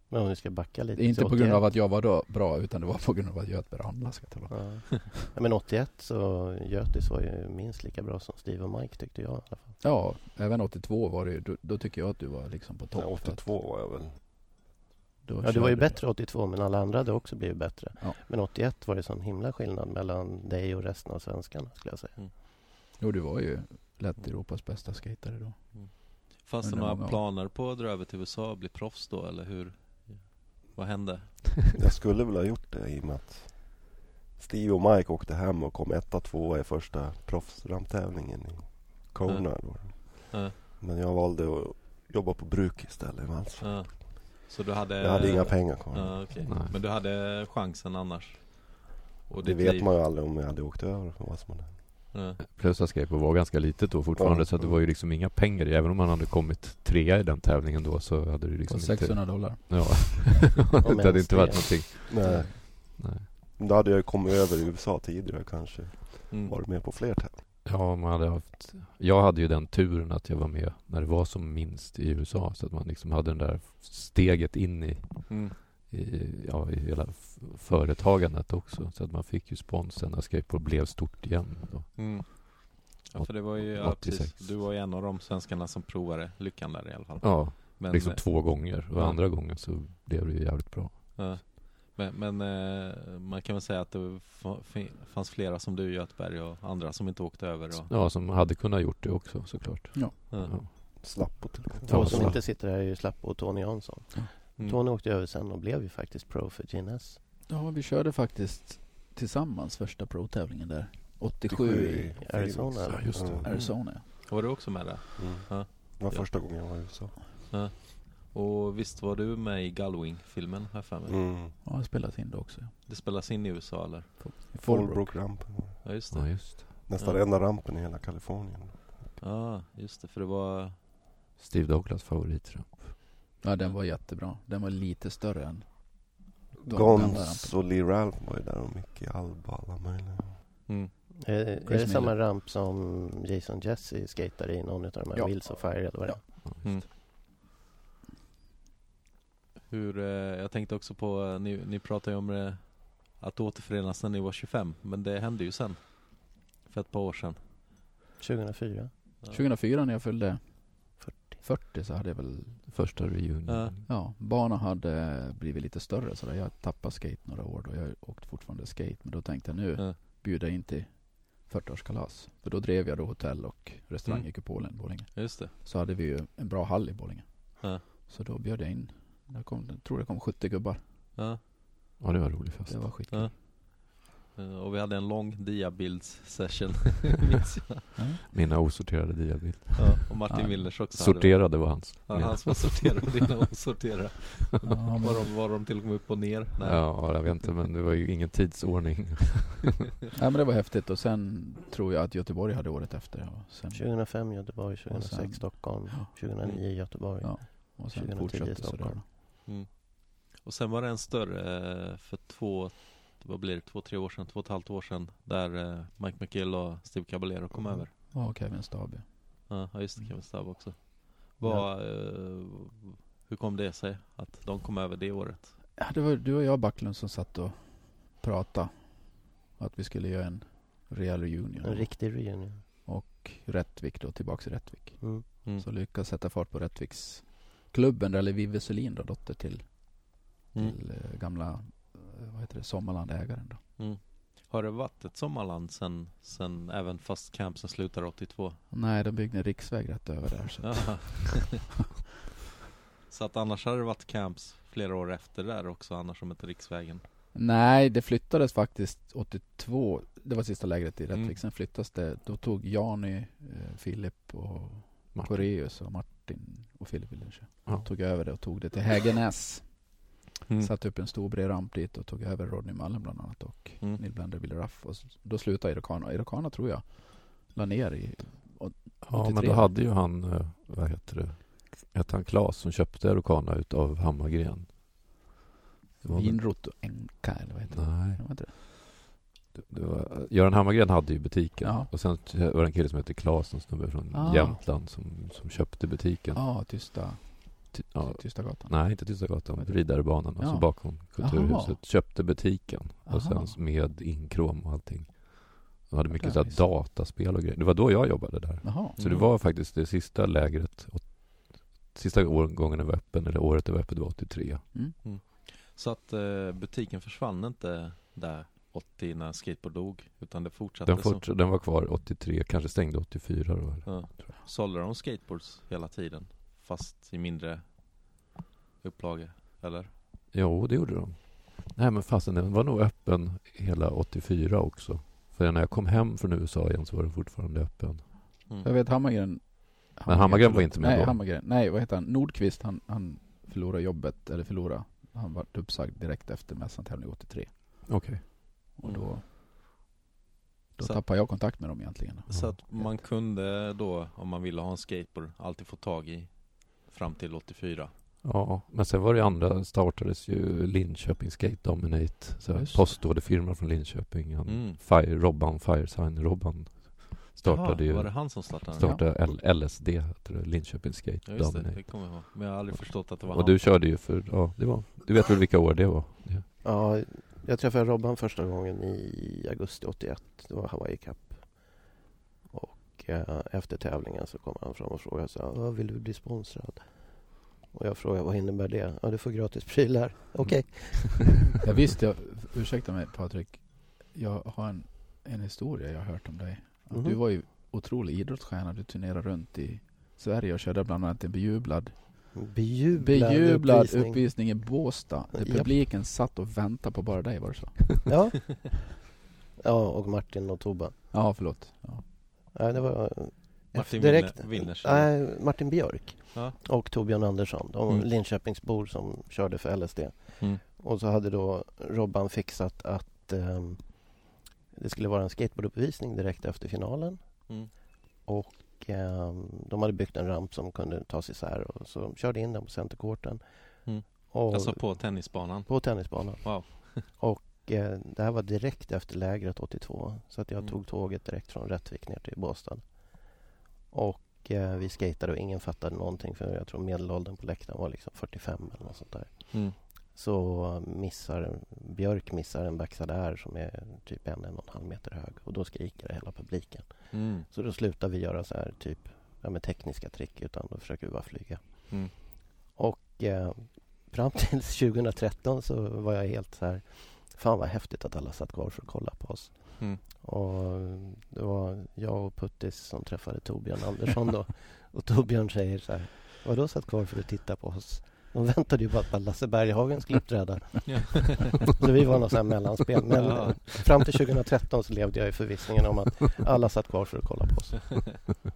C: Men om vi ska backa lite.
D: Det är inte
C: till
D: på grund av
C: 81.
D: att jag var då bra, utan det var på grund av att Götberg handlade, ska jag tala om.
C: Ja. Ja, men 81 så Götis var ju minst lika bra som Steve och Mike tyckte jag i alla fall.
D: Ja, även 82 var det ju, då, då tycker jag att du var liksom på topp.
E: Nej, 82 var jag väl.
D: Då
C: Ja, du
D: körde
C: var ju bättre 82 men alla andra hade också blivit bättre.
D: Ja.
C: Men 81 var det sån himla skillnad mellan dig och resten av svenskarna skulle jag säga.
D: Jo, du var ju lätt Europas bästa skatare då.
A: Fanns det
D: Undrar många
A: några
D: år.
A: planer på att dra över till USA och bli proffs då eller hur? Vad hände?
E: Jag skulle väl ha gjort det i och med att Steve och Mike åkte hem och kom etta, tvåa i första proffsramtävlingen i Kona. då.
A: Ja.
E: Men jag valde att jobba på bruk istället. Alltså.
A: Ja. Så du hade...
E: Jag hade inga pengar kvar.
A: Ja, okej.
B: Nej.
A: Men du hade chansen annars?
E: Och
A: Och
E: det
A: ditt
E: vet
A: liv.
E: man ju aldrig om jag hade åkt över. Vad som hade. hänt.
A: Ja.
B: Plus att skateboard var ganska litet då fortfarande
E: Ja.
B: så att det var ju liksom inga pengar i. Även om man hade kommit trea i den tävlingen då så hade det liksom
D: På 600 dollar.
B: inte... Ja.
C: Om
B: det hade
C: ens
B: inte
C: det.
B: varit någonting.
E: Nej,
B: Nej.
E: då hade jag ju kommit över i USA tidigare kanske.
A: Mm.
E: Varit med på fler tävlingar.
B: Ja, man hade haft... Jag hade ju den turen att jag var med när det var som minst i USA. Så att man liksom hade den där steget in i,
A: Mm.
B: i, ja, i hela f- företagandet också. Så att man fick ju sponsen när skateboard blev stort igen. Då.
A: Mm. Ja, för det var ju, ja,
B: 86.
A: precis. Du var ju en av de svenskarna som provade lyckan där i alla fall.
B: Ja,
A: Men,
B: liksom två gånger. Och
A: eh, Ja.
B: andra gången så blev det ju jävligt bra.
A: eh, ja. men, men eh, man kan väl säga att det fa- fin- fanns flera som du Göthberg och andra som inte åkte över. Och,
B: Ja, som hade kunnat gjort det också såklart.
A: ja.
B: Ja.
E: Slapp på till
B: Ja,
C: Två som
B: så.
E: slapp.
C: inte sitter här är ju Slapp och Tony Jansson.
A: Mm.
C: Tony åkte över sen och blev ju faktiskt pro för GNS.
D: Ja, vi körde faktiskt tillsammans första pro-tävlingen där. 87 i
E: Phoenix.
C: Arizona, eller?
B: Ja, just det.
E: Mm.
D: Arizona.
A: Var du också med där?
E: Mm.
A: Ja.
E: Det var första gången jag var i USA.
A: Och visst var du med i Gullwing-filmen har jag för mig?
E: Mm.
D: Ja, jag spelat in det också. ja.
A: Det spelas in i USA eller?
D: I Fallbrook.
E: Fallbrook-rampen.
A: Ja just
B: Ja,
A: det.
B: just det.
E: Nästan
A: Ja.
E: enda rampen i hela Kalifornien.
A: Ja just det, för det var...
B: Steve Douglas favoritramp.
D: Ja, den var jättebra. Den var lite större än de gamla ramperna.
E: Gons och Lee Ralph var ju där och Mickey Alba alla möjliga.
A: Mm.
C: Eh, Är, är det
D: Miller.
C: samma ramp som Jason Jesse skatar i någon av de här
D: Ja.
C: Wheels of Fire eller vad det är?
A: Hur, eh, jag tänkte också på, eh, ni, ni pratade ju om eh, att återförenas när ni var 25, men det hände ju sen. För ett par år sedan.
C: 2004?
D: 2004 när jag fyllde
C: 40.
D: 40 så hade jag väl
B: Första reunion.
A: Ja.
D: Ja, banan hade blivit lite större så där. jag tappade skate några år då. Jag åkte fortfarande skate men då tänkte jag nu
A: Ja.
D: bjuda in till 40-årskalas. För då drev jag då hotell och restaurang
A: Mm.
D: i Kupolen, Borlänge.
A: Just det.
D: Så hade vi ju en bra hall i Borlänge.
A: Ja.
D: Så då bjöd jag in, jag, kom, jag tror det kom 70 gubbar.
A: Ja.
B: Ja, det var en rolig fest.
D: Det var skitkul.
A: Ja. Eh, Och vi hade en lång diabilds session. minns jag.
B: Mina osorterade diabil.
A: ja, och Martin
D: Ja.
A: Willers också. hade-
B: Sorterade var hans.
A: Ja, han som sorterade och dina osorterade.
D: Ja, men-
A: Var de, var de till och med upp och ner? Nej.
B: Ja, jag vet inte, men det var ju ingen tidsordning.
D: Nej men det var häftigt och sen tror jag att Göteborg hade året efter. Och sen,
C: 2005 Göteborg, 2006
D: sen-
C: Stockholm,
D: Ja.
C: 2009 Göteborg.
D: Ja. och sen
C: 2010
D: fortsatte sådär.
C: Stockholm.
A: Och sen var det en större eh, för två, vad blir det, två, tre år sedan, två och ett halvt år sedan. Där eh, Mike McGill och Steve Caballero kom
C: Mm.
A: över.
D: Ja, och Kevin Stabby.
A: Ja, ja, just det, Kevin Stabb också. Vad, eh, hur kom det sig att de kom över det året?
D: Ja, det var du och jag Backlund som satt och pratade. Att vi skulle göra en real reunion.
C: En riktig reunion.
D: Och Rättvik då, tillbaks i Rättvik.
C: Mm.
A: Mm.
D: Så lyckades sätta fart på Rättviks klubben där eller Vivi Selin då, dotter till,
C: Mm.
D: till
A: Mm.
D: eh, gamla, eh, vad heter det, Sommarlandägaren då.
A: Har det varit ett sommarland sen, sen även fast campsen slutar 82?
D: Nej, de byggde en riksväg rätt över där. Så.
A: Ja. Så att annars hade det varit camps flera år efter där också, annars som inte riksvägen.
D: Nej, det flyttades faktiskt 82. Det var sista lägret i Rättvik.
A: Mm.
D: Sen flyttades det. Då tog Jani, eh, Filip och
B: Martin.
D: Koreus och Martin och Filip Willensjö.
B: Ja.
D: Tog över det och tog det till Hägernäs.
A: Mm.
D: Satte upp en stor bred ramp dit och tog över Rodney Mullen bland annat och
A: Mm.
D: Neil Blender, Billy Ruff. Och s- då slutade Irokana. Irokana tror jag la ner i...
B: Ja,
D: 83.
B: men då hade ju han, eh, vad heter det, hette han Klas som köpte Rokana utav Hammargren? Det var väl-
D: Vinrot och Enka eller vad heter det?
B: Nej,
D: det? var inte det.
B: det- det var, eh, Göran Hammargren hade ju butiken
D: Ja.
B: och sen t- var det en kille som hette Klas, en snubbe från
D: Ah.
B: Jämtland som, som köpte butiken.
D: Ja, Tysta,
B: Ty- Ja,
D: tysta gatan.
B: nej, inte Tysta gatan, Riddarbanan, alltså
D: Ja.
B: bakom Kulturhuset.
D: Jaha.
B: Köpte butiken och
D: Aha.
B: sen med inkrom och allting. De hade mycket
D: Där,
B: så här
D: just. Mm.
B: dataspel och grejer. Det var då jag jobbade där.
D: Jaha.
B: Så det var faktiskt det sista lägret. åt- Sista årgången det var öppen, eller året det var öppet, det var 83.
A: Så att eh, butiken försvann inte där 80 när skateboard dog, utan det fortsatte
B: Den, fort, den var kvar 83, kanske stängde 84 då. Eller?
A: så. Ja. Sålde de skateboards hela tiden? Fast i mindre upplagor, eller?
B: Jo, det gjorde de. Nej, men fasen, den var nog öppen hela 84 också. För när jag kom hem från USA igen så var den fortfarande öppen.
A: Mm.
D: Jag vet Hammargren...
B: Hammargren var inte med
D: nej,
B: då.
D: Hammargren, nej, vad heter han? Nordqvist, han, han förlorade jobbet, eller förlorade. Han vart uppsagd direkt efter mässan tävling 83.
B: Okej.
D: Och
A: Mm.
D: då, då
A: Så-
D: tappade jag kontakt med dem egentligen.
A: Så att man kunde då, om man ville ha en skateboard, alltid få tag i fram till 84.
B: Ja, men sen var det andra, startades ju Linköping Skate Dominate. Så här
D: Just det.
B: postorderfirma från Linköping. Han,
A: Mm.
B: Fire, Robban, Firesign, Robban startade
A: Jaha,
B: ju
A: Var det han som startade? den?
B: startade L- LSD, heter det, Linköping Skate
A: Ja just det,
B: Dominate.
A: det kommer jag ihåg. Men jag har aldrig förstått att det var
B: Och
A: han.
B: du körde ju för, ja, det var, du vet väl vilka år det var? Ja.
C: Ja, jag träffade Robban första gången i augusti 81. Det var Hawaii Cup. Och eh, efter tävlingen så kom han fram och frågade så här, "Ja, vill du bli sponsrad? Och jag frågade vad innebär det? Ja, du får gratis prylar. Okej.
D: Jag visste, jag, ursäkta mig Patrik, jag har en, en historia jag har hört om dig. Att
C: Mhm.
D: Du var ju otrolig idrottsstjärna, du turnerade runt i Sverige och körde bland annat en bejublad,
C: Bejublad,
D: bejublad uppvisning.
C: uppvisning.
D: i Båstad. Där
C: Japp.
D: publiken satt och väntade på bara dig, var det så?
C: Ja. ja, och Martin och Tobbe.
D: Ja, förlåt. Ja.
C: Ja, det var eh,
A: Martin
C: direkt-
A: Winner- Winners? eller?
C: Nej, Martin Björk
A: Ja.
C: och Torbjörn Andersson. De var
A: Mm.
C: Linköpingsbor som körde för LSD.
A: Mm.
C: Och så hade då Robban fixat att ehm, det skulle vara en skateboarduppvisning direkt efter finalen.
A: Mm.
C: Och, ehm, de hade byggt en ramp som kunde tas isär och så de körde in den på centercourten.
A: Mm.
C: Och
A: Alltså på tennisbanan?
C: På tennisbanan.
A: Wow.
C: och eh, det här var direkt efter lägret 82. Så att jag
A: Mm.
C: tog tåget direkt från Rättvik ner till Båstad. Och eh, vi skatade och ingen fattade någonting för jag tror medelåldern på läktaren var liksom 45 eller något sånt där.
A: Mm.
C: Så missar Björk missar en backside air som är typ en, en och en halv meter hög och då skriker hela publiken.
A: Mm.
C: Så då slutar vi göra så här typ ja, med tekniska trick utan då försöker vi bara flyga.
A: Mm.
C: Och eh, fram till 2013 så var jag helt så här Fan vad häftigt att alla satt kvar för att kolla på oss.
A: Mm.
C: Och det var jag och Puttis som träffade Torbjörn Andersson då. Och Torbjörn säger så här Vadå satt kvar för att titta på oss? De väntade ju bara på att Lasse Berghagen skulle uppträda.
A: Ja.
C: Så vi var något så här mellanspel. Men
A: Ja.
C: fram till 2013 så levde jag i förvissningen om att alla satt kvar för att kolla på oss.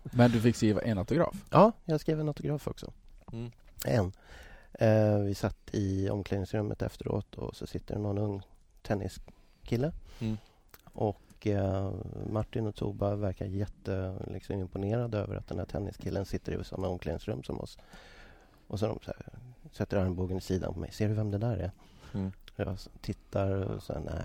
D: Men du fick skriva en autograf?
C: Ja, jag skrev en autograf också.
A: Mm.
C: En. Eh, vi satt i omklädningsrummet efteråt och så sitter det någon ung tenniskille.
A: Mm.
C: Och eh, Martin och Toba verkar jätte, liksom, imponerade över att den här tenniskillen sitter i samma omklädningsrum som oss. Och så, de så här, sätter armbågen i sidan på mig. Ser du vem det där är?
A: Mm.
C: Jag s- tittar och så här,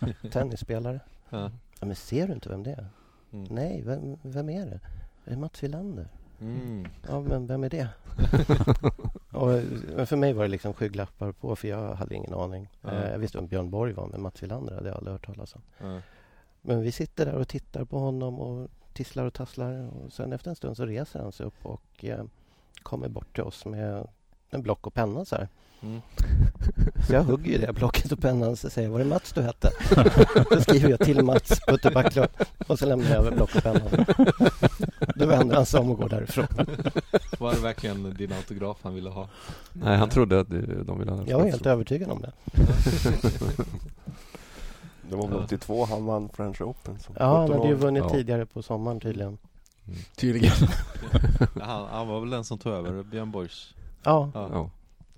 C: nej. Tennisspelare.
A: Ja.
C: Ja, men ser du inte vem det är?
A: Mm.
C: Nej, vem, vem är det? Det är Mats Wilander.
A: Mm.
C: Ja, men vem är det? och eh, för mig var det liksom skygglappar på, för jag hade ingen aning.
A: Ja.
C: Eh, Jag visste vem Björn Borg var, men Mats Wilander hade jag aldrig hört talas om.
A: Ja.
C: Men vi sitter där och tittar på honom och tisslar och tasslar. Och sen efter en stund så reser han sig upp och eh, kommer bort till oss med en block och penna så här.
A: Mm.
C: Så jag hugger ju det blocket och pennan och säger jag, var det Mats du hette? Då skriver jag till Mats på ett backlog och så lämnar jag över block och pennan. Då vänder han sig om och går därifrån.
A: Var det verkligen din autograf han ville ha?
B: Nej, han trodde att det- de ville ha
C: Jag var helt övertygad om det.
E: Det var väl 82 han vann French Open som
C: Ja, han hade ju
E: 17-åring.
C: vunnit
B: Ja.
C: tidigare på sommaren tydligen.
D: Tydligen.
A: Ja, Han, han var väl den som tog över Björn Borgs
C: Ja,
A: ja.
B: Ja.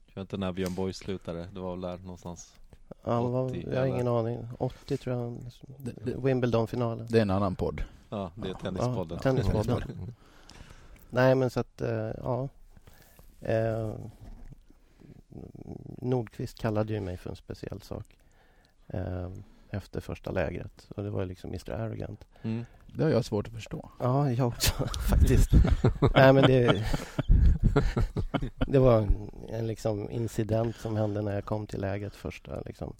A: Jag vet inte när Björn Borg slutade, det var väl där någonstans
C: han var,
A: 80
C: jag har
A: eller?
C: ingen aning. 80 tror jag.
D: Det, det,
C: Wimbledon-finalen.
D: det är en annan podd.
A: Ja, det är
D: Ja,
A: Tennispodden
C: ja, Tennispodden.
B: Mm.
C: Nej, men så att, eh, ja. Eh, Nordqvist kallade ju mig för en speciell sak eh, efter första lägret. Och det var ju liksom Mr Arrogant.
A: mm.
D: Det har jag svårt att förstå.
C: Ja, jag också faktiskt. Nej, men det, det var en, en liksom incident som hände när jag kom till lägret första. Liksom.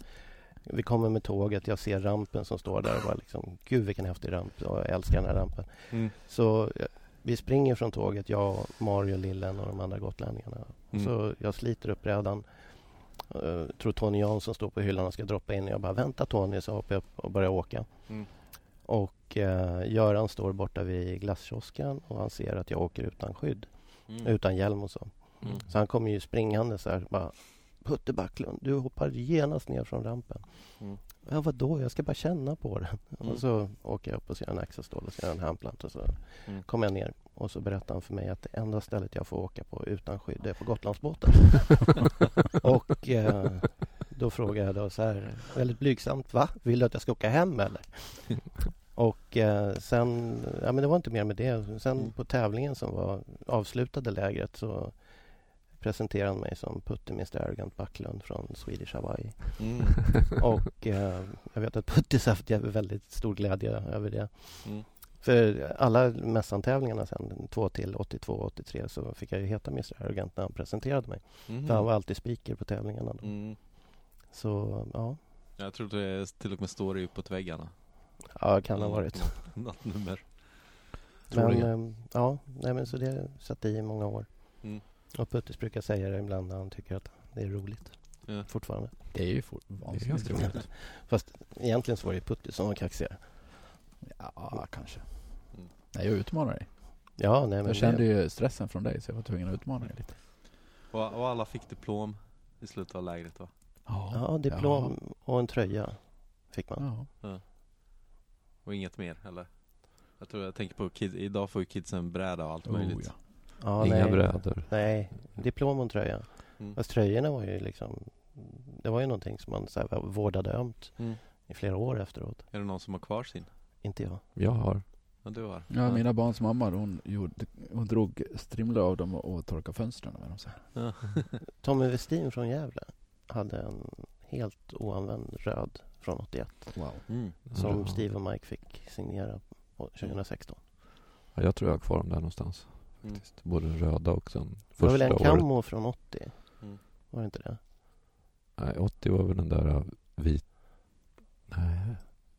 C: Vi kommer med tåget, jag ser rampen som står där och bara liksom, gud vilken häftig ramp, och jag älskar den här rampen.
A: Mm.
C: Så eh, vi springer från tåget, jag, Mario, Lillen och de andra gotlänningarna.
A: Mm.
C: Så jag sliter upp brädan. Eh, tror Tony Jansson står på hyllan och ska droppa in. Jag bara vänta Tony, så hoppar jag upp och börjar åka.
A: Mm.
C: Och eh, Göran står borta vid glasskiosken och han ser att jag åker utan skydd,
A: Mm.
C: utan hjälm och så.
A: Mm.
C: Så han kommer ju springande så här bara Putte Backlund, du hoppar genast ner från rampen.
A: Mm.
C: Ja, vadå? Jag ska bara känna på den.
A: Mm.
C: Och så åker jag upp och så gör jag en axelstål och så gör jag en handplant och så
A: Mm.
C: kommer jag ner och så berättar han för mig att det enda stället jag får åka på utan skydd det är på Gotlandsbåten. och eh, då frågar jag då så här väldigt blygsamt, va? Vill du att jag ska åka hem eller? Och eh, sen, ja men det var inte mer med det. Sen
A: Mm.
C: på tävlingen som var avslutade lägret så presenterade han mig som Putte Mr Arrogant Backlund från Swedish Hawaii.
A: Mm.
C: Och eh, jag vet att Puttis har haft jä- väldigt stor glädje över det.
A: Mm.
C: För alla mässantävlingarna sen, två till 82 83, så fick jag ju heta Mr Arrogant när han presenterade mig.
A: Mm.
C: För han var alltid speaker på tävlingarna då.
A: Mm.
C: Så ja,
A: Jag tror det till och med står det uppåt väggarna
C: ja jag kan ha
A: Mm.
C: varit.
A: Något- Något nummer
C: Men
A: Troligen.
C: eh, ja, nej, men så det satt i i många år.
A: Mm.
C: Och Puttis brukar säga det ibland när han tycker att det är roligt.
A: Ja.
C: Fortfarande.
D: Det är ju for-
B: Det är
D: vansinnigt
B: ganska
D: roligt.
B: roligt.
C: Egentligen så var det Puttis som var kaxigare.
D: Ja, kanske.
A: Mm.
D: Nej, jag utmanar dig.
C: Ja, nej men
D: Jag
C: det,
D: kände ju stressen från dig så jag var tvungen att utmana dig lite.
A: och, och alla fick diplom i slutet av lägret va?
C: ja, diplom och en tröja fick man.
D: Ja.
A: Och inget mer eller? Jag tror jag tänker på kids, idag får ju kidsen bräda och allt
D: Oh,
A: möjligt
D: ja.
C: Ja,
B: Inga
C: nej.
B: brädor.
C: Nej, diplom och tröja.
A: Mm.
C: Fast tröjorna var ju liksom... Det var ju någonting som man så här, vårdade ömt
A: Mm.
C: i flera år efteråt.
A: Är det någon som har kvar sin?
C: Inte jag.
B: Jag har.
A: Ja du har?
D: Ja, mina barns mamma hon, gjorde, hon drog strimlor av dem och torkade fönstren med dem sen.
C: Tommy Westin från Gävle hade en helt oanvänd röd från 81
D: Wow.
A: Mm.
C: som
B: Jaha.
C: Steve och Mike fick signera på 2016.
B: Ja, jag tror jag har kvar dem där någonstans.
A: Mm.
B: Faktiskt. Både den röda och den
C: Det var väl
B: första
C: en
B: året.
C: Camo från 80?
A: Mm.
C: Var det inte det?
B: Nej, 80 var väl den där eh, vit... Nej.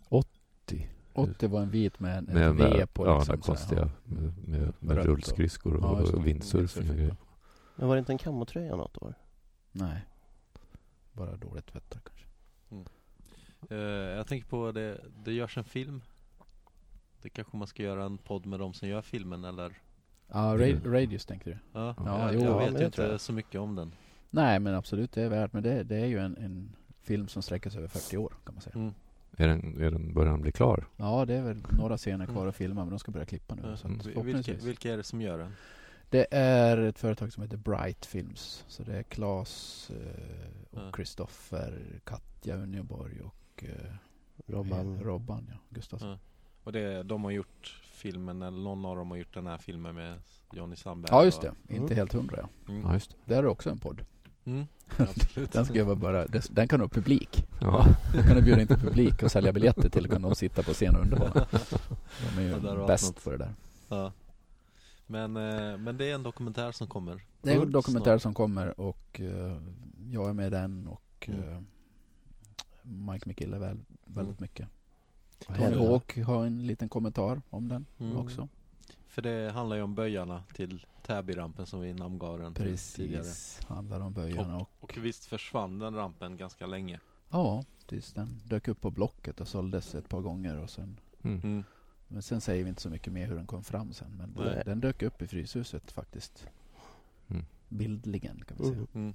B: 80?
D: 80 var en vit med en,
B: Med
D: ett
B: den där,
D: V på.
B: ja, den
D: liksom,
B: där
D: så här.
B: konstiga med, med,
D: Rött
B: med
D: och-
B: rullskridskor och,
D: Ja, just det.
B: och windsurfing och grejer.
C: Men var det inte en Camo-tröja något år?
D: Nej. Bara dåligt tvättat kanske.
A: Eh, jag tänker på det, det görs en film. Det kanske man ska göra en podd med de som gör filmen eller?
D: Ja,
B: Det-
D: ra- Radius tänkte du?
A: Ja,
D: Ja,
A: jag,
D: jo,
A: jag
D: ja,
A: vet
C: men
A: ju
C: det
A: inte
C: tror jag.
A: så mycket om den.
D: Nej, men absolut, det är värt. Men det, det är ju en, en film som sträcker sig över 40 år kan man säga.
A: Mm.
B: Är den, är den, börjar den bli klar?
D: Ja, det är väl några scener
A: Mm.
D: kvar att filma, men de ska börja klippa nu.
A: Ja.
D: Så att,
A: Vi- Vilka,
D: förhoppningsvis.
A: vilka är det som gör den?
D: Det är ett företag som heter Bright Films. Så det är Claes eh,
A: Ja.
D: och Kristoffer, Katja Unneborg och eh,
C: Robban?
A: Mm.
D: Robban ja, Gustafsson.
A: Ja. Och det, de har gjort filmen, eller någon av dem har gjort den här filmen med Johnny Sandberg
D: Ja, just
A: och-
D: det. Inte helt hundra ja.
A: Mm.
B: Ja, just det.
D: Där är också en podd.
A: Mm. Absolut.
D: Den ska jag vara bara, des- den kan ha publik.
B: Ja.
D: Den kan du bjuda in till publik och sälja biljetter till. Kan de sitta på scen och underhålla. De
A: Ja, där
D: är
A: har
D: ju
A: vi
D: bäst
A: något.
D: på det där.
A: Ja. Men, eh, men det är en dokumentär som kommer.
D: Det är en
A: Mm,
D: dokumentär
A: snart.
D: som kommer och eh, jag är med i den och
A: Mm.
D: eh, Mike McGill är väl, väldigt mycket.
A: händer
D: Tony
A: då?
D: Hawk har en liten kommentar om den
A: Mm.
D: också.
A: För det handlar ju om böjarna till Täbyrampen som vi namngav den till tidigare.
D: Precis, handlar om böjarna och
A: Och visst försvann den rampen ganska länge.
D: ja, tills den dök upp på Blocket och såldes ett par gånger och sen
B: Mm.
A: Mm.
D: men sen säger vi inte så mycket mer hur den kom fram sen men
A: Nej.
D: den, den dök upp i Fryshuset faktiskt.
B: Mm.
D: Bildligen kan vi
A: Uh.
D: säga.
C: Mm.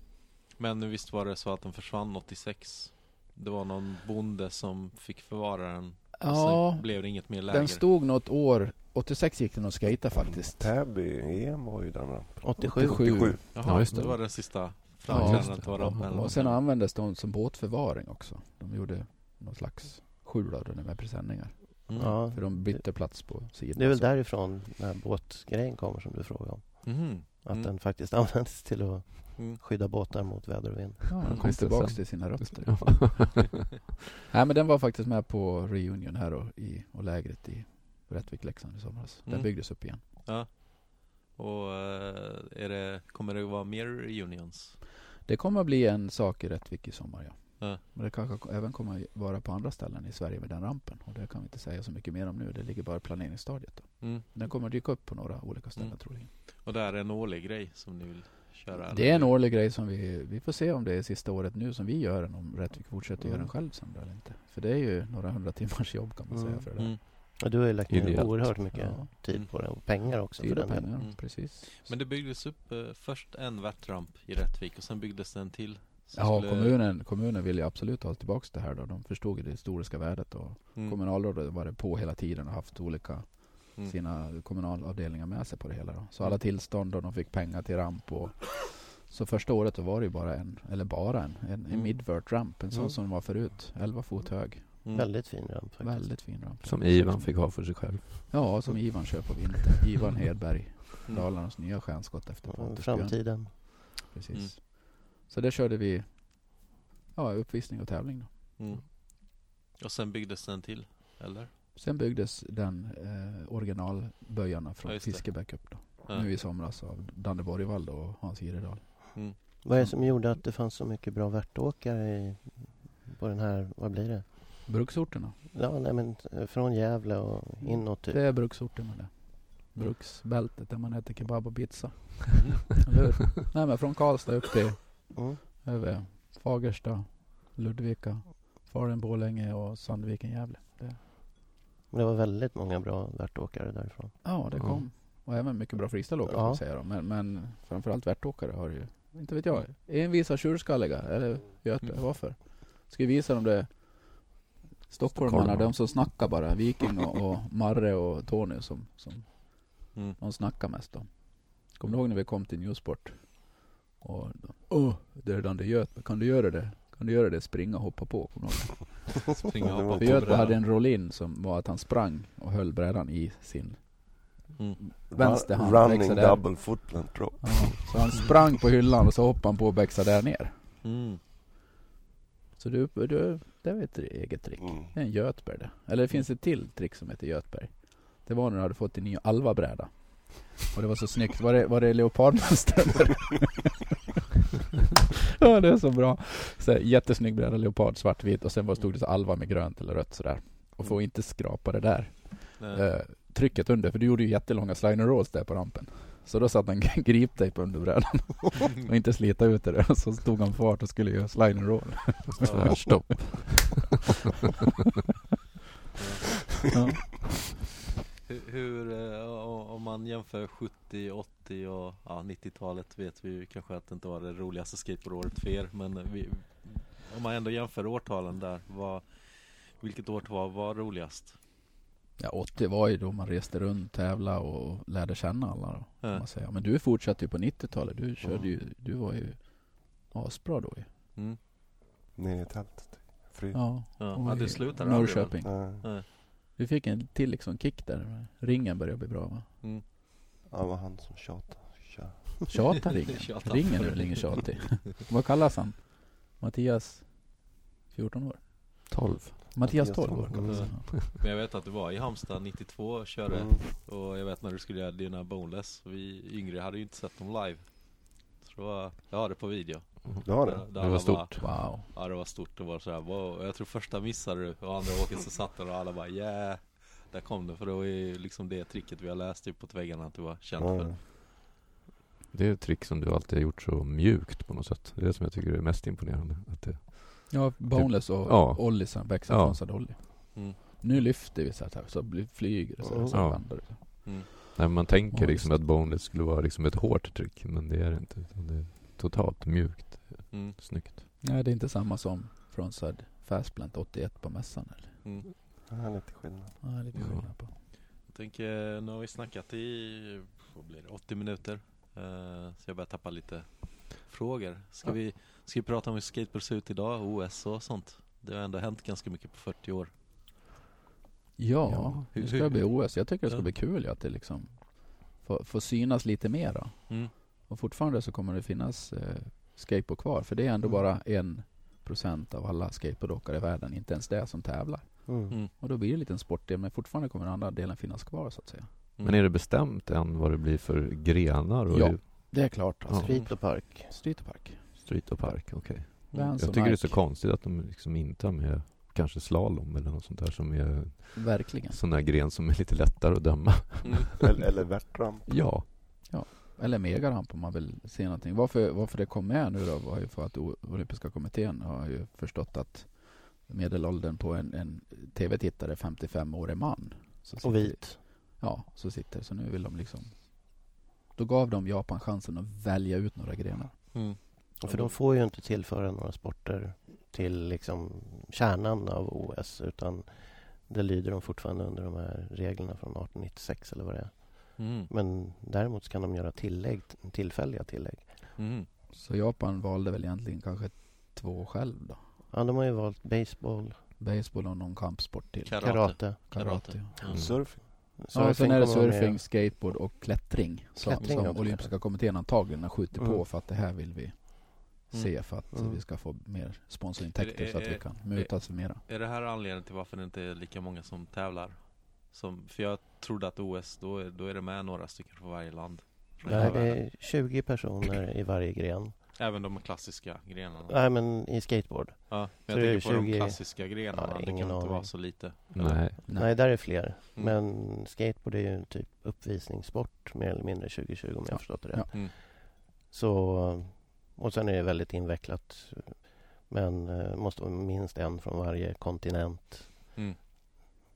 A: Men visst var det så att den försvann 86? Det var någon bonde som fick förvara den.
D: Ja,
A: Sen blev det inget mer läger.
D: den stod något år, 86 gick den och skejta faktiskt.
E: Täby-EM E var ju den rampen.
C: 87?
E: 87.
A: Jaha,
B: Ja, just
A: det.
B: det.
A: var den sista
D: Ja,
A: framträdandet
B: just det.
A: var rampen.
D: Och sen användes de som båtförvaring också. De gjorde någon slags skjul av den med presenningar.
A: Mm.
C: Ja.
D: För de bytte plats på sidan.
C: Det är väl
D: så.
C: därifrån den här båtgrejen kommer som du frågade om.
A: Mhm.
C: Att
A: Mm.
C: den faktiskt används till att
A: Mm.
C: skydda båtar mot väder och vind.
D: Ja, de kom
B: Just det,
D: tillbaka
B: sen.
D: till sina rötter.
B: Ja.
D: Nej men den var faktiskt med på reunion här och, i, och lägret i Rättvik, Leksand i somras. Den
A: Mm.
D: byggdes upp igen.
A: Och eh, är det, kommer det vara mer reunions?
D: Det kommer att bli en sak i Rättvik i sommar ja.
A: Ja.
D: Men det kanske ko- även kommer att vara på andra ställen i Sverige med den rampen. Och det kan vi inte säga så mycket mer om nu. Det ligger bara i planeringsstadiet. Då.
A: Mm.
D: Den kommer att dyka upp på några olika ställen
A: Mm.
D: troligen.
A: Och det här är en årlig grej som ni vill köra?
D: Det är en årlig grej som vi, vi får se om det är sista året nu som vi gör den. Om Rättvik fortsätter göra
C: Mm.
D: den själv sen då eller inte. För det är ju några hundra timmars jobb kan man
C: Mm.
D: säga för det där.
A: Mm.
C: Och du har ju lagt ner
B: Ideellt.
C: oerhört mycket
D: Ja.
A: Mm.
C: tid på det och pengar också för
D: Dyra
C: den delen.
D: pengar,
A: Mm.
D: precis.
A: Men det byggdes upp eh, först en värtramp i Rättvik och sen byggdes det en till. som
D: Ja,
A: skulle-
D: kommunen, kommunen vill ju absolut ha tillbaka det här då. De förstod ju det historiska värdet och
A: Mm.
D: kommunalrådet har varit på hela tiden och haft olika
A: Mm.
D: sina kommunalavdelningar med sig på det hela då. Så
A: Mm.
D: alla tillstånd och de fick pengar till ramp och så första året då var det ju bara en, eller bara en, en,
A: Mm.
D: en midvert ramp. En sån
C: Mm.
D: som var förut, 11 fot hög.
A: Mm.
C: Väldigt fin ramp faktiskt.
D: Väldigt fin ramp.
B: Som Ivan fick ha för sig själv.
D: Ja, som Ivan kör på vintern. Ivan Hedberg,
A: Mm.
D: Dalarnas nya stjärnskott efter
C: Ja,
D: Pontus Björn.
C: Framtiden.
D: Precis.
A: Mm.
D: Så det körde vi ja, uppvisning och tävling då.
A: Mm. Och sen byggdes den till, eller?
D: Sen byggdes den eh, originalböjarna
A: Ja,
D: från
A: just det.
D: Fiskebäck upp då.
A: Ja.
D: Nu i somras av Danne Borgvall då och Hans Jiredal.
C: Vad är det som gjorde att det fanns så mycket bra värtåkare i, på den här, vad blir det?
D: Bruksorterna.
C: Ja, nej men eh, från Gävle och inåt typ.
D: Det är bruksorterna det. Bruksbältet där man äter kebab och pizza.
A: Mm.
D: Eller hur? Nej men från Karlstad upp till
C: Mm.
D: över Fagersta, Ludvika, Falun, Borlänge och Sandviken, Gävle. Det.
C: Men Det var väldigt många bra värtåkare därifrån.
D: Ja, det
B: Ja.
D: kom. Och även mycket bra freestyleåkare får
C: Ja.
D: jag säga då. Men, men framförallt värtåkare har ju, inte vet jag, envisa tjurskalliga eller göte,
A: Mm.
D: varför? Ska vi visa dem det? Stockholmarna,
B: Stockholmarna.
D: de som snackar bara. Viking och, och Marre och Tony som, som
A: Mm.
D: de snackar mest om. Kommer du ihåg när vi kom till Newsport? Och de, åh, det är den det göt, kan du göra det? Kan du göra det? Springa och hoppa på. Kommer du ihåg?
A: Springa
E: Det
A: och
E: var-
A: hoppa
D: För
A: på
D: Göte
A: brädan.
D: hade en roll-in som var att han sprang och höll brädan i sin
A: Mm.
D: vänster hand.
E: Running
D: växlade där.
E: double footland drop.
D: Ja, så han sprang på hyllan och så hoppade han på och bexade där ner.
A: Mm.
D: Så du, du, det var ett eget trick.
E: Mm.
D: Det är en Götberg det. Eller det finns ett till trick som heter Götberg. Det var när du hade fått din nya Alva-bräda. Och det var så snyggt. Var det, var det leopardmönster? ja, det är så bra. Så här, jättesnygg bräda, leopard, svartvit och sen bara stod det så Alva med grönt eller rött sådär. Och får inte skrapa det där
A: Nej.
D: eh, trycket under, för du gjorde ju jättelånga slide and rolls där på rampen. Så då satt han griptejp under brädan och inte slita ut det där. Så tog han fart och skulle göra slide and roll.
B: Tvärstopp.
D: Ja.
A: Hur, hur, eh, o- om man jämför 70, 80 och ja, 90-talet vet vi ju kanske att det inte var det roligaste skateboardåret för er. Men vi, om man ändå jämför årtalen där, vad, vilket årtal var roligast?
D: Ja, 80 var ju då man reste runt, tävla och lärde känna alla då, kan
A: Ja.
D: man säga. Men du fortsatte ju på 90-talet. Du körde ju, du var ju asbra då ju.
A: Mm.
E: Nere i tältet. Fri.
D: Ja.
A: Ja,
D: och
A: ja,
D: i
A: du slutade aldrig, va?
D: Norrköping.
E: Ja.
D: Du fick en till liksom kick där. Ringen började bli bra va?
E: Ja, det var han som tjatade. Tja.
D: Tjata ringen.
A: Tjata.
D: ringen är väl ingen tjatig? Vad kallas han? Mattias 14 år?
B: 12.
D: Mattias
E: Mattias
D: 12 år
E: 12
D: kallas
A: år.
D: han.
A: Men jag vet att du var i Halmstad 92 och körde
E: Mm.
A: och jag vet när du skulle göra dina boneless. Vi yngre hade ju inte sett dem live. Så det var, jag har det på video.
E: Du har
A: Där-
E: det?
A: där
B: Det
A: alla
B: var stort.
D: Wow.
A: Ja det var stort och var sådär wow. Och Jag tror första missade du och andra åket så satt den och alla bara yeah. Där kom det för det var ju liksom det tricket vi har läst typ på väggarna att du var känd för.
E: Ja.
B: Det är ett trick som du alltid har gjort så mjukt på något sätt. Det är det som jag tycker är mest imponerande. Att det,
D: Ja, Boneless och
B: Ja.
D: Olli som växer
B: Ja.
D: från Sadolli.
A: Mm.
D: Nu lyfter vi så här, så blir- flyger det så här,
E: Ja.
D: så
B: Ja.
D: landar det.
A: Mm.
B: nej, men man tänker
D: Ja,
B: liksom
D: just.
B: att boneless skulle vara liksom ett hårt trick. Men det är det inte. Utan det är totalt mjukt.
A: Mm.
B: Snyggt.
D: Nej, det är inte samma som Fronsad Fastplant 81 på mässan eller?
A: Mm.
E: Ja, det är lite skillnad.
D: Ja, lite
B: Ja.
D: skillnad på.
A: Jag tänker, nu har vi snackat i vad blir det, 80 minuter. Eh, så jag börjar tappa lite frågor. Ska,
B: Ja.
A: vi, ska vi prata om hur skateboard ser ut idag, OS och sånt? Det har ändå hänt ganska mycket på 40 år.
D: Ja,
B: Ja.
D: nu ska det bli OS. Jag tycker det ska
A: Ja.
D: bli kul ju att det liksom får, får synas lite mer då.
A: Mm.
D: Och fortfarande så kommer det finnas eh, skateboard kvar. För det är ändå
A: Mm.
D: bara en procent av alla skateboardåkare i världen, inte ens det, som tävlar.
E: Mm.
D: Och då blir det en liten sportdel, men fortfarande kommer den andra delen finnas kvar så att säga.
B: Mm. Men är det bestämt än vad det blir för grenar? Och
D: Ja.
B: hur-
D: Det är klart. alltså,
B: Ja.
C: Street och Park.
D: Street och park.
B: Street och park, okej.
A: Mm.
D: Vans
B: Jag
D: och
B: tycker det är
D: Nike.
B: så konstigt att de liksom inte har med kanske slalom eller något sånt där som är
D: Verkligen.
B: sån där gren som är lite lättare att döma.
A: Mm.
E: Eller, eller värtramp.
B: Ja,
D: Eller megaramp om man vill se någonting. Varför, varför det kom med nu då var ju för att O- Olympiska kommittén har ju förstått att medelåldern på en, en tv-tittare 55 år är man. Så sitter-
C: Och vit.
D: Ja, så sitter Så nu vill de liksom... Då gav de Japan chansen att välja ut några grenar.
A: Mm.
C: För de får ju inte tillföra några sporter till liksom kärnan av OS utan det lyder de fortfarande under de här reglerna från 1896 eller vad det är.
A: Mm.
C: Men däremot så kan de göra tillägg, tillfälliga tillägg.
A: Mm.
D: Så Japan valde väl egentligen kanske två själv då.
C: Ja, de har ju valt baseball,
D: Baseball och någon kampsport till.
A: Karate.
C: karate,
A: Karate.
D: ja.
A: Mm.
E: Surfing.
D: Ja, och sen är det
C: kommer de med.
D: surfing, skateboard och klättring som,
C: Klättring
D: som
C: också.
D: Olympiska kommittén antagligen har skjutit på
E: Mm.
D: för att det här vill vi se för att
E: Mm.
D: vi ska få mer sponsorintäkter
A: Är det-
D: så att
A: är-
D: vi kan muta oss för mera.
A: Är det här anledningen till varför det inte är lika många som tävlar? Som, för jag trodde att OS, då är, då är det med några stycken från varje land. Från
C: Nej,
A: hela
C: det
A: världen.
C: är 20 personer i varje gren.
A: Även de klassiska grenarna.
C: Nej, men i skateboard.
A: Ja, men
C: Så det
A: jag
C: är
A: tänker på de
C: 20
A: klassiska grenarna,
C: Ja,
A: det kan
C: ingen
A: inte vara
C: aning.
A: så lite.
B: nej.
C: Nej, där är fler.
A: Mm.
C: Men skateboard är ju en typ uppvisningssport mer eller mindre 2020 om jag
D: Ja.
C: har förstått det rätt.
D: Ja.
A: Mm.
C: Så, och sen är det väldigt invecklat. Men eh, måste vara minst en från varje kontinent.
A: Mm.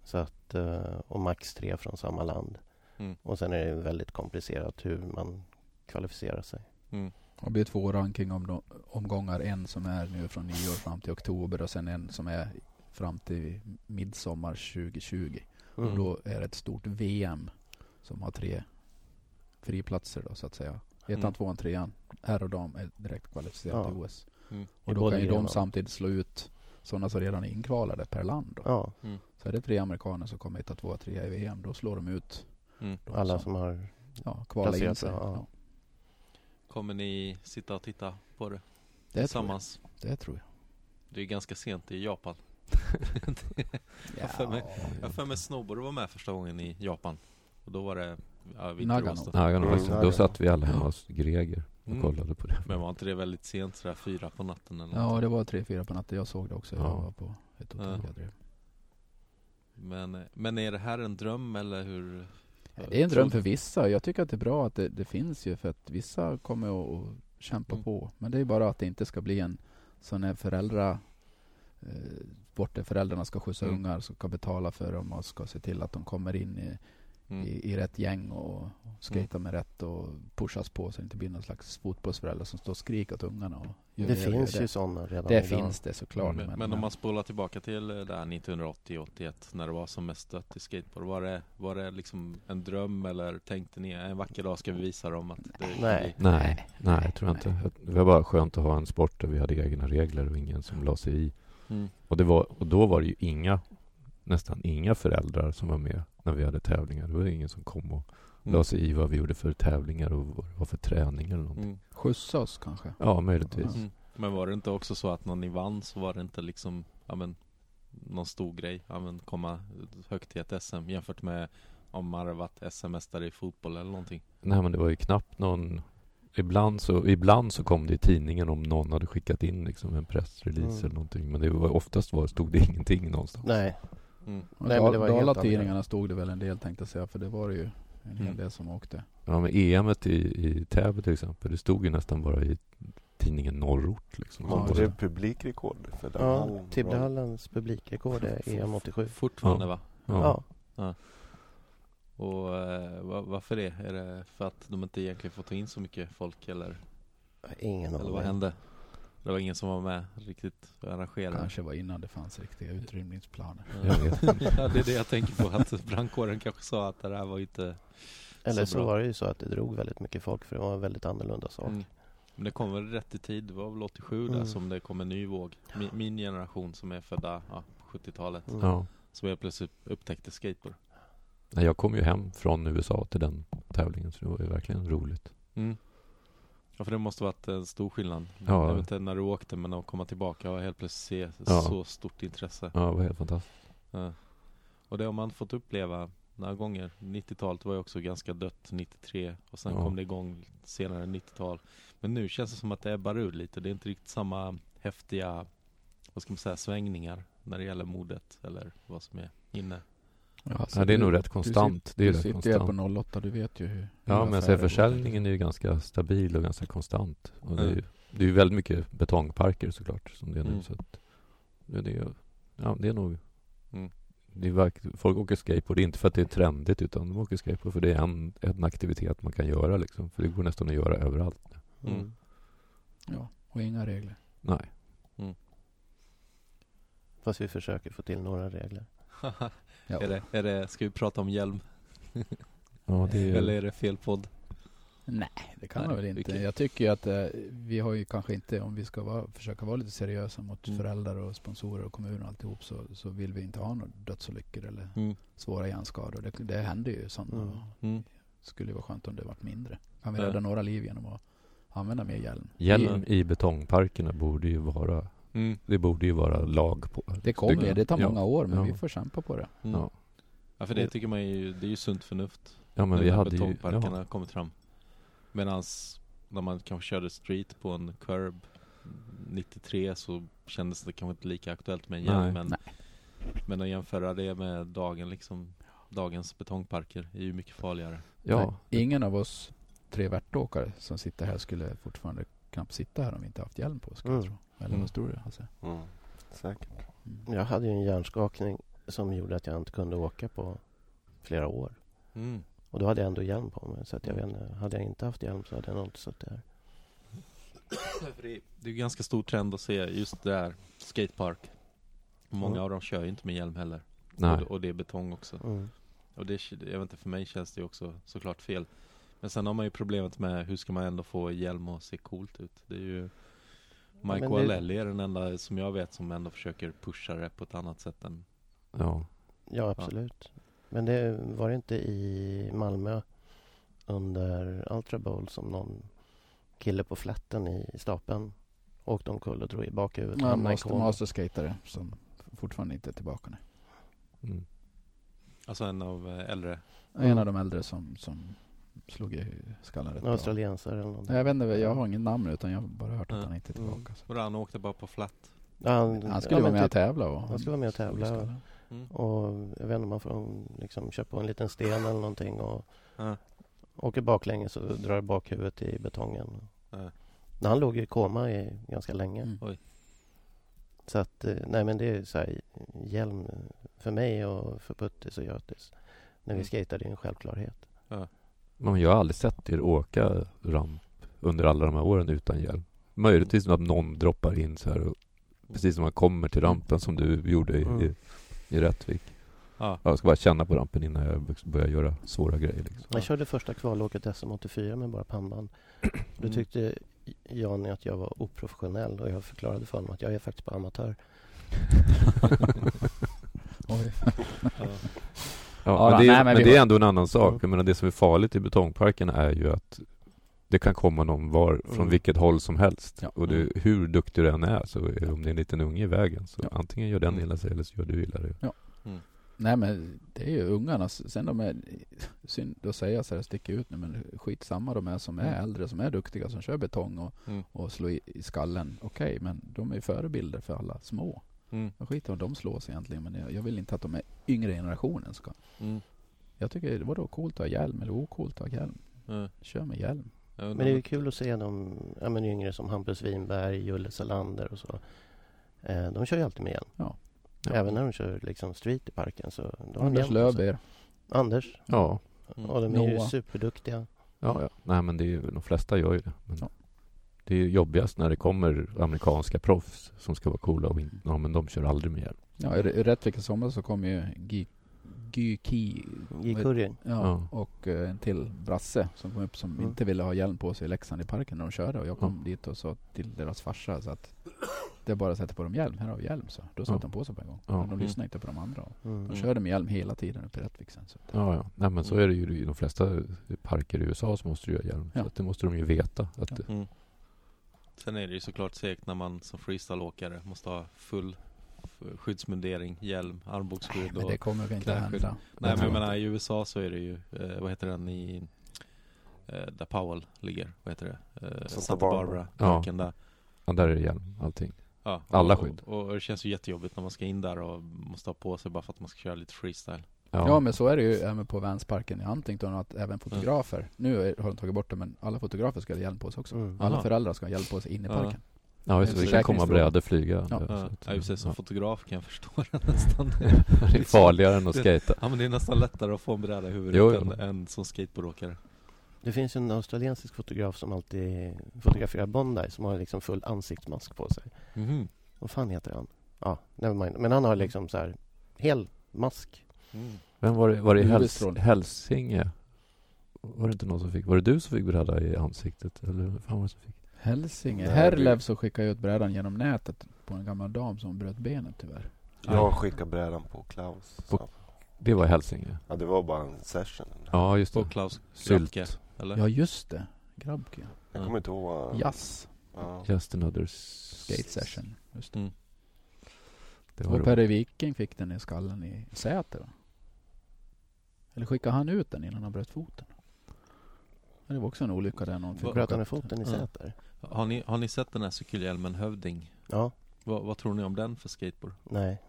C: Så att, eh, och max tre från samma land.
A: Mm.
C: Och sen är det väldigt komplicerat hur man kvalificerar sig.
A: Mm.
D: Det blir två rankingomgångar, en som är nu från nyår fram till oktober och sen en som är fram till midsommar 2020. Mm.
C: Mm.
A: Mm.
D: Och då är det ett stort VM som har tre friplatser då så att säga. Ettan,
A: Mm.
D: tvåan, trean. Herr och dam är direkt kvalificerade
C: Ja.
D: till OS.
A: Mm.
D: Och
C: I
D: då
C: båda
D: kan ju de
C: grenarna.
D: samtidigt slå ut sådana som redan är inkvalade per land. Då.
C: Ja,
D: Så är det tre amerikaner som kommer hitta tvåa, trea i VM, då slår de ut
A: Mm.
D: de
C: alla som har...
D: ja, kvalar in
C: placerat
D: sig.
C: sig, ja.
D: Ja.
A: Kommer ni sitta och titta på det
D: Det, tror jag.
A: tillsammans?
D: det tror jag.
A: Det är ganska sent i Japan.
D: Ja.
A: för mig. Jag har för mig snowboard var med första gången i Japan. Och då var det ja,
D: Nagano.
A: Vinterås då.
B: Nagano,
E: Mm,
B: faktiskt. liksom- Då
E: Nagano.
B: satt vi alla hemma hos Greger och
A: Mm.
B: kollade på det.
A: Men var inte det väldigt sent sådär fyra på natten eller
D: ja,
A: någonting?
D: det var tre, fyra på natten. Jag såg det också. Jag
B: Ja.
D: var på ett hotell.
A: Ja.
D: jag drev.
A: men, men är det här en dröm eller hur?
D: Det är en dröm
A: Tror-
D: för vissa. Jag tycker att det är bra att det, det finns ju för att vissa kommer att, att kämpa
A: Mm.
D: på. Men det är bara att det inte ska bli en sån här föräldrar eh, bort där föräldrarna ska skjutsa
A: Mm.
D: ungar, som ska betala för dem och ska se till att de kommer in i,
A: Mm.
D: i, i rätt gäng och och skejtar med rätt och pushas på så det inte blir någon slags fotbollsföräldrar som står och skriker åt ungarna. Och gör
C: Det
D: gör
C: finns
D: det.
C: ju sådana redan
D: Det
C: idag.
D: finns det såklart.
A: Mm. Men, men om man spolar tillbaka till eh, där 1980-81 när det var som mest dött i skateboard. Var det, var det liksom en dröm eller tänkte ni en vacker dag ska vi visa dem att det kan
C: Nej.
B: Nej, nej, jag tror inte. Jag- Det var bara skönt att ha en sport där vi hade egna regler och ingen som la sig i.
A: bli- Mm.
B: Och, det var, och då var det ju inga, nästan inga föräldrar som var med när vi hade tävlingar. Det var ingen som kom och
D: Mm.
B: la sig i vad vi gjorde för tävlingar och vad det var för träning eller någonting.
A: Mm.
D: Skjutsa oss kanske.
B: Ja, möjligtvis.
A: Mm. Men var det inte också så att när ni vann så var det inte liksom, ja men någon stor grej, ja men komma högt i ett SM jämfört med om man hade varit SM-mästare i fotboll eller någonting.
B: Nej, men det var ju knappt någon... Ibland så, ibland så kom det i tidningen om någon hade skickat in liksom en pressrelease
C: Mm.
B: eller någonting. Men det var, oftast var, stod det ingenting någonstans.
C: Nej,
A: Mm.
D: Och
C: Nej, men det var helt andra
D: Dalatidningarna stod det väl en del tänkte jag säga, för det var det ju en hel
A: Mm.
D: del som åkte.
B: Ja, men EMet i, i Täby till exempel, det stod ju nästan bara i tidningen Norrort liksom.
E: Ja,
B: Som
E: det är
B: bara,
E: publikrekord för den
A: Oh,
C: ja,
E: hallen.
C: Tibbdehallens publikrekord är E EM87.
A: Fortfarande va?
B: ja.
C: Ja.
A: Och eh, va- varför det? Är det för att de inte egentligen får ta in så mycket folk eller,
C: Ingen
A: eller vad
C: aning.
A: hände? Det var ingen som var med riktigt och arrangerade?
D: Kanske var innan det fanns riktiga utrymningsplaner.
B: Jag vet
A: ja, det är det jag tänker på, att brandkåren kanske sa att det här var ju inte
C: Eller
A: Så
C: så
A: bra.
C: var det ju så att det drog väldigt mycket folk för det var en väldigt annorlunda sak.
A: Mm. Men det kom väl rätt i tid, det var väl 87 där
C: Mm.
A: som det kom en ny våg. Min, min generation som är födda ja, på 70-talet,
C: Mm.
B: ja.
A: som helt plötsligt upptäckte skateboard.
B: Nej, Jag kom ju hem från USA till den tävlingen så det var ju verkligen roligt.
A: Ja för det måste varit en stor skillnad.
B: Mm. Ja.
A: Jag vet inte när du åkte men att komma tillbaka och helt plötsligt se
B: Ja.
A: så stort intresse.
B: Ja, det var helt fantastiskt.
A: Ja. Och det har man fått uppleva några gånger. 90-talet var ju också ganska dött 93 och sen
B: Ja.
A: kom det igång senare 90-tal. Men nu känns det som att det ebbar ur lite. Det är inte riktigt samma häftiga, vad ska man säga, svängningar när det gäller modet eller vad som är inne.
D: Alltså,
B: Ja, det är
D: du-
B: nog rätt konstant. Det är
D: du
B: rätt
D: sitter ju här
B: konstant.
D: på 08, du vet ju hur... hur
B: Ja, men jag
D: affärer
B: säger
D: går.
B: försäljningen är ju ganska stabil och ganska konstant. Och det, är
A: Mm.
B: ju, det är ju väldigt mycket betongparker såklart som det är nu.
A: Mm.
B: Så att, ja, det, är, ja, det är nog...
A: Mm.
B: Det är verk, folk åker skateboard, inte för att det är trendigt utan de åker skateboard för det är en, en aktivitet man kan göra liksom. För det går nästan att göra överallt.
A: Mm.
C: Mm.
D: Ja, och inga regler.
B: Nej.
C: Fast vi försöker få till några regler.
D: Ja.
A: är det, är det, ska vi prata om hjälm?
B: Ja, det är,
A: Eller är det fel podd?
D: Det kan
A: Nej,
D: man väl inte.
A: vilket-
D: Jag tycker ju att eh, vi har ju kanske inte, om vi ska vara, försöka vara lite seriösa mot
A: Mm.
D: föräldrar och sponsorer och kommuner och alltihop så, så vill vi inte ha några dödsolyckor eller
A: Mm.
D: svåra hjärnskador. Det, det händer ju sådana.
C: Mm.
A: Mm.
D: skulle ju vara skönt om det varit mindre. Kan vi
A: Ja.
D: rädda några liv genom att använda mer hjälm?
B: Hjälm i betongparkerna borde ju vara...
A: Mm.
B: Det borde ju vara lag på.
D: Det kommer, det tar
B: Ja.
D: många år men
B: Ja.
D: vi får kämpa på det.
A: Mm. Ja.
B: Ja.
A: för det tycker man ju, det är ju sunt förnuft.
B: Ja, men
A: nu
B: vi
A: när
B: hade ju...
A: betongparkerna
B: Ja,
A: kommit fram. Medans när man kanske körde street på en curb 93 så kändes det kanske inte lika aktuellt med en hjälm.
B: Nej.
A: Men, men att jämföra det med dagen liksom, dagens betongparker är ju mycket farligare.
B: ja,
D: Nej, Ingen av oss tre värtåkare som sitter här skulle fortfarande knappt sitta här om vi inte haft hjälm på ska jag
C: Mm.
D: tro. Eller
A: Mm.
D: vad tror du? Alltså.
E: Mm. Säkert.
D: Mm.
C: Jag hade ju en hjärnskakning som gjorde att jag inte kunde åka på flera år.
B: Mm.
C: Och då hade jag ändå hjälm på mig. Så att jag
A: Mm.
C: vet inte, hade jag inte haft hjälm så hade jag nog inte suttit här.
A: För Det det är ju ganska stor trend att se just det här, skatepark. Många
C: Mm.
A: av dem kör ju inte med hjälm heller. Och,
B: nej.
A: det- och det är betong också.
C: Mm.
A: Och det, jag vet inte, för mig känns det ju också såklart fel. Men sen har man ju problemet med hur ska man ändå få hjälm och se coolt ut? Det är ju
C: men
A: Mike
C: det-
A: Wahlelli är den enda som jag vet som ändå försöker pusha det på ett annat sätt än
B: Ja.
C: Ja, absolut. Men det var det inte i Malmö under Ultra Bowl som någon kille på flätten i stapeln Åkte omkull och drog i bakhuvudet.
D: Man
C: hamnade i
D: måste
C: kolan.
D: masterskatare som fortfarande inte är tillbaka nu.
B: Mm.
A: Alltså en av eh, äldre.
D: En av de äldre som, som slog i skallen rätt
C: En
D: bra.
C: Australiensare eller någonting.
D: Nej, Jag vet inte, jag har inget namn utan jag har bara hört att
A: Ja.
D: han inte är tillbaka. Så.
A: Vadå, han åkte bara på flat?
C: Mm. Ja, han,
D: Han skulle vara
C: men
D: med och
C: typ-
D: tävla och
C: han skulle vara med och
D: slog i
C: tävla.
D: skallen.
A: Mm.
C: Och jag vet inte om man får om, liksom, köpa på en liten sten eller någonting och
A: Ja.
C: åker baklänges och drar bakhuvudet i betongen.
A: Ja.
C: Men Han låg i koma i ganska länge.
D: Mm.
C: Så att, eh, nej men det är så här, hjälm för mig och för Puttis och Götis. När vi
A: Mm.
C: skejtade är en självklarhet.
B: Men jag har aldrig sett er åka ramp under alla de här åren utan hjälm. Möjligtvis att någon droppar in så här och precis när man kommer till rampen som du gjorde i,
E: Mm.
B: i, i Rättvik.
A: Ja.
B: Ja, Jag ska bara känna på rampen innan jag börjar göra svåra grejer liksom.
C: Jag körde första kvalåket SM84 med bara pannband. Då
A: Mm.
C: tyckte Johnny att jag var oprofessionell och jag förklarade för honom att jag är faktiskt bara amatör.
D: Oj.
A: Ja.
B: Ja,
D: Ja,
B: men det,
D: nej,
B: är,
D: men
B: men
D: vi
B: det
D: har-
B: är ändå en annan sak.
C: Mm.
B: Jag menar, det som är farligt i betongparken är ju att det kan komma någon var från
C: Mm.
B: vilket håll som helst.
D: Ja.
B: Och du, hur duktig du än är, så är- om det är en liten unge i vägen, så
D: Ja.
B: antingen gör den
A: Mm.
B: illa sig eller så gör du illa dig.
D: Nej men det är ju ungarna, sen de är, synd att säga så här, sticker ut nu men skitsamma de är som är äldre, som är duktiga, som kör betong och,
A: Mm.
D: och slår i, i skallen. Okej, men de är ju förebilder för alla små.
A: Mm.
D: Jag skiter om de slås egentligen men jag, jag vill inte att de är yngre generationen ska.
A: Mm.
D: Jag tycker, vadå coolt att ha hjälm eller ocoolt att ha hjälm?
A: Ja.
D: Kör med hjälm.
A: Jag undrar
C: Men det är
A: om-
C: ju kul att se de ja, men yngre som Hampus Winberg, Julle Salander och så. Eh, de kör ju alltid med hjälm.
D: Ja.
C: Även när de kör liksom street i parken så då har de
D: Anders
C: hjälm på sig.
D: Löfberg.
C: Anders.
B: Ja,
A: Mm.
C: Och de är ju
D: Noah.
C: superduktiga.
B: ja, ja. Nej, men det är, ju- de flesta gör ju det. Men
D: Ja.
B: Det är ju jobbigast när det kommer amerikanska proffs som ska vara coola och inte, ja, men de kör aldrig med hjälm.
D: Ja, i i Rättvik i somras så kom ju Gy- Gyki
C: Gick Kurjen.
D: ja,
B: Ja.
D: och eh, en till brasse som kom upp som
C: Mm.
D: inte ville ha hjälm på sig i Leksand i parken när de körde och jag kom
B: Ja.
D: dit och sa till deras farsa så att det är bara att sätta på dem hjälm, här har vi hjälm så. Då satte
B: Ja.
D: de på sig på en gång.
B: Ja.
D: Men de
A: Mm.
D: lyssnade inte på de andra. De
C: Mm.
D: körde med hjälm hela tiden uppe i Rättvik sen. Så. att-
B: Ja, ja. Nej, men så
A: Mm.
B: är det ju i de flesta parker i USA så måste du göra hjälm.
D: Ja.
B: Så att det måste de ju veta. Att
D: Ja.
B: det-
A: Mm. Sen är det ju såklart segt när man som freestyleåkare måste ha full f- skyddsmundering, hjälm,
D: Nej,
A: armbågsskydd
D: men
A: och...
D: det kommer väl inte
A: knäskydd.
D: hända.
A: Nej men
B: tror
A: jag
B: jag
A: menar i USA så är det ju, eh, vad heter den i, eh, där Powell ligger, vad heter det? Eh,
E: Santa
A: Santa
E: Barbara.
A: Barbara,
B: Ja.
A: parken där.
B: ja, där är det hjälm, allting.
A: Ja,
B: Alla
A: och,
B: skydd.
A: Och, och det känns ju jättejobbigt när man ska in där och måste ha på sig bara för att man ska köra lite freestyle.
D: Ja. men så är det ju även på Vansparken i Huntington att även fotografer, nu är- har de tagit bort det men alla fotografer ska ha hjälm på sig också.
C: Mm.
D: Alla
A: Aha.
D: föräldrar ska ha hjälm på sig in i
A: Ja.
D: parken.
B: Ja, just
D: En
B: det. Det kan komma
D: försäkringsfråga.
B: brädor flyga.
D: Ja.
B: där,
A: Ja,
B: så att-
A: ja just det, som
B: ja.
A: fotograf kan jag förstå det nästan.
B: Det är farligare än att skejta.
A: Ja men det är nästan lättare att få en bräda i huvudet
B: Jo, jo.
A: Än, än som skateboardåkare.
C: Det finns ju en australiensisk fotograf som alltid fotograferar Bondi som har liksom full ansiktsmask på sig.
A: Mhm.
C: Vad fan heter han? Ja, never mind. Men han har liksom så här hel mask.
A: Mm.
B: Vem var det? Var det i Häls
D: Huvudstrålning.
B: Hälsinge? Var det inte någon som fick? Var det du som fick bräda i ansiktet? Eller hur fan var det som fick?
D: Hälsinge.
E: Nej,
D: Herlev
E: det-
D: så skickade jag ut brädan genom nätet på en gammal dam som bröt benet tyvärr.
E: Jag skickade brädan på Klaus.
B: På- Det var i Hälsinge.
E: Ja, det var bara en session.
B: Ja, just
A: På
B: det.
A: Klaus
B: Sylt.
A: Grabke, eller?
D: Ja just det, Grabke.
E: Jag kommer inte ihåg vad...
D: Jazz,
E: Ja.
B: Just another
D: skate
B: skate
D: session. Just det.
A: Mm.
B: Det var
D: Och Per
B: roligt.
D: Viking fick den i skallen i Säter va? Eller skickade han ut den innan han bröt foten? Men Det var också en olycka där någon fick
A: Vad-
C: Bröt
D: åka
C: han i
D: ut.
C: foten i
A: Ja.
C: Säter?
A: Har, ni, har ni sett den här cykelhjälmen Hövding?
C: Ja.
A: Vad, vad tror ni om den för skateboard?
C: Nej.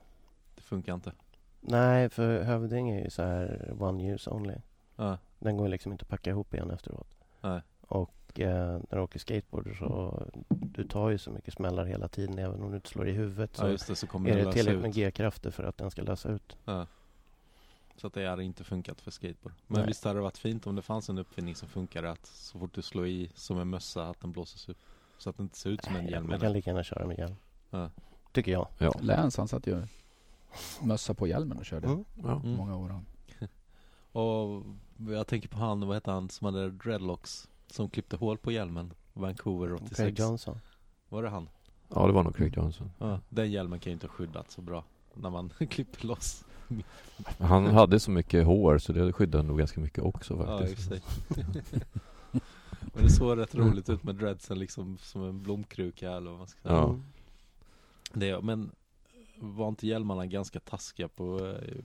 A: Det funkar inte.
C: Nej, för Hövding är ju så här one use only.
A: Ja,
C: Den går liksom inte att packa ihop igen efteråt.
A: Nej.
C: Och eh, när du åker skateboard så du tar ju så mycket smällar hela tiden även om du inte slår i huvudet. Så
A: ja just det, så kommer
C: är
A: den
C: det
A: lösa
C: tillräckligt
A: ut.
C: med G-krafter för att den ska lösa ut.
A: Ja. Så att det hade inte funkat för skateboard. Men
C: Nej.
A: visst hade det varit fint om det fanns en uppfinning som funkade att så fort du slår i som en mössa att den blåses upp. Så att det inte ser ut som en hjälm.
C: Man kan lika gärna köra med hjälm.
A: Ja.
C: Tycker jag.
B: Ja.
D: Läns han satt ju mössa på hjälmen och körde
C: Mm.
B: ja.
A: Mm.
D: många år. han.
A: Och jag tänker på han, vad hette han som hade dreadlocks? Som klippte hål på hjälmen. Vancouver 86.
C: Craig Johnson.
A: Var det han?
B: ja, det var nog Craig Johnson.
A: Ja. Den hjälmen kan ju inte ha skyddat så bra. När man klipper loss.
B: Han hade så mycket hår så det skyddade nog ganska mycket också
A: Ja, i och
B: faktiskt.
A: för sig. Men det såg rätt roligt ut med dreadsen liksom som en blomkruka eller vad man ska säga.
B: Ja.
E: Mm.
A: Det, men var inte hjälmarna ganska taskiga på eh,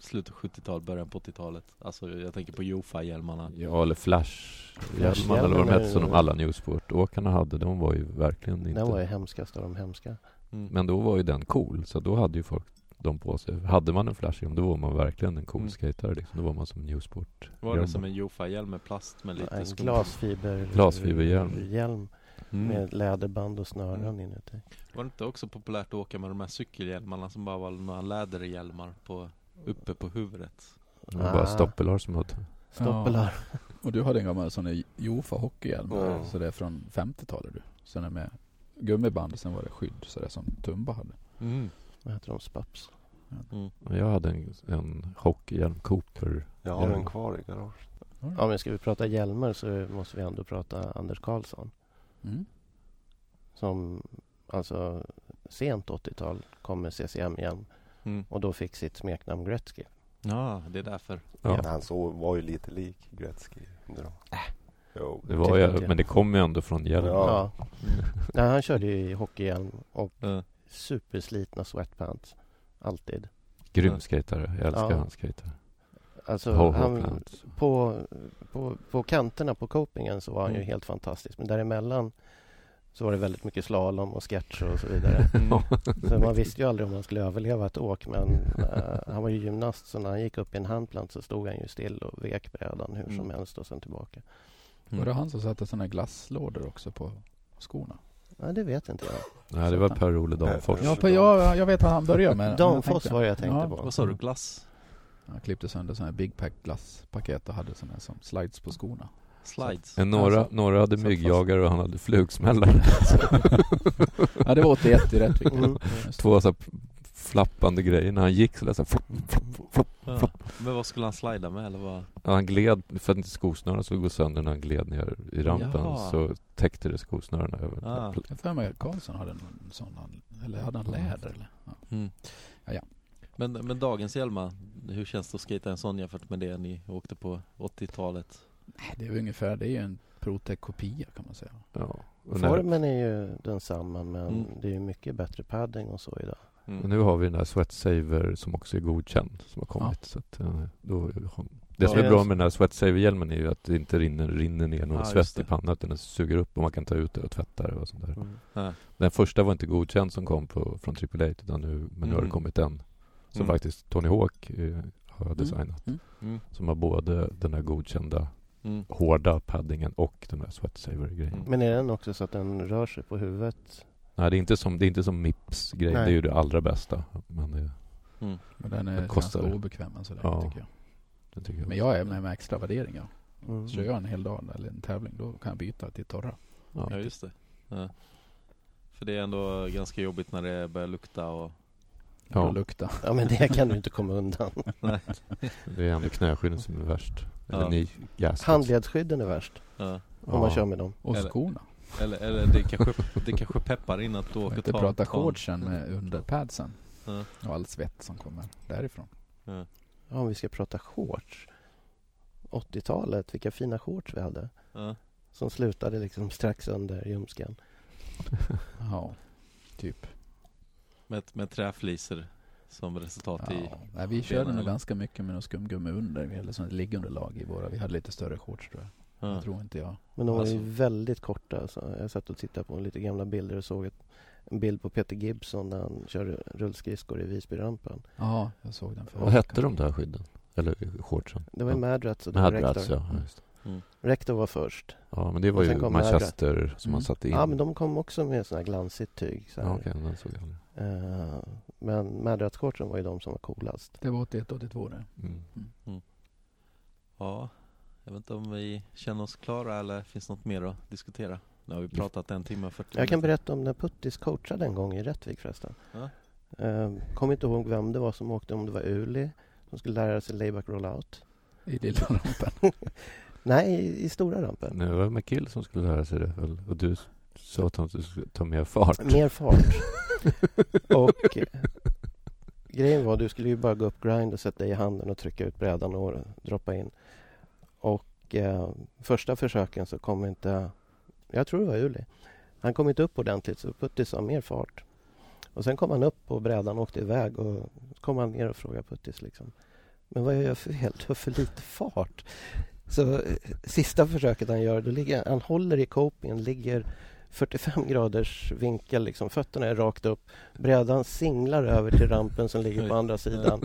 A: slutet av 70-talet, början på 80-talet? Alltså jag tänker på Jofa-hjälmarna.
B: Ja, eller Flash.
C: Flash-
B: Hjälmarna eller vad de
C: hjälmarna
B: hette som
C: är-
B: de alla Newsport-åkarna hade. De var ju verkligen inte...
C: Den var ju hemskast av de hemska.
A: Mm.
B: Men då var ju den cool. Så då hade ju folk dem på sig. Hade man en Flash hjälm då var man verkligen en cool
A: Mm.
B: skatare liksom. Då var man som en Newsport.
A: var det som en Jofa-hjälm med plast med lite
C: En
A: skum-
C: glasfiber...
B: Glasfiberhjälm.
C: Hjälm
A: Mm.
C: med läderband och snören inuti.
A: Var det inte också populärt att åka med de här cykelhjälmarna som bara var några läderhjälmar på, uppe på huvudet?
B: Det var bara
C: Ah.
B: stoppelar som hade...
C: Stoppelar.
D: Och du hade en gammal sån där Jofa hockeyhjälm.
E: Ja.
D: Så det är från 50-talet du. Sen är med gummiband och sen var det skydd. Så det är som Tumba hade.
A: Mm.
C: Vad heter de? Spaps?
B: Jag hade en, en hockeyhjälm Cooper.
E: Jag har
B: Ja.
E: den kvar i garaget.
C: Ja men ska vi prata hjälmar så måste vi ändå prata Anders Karlsson.
D: Mm.
C: Som alltså sent 80-tal kom med CCM-hjälm
A: Mm.
C: och då fick sitt smeknamn Gretzky.
A: Ja, det är därför.
B: Ja.
E: Han så var ju lite lik Gretzky. Äh. Jo.
B: Det var
C: Tyckte inte
B: ju,
C: jag.
B: men det kom ju ändå från hjälmen.
E: Ja.
C: Nej, han körde ju i hockeyhjälm och
A: Mm.
C: superslitna sweatpants. Alltid.
B: Grym skatare. Jag älskar
C: Ja.
B: hans skatare.
C: Alltså, han,
B: Powerplants.
C: på, på, på kanterna på copingen så var han
A: Mm.
C: ju helt fantastisk. Men däremellan så var det väldigt mycket slalom och sketcher och så vidare.
A: Mm.
C: Så man visste ju aldrig om han skulle överleva ett åk. Men eh, han var ju gymnast så när han gick upp i en handplant så stod han ju still och vek brädan hur som
A: Mm.
C: helst och sen tillbaka.
D: Var det han som satte såna här glasslådor också på skorna?
C: Nej, det vet inte jag.
B: Nej, det var Per-Ole Danfors.
E: Ja,
D: Ja,
E: för
D: jag, jag vet vad han började med. men jag
C: Danfoss
D: tänkte-
C: var det jag tänkte
D: Ja.
C: på.
A: Vad sa du? Glass?
D: Han klippte sönder såna här Big Pack glasspaket och hade såna här som slides på skorna.
A: Slides?
B: Men Eh, Några,
D: Alltså,
B: några hade
D: satt fast.
B: myggjagare och han hade flugsmällare.
D: Ja, det var 81 i Rättvik.
C: Mm.
B: Två så här flappande grejer. När han gick så lät det så här flopp, flopp, flopp.
A: Alltså, Ja. Men vad skulle han slida med eller vad?
B: Ja, Han gled, för att inte skosnören skulle gå sönder när han gled ner i rampen
A: Jaha.
B: så täckte det skosnörena över.
A: Ah.
D: Jag har för mig att Karlsson hade någon sån, han- eller hade han läder eller? Ja.
A: Men, men dagens hjälmar, hur känns det att skita en sån jämfört med det ni åkte på 80-talet?
D: Nej, Det är ju ungefär, det är ju en Protec-kopia kan man säga.
B: Ja. Och när,
C: Formen är ju densamma men
A: Mm.
C: det är ju mycket bättre padding och så idag.
B: och
D: Mm.
B: nu har vi den där Sweatsaver som också är godkänd som har kommit. Så att, eh, då, det som
C: Ja,
B: är bra
C: just-
B: med den här Sweatsaver-hjälmen är ju att det inte rinner, rinner ner någon
A: Ja, just
B: svett i
A: det.
B: pannan utan den suger upp och man kan ta ut det och tvätta det och sånt där.
A: Mm. Nej.
B: Den första var inte godkänd som kom på, från AAA utan nu, men nu har det
A: Mm.
B: kommit en som
A: Mm.
B: faktiskt Tony Hawk eh, har designat.
A: Mm.
B: Som har både den här godkända
A: Mm.
B: hårda paddingen och den här sweatsaver-grejen.
A: Mm.
C: Men är den också så att den rör sig på huvudet?
B: Nej, det är inte som, det är inte som Mips-grej. Det
C: Nej.
B: är ju det allra bästa. Men eh, det,
D: Men den är
B: Den kostar-
D: ganska obekväm än sådär
B: Ja.
D: tycker jag.
B: det tycker jag.
D: Men jag är med med extra värderingar.
C: Mm.
D: Kör jag en hel dag eller en tävling då kan jag byta till torra.
A: Ja just det. Ja. För det är ändå ganska jobbigt när det börjar lukta och...
B: Ja.
D: Ja. Och lukta.
C: Ja men det kan du inte komma undan.
A: Nej.
B: Det är ändå knäskydden som är värst. Eller
A: Ja.
B: ni gaskets.
C: Handledsskydden är värst
A: Ja.
C: om man kör med dem.
D: Och
A: Eller-
D: skorna.
A: Eller, eller det, kanske, det kanske peppar in att du
D: Jag
A: åker
D: inte
A: ta-
D: prata
A: ta-
D: shortsen med underpadsen.
A: Ja.
D: Och all svett som kommer därifrån.
C: Ja, om vi ska prata shorts. 80-talet, vilka fina shorts vi hade.
A: Ja.
C: Som slutade liksom strax under ljumsken.
D: Ja, typ.
A: Med, med träfliser som resultat i...
D: Ja. Nej, vi körde
A: benen,
D: nog
A: eller?
D: ganska mycket med någon skumgummi under. Vi hade sånt liggunderlag i våra. Vi hade lite större shorts tror jag.
A: Ja.
D: Jag tror inte jag.
C: Men de var ju
A: Alltså.
C: väldigt korta. Alltså. Jag satt och tittade på lite gamla bilder och såg ett, en bild på Peter Gibson när han körde rullskridskor i Visbyrampen.
D: Ja, jag såg den förut.
B: Vad hette de där skydden? Eller shortsen?
C: Det var ju
B: Ja.
C: Madrats och det var
B: Madrats,
C: Rector.
B: alltså, ja. ja, Just. det.
C: Rector var först.
B: ja, men det var
C: Och sen
B: ju
C: kom
B: Manchester som man
D: Mm.
B: satte in.
C: Ja, men de kom också med sådana här glansigt tyg. Så här.
B: Ja, okej, den såg jag aldrig.
C: Eh, men Madrats-shortsen var ju de som var coolast.
D: Det var 81 82 det.
B: Mm.
A: ja. Jag vet inte om vi känner oss klara eller finns något mer att diskutera? Nu har vi pratat en timme och 40
C: Jag kan
A: minuter.
C: berätta om när Puttis coachade en gång i Rättvik förresten.
A: Ja.
C: Eh, Kommer inte ihåg vem det var som åkte, om det var Uli som skulle lära sig layback rollout.
D: I lilla rampen.
C: Nej, i, i stora rampen.
B: Nu var det McGill som skulle lära sig det väl? Och du s- sa att han skulle ta mer fart.
C: Mer fart. och eh, grejen var, du skulle ju bara gå upp grind och sätta dig i handen och trycka ut brädan och droppa in. Och Och eh, första försöken så kom inte... Jag tror det var Uli. Han kom inte upp ordentligt så Puttis sa mer fart. Och sen kom han upp på brädan och åkte iväg och så kom han ner och frågade Puttis liksom. Men vad jag gör för fel? Du har för lite fart. Så eh, sista försöket han gör, då ligger han håller i copingen, ligger 45 graders vinkel, liksom. fötterna är rakt upp. Brädan singlar över till rampen som ligger på andra sidan.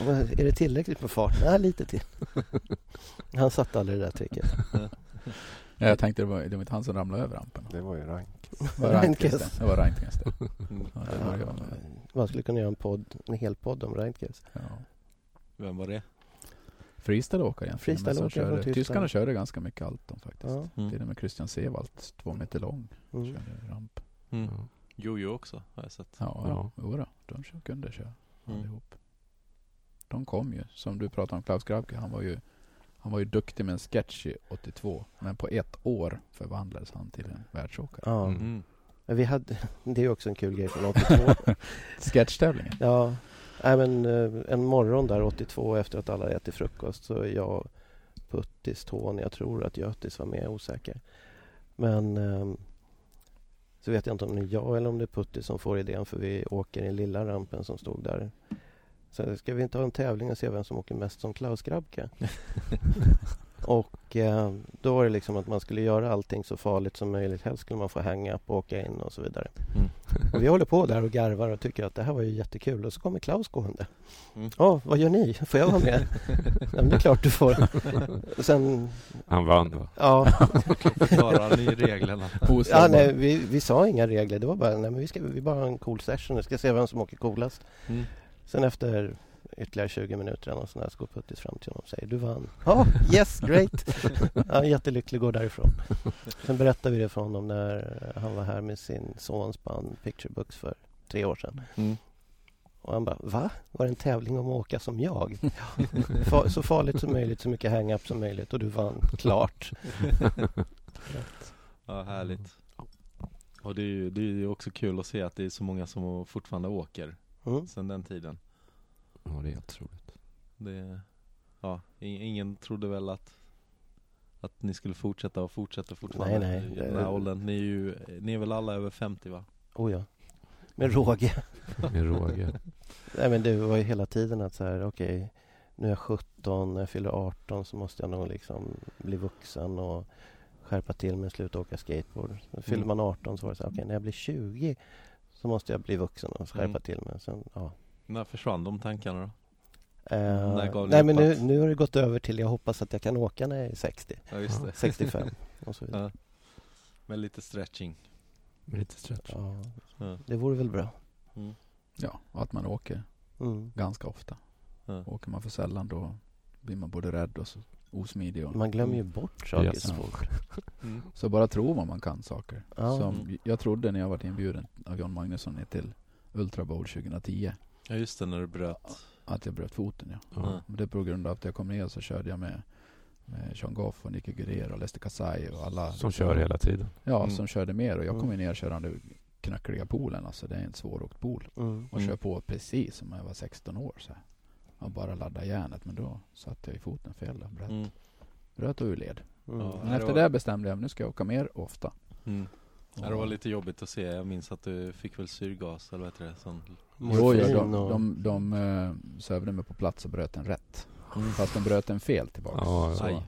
C: Och, eh, Är det tillräckligt med fart? Nej, lite till. Han satt aldrig det där tricket.
D: Ja, jag tänkte det var, det var inte han som ramlade över rampen.
E: Det var ju rank.
D: Det var Reintkes.
C: Reintkes.
D: Det var Reintkes det.
A: Mm.
D: Ja, det var jag.
C: Man skulle kunna göra en podd, en hel podd om Reintkes.
D: Ja.
A: Vem var det?
D: Freestyleåkare egentligen. men
C: Freestyleåkare
D: som körde-
C: från Tyskland.
D: Tyskarna körde ganska mycket allt de faktiskt.
C: Ja.
A: Mm.
D: Till och med Christian Sewald, två meter lång,
C: Mm.
D: körde ramp.
A: Mm.
B: Ja.
A: Jojo också har jag sett.
D: Ja,
B: Ja.
D: ja. Jodå, de kö- kunde köra
A: Mm.
D: allihop. De kom ju, som du pratade om Klaus Grabke, han var ju han var ju duktig med en sketch i 82, men på ett år förvandlades han till en världsåkare.
C: Ja.
B: Mm.
A: Mm.
C: Men Vi hade, det är också en kul grej från 82.
D: Sketchtävlingen.
C: ja. Nej, men, eh, en morgon där 82 efter att alla ätit frukost så är jag, Puttis, Tony, jag tror att Götis var med, jag är osäker. Men ehm, så vet jag inte om det är jag eller om det är Putti som får idén för vi åker i den lilla rampen som stod där. Så ska vi inte ha en tävling och se vem som åker mest som Klaus Grabke? Och eh, då var det liksom att man skulle göra allting så farligt som möjligt. Helst skulle man få hang-up och åka in och så vidare.
A: Mm.
C: Och vi håller på där och garvar och tycker att det här var ju jättekul. Och så kommer Klaus gående.
A: Mm.
C: Ja, vad gör ni? Får jag vara med? ja, men det är klart du får. Och Sen,
B: Han vann va?
C: ja,
A: Förklarar ni reglerna?
C: ja
D: Osam-
C: nej, vi, vi sa inga regler. Det var bara, nej men vi ska vi bara ha en cool session. Vi ska se vem som åker coolast.
A: Mm.
C: Sen efter ytterligare 20 minuter eller något sånt där så går Puttis fram till honom och säger du vann. Ja, yes, great! Han är jättelycklig och går därifrån. Sen berättade vi det för honom när han var här med sin sons band Picture Books för tre år sedan.
A: Mm.
C: Och han bara, va? Var det en tävling om att åka som jag? Ja. Fa- så farligt som möjligt, så mycket hang-up som möjligt och du vann, klart.
A: Ja, härligt. Och det är, ju, det är ju också kul att se att det är så många som fortfarande åker
C: Mm.
A: sedan den tiden.
B: Ja, det är helt otroligt.
A: Det, ja, i- ingen trodde väl att, att ni skulle fortsätta och fortsätta fortfarande
C: Nej,
A: i
C: nej.
A: den här åldern. Ni är ju, ni är väl alla över 50 va?
C: Oh ja. Med råge.
B: Med råge.
C: Nej men det var ju hela tiden att så här, okej, nu är jag 17, när jag fyller 18 så måste jag nog liksom bli vuxen och skärpa till mig och sluta åka skateboard. Så fyller
A: Mm.
C: man 18 så var det så här, okej, när jag blir 20 så måste jag bli vuxen och skärpa
A: Mm.
C: till mig. Sen, ja.
A: När försvann de tankarna då?
C: Eh,
A: När Mm, gav
C: nej
A: ni
C: men
A: upp
C: nu,
A: att-
C: nu har det gått över till jag hoppas att jag kan åka när jag är 60,
A: Ja just det.
C: 65 och så vidare.
A: Ja. Med lite stretching.
B: Med lite stretch.
D: Typ.
C: Ja,
A: Ja.
C: det vore väl bra.
D: Ja, och att man åker
C: Mm.
D: ganska ofta.
A: Ja.
D: Åker man för sällan då blir man både rädd och så osmidig.
B: Mm.
D: Och,
C: Man glömmer ju bort saker
B: Yes.
C: så fort.
A: Mm.
D: så bara tror vad man kan saker.
C: Ja.
D: Som jag trodde när jag var inbjuden av John Magnusson ner till Ultra Bowl 2010
A: ja just det, när du bröt.
D: att jag bröt foten. Ja.
A: Ja.
D: Men Det är på grund av att jag kom ner så körde jag med, med Sean Goff och Nicky Guerrero och Lester Kasai och alla
B: Som kör hela tiden.
D: Ja,
A: Mm.
D: som körde mer och jag kom
C: Mm.
D: ju ner körande knackliga poolen. Alltså det är en svåråkt pool.
C: Mm.
D: Och
A: Mm.
D: kör på precis som när jag var 16 år. Så här. Jag bara laddade järnet men då satte jag i foten fel och bröt,
A: Mm.
D: bröt och ur led.
C: Mm.
A: Ja.
D: Men
A: det
D: efter
A: var-
D: det bestämde jag att nu ska jag åka mer ofta.
A: Mm. Ja,
D: Och-
A: det var lite jobbigt att se. Jag minns att du fick väl syrgas eller vad heter det? Sån...
D: Jo, ja,
C: Morfin
D: de,
C: och-
D: de, de eh, sövde mig på plats och bröt en rätt. Fast de bröt en fel tillbaka.
B: Ja, ja.
D: så
A: Aj.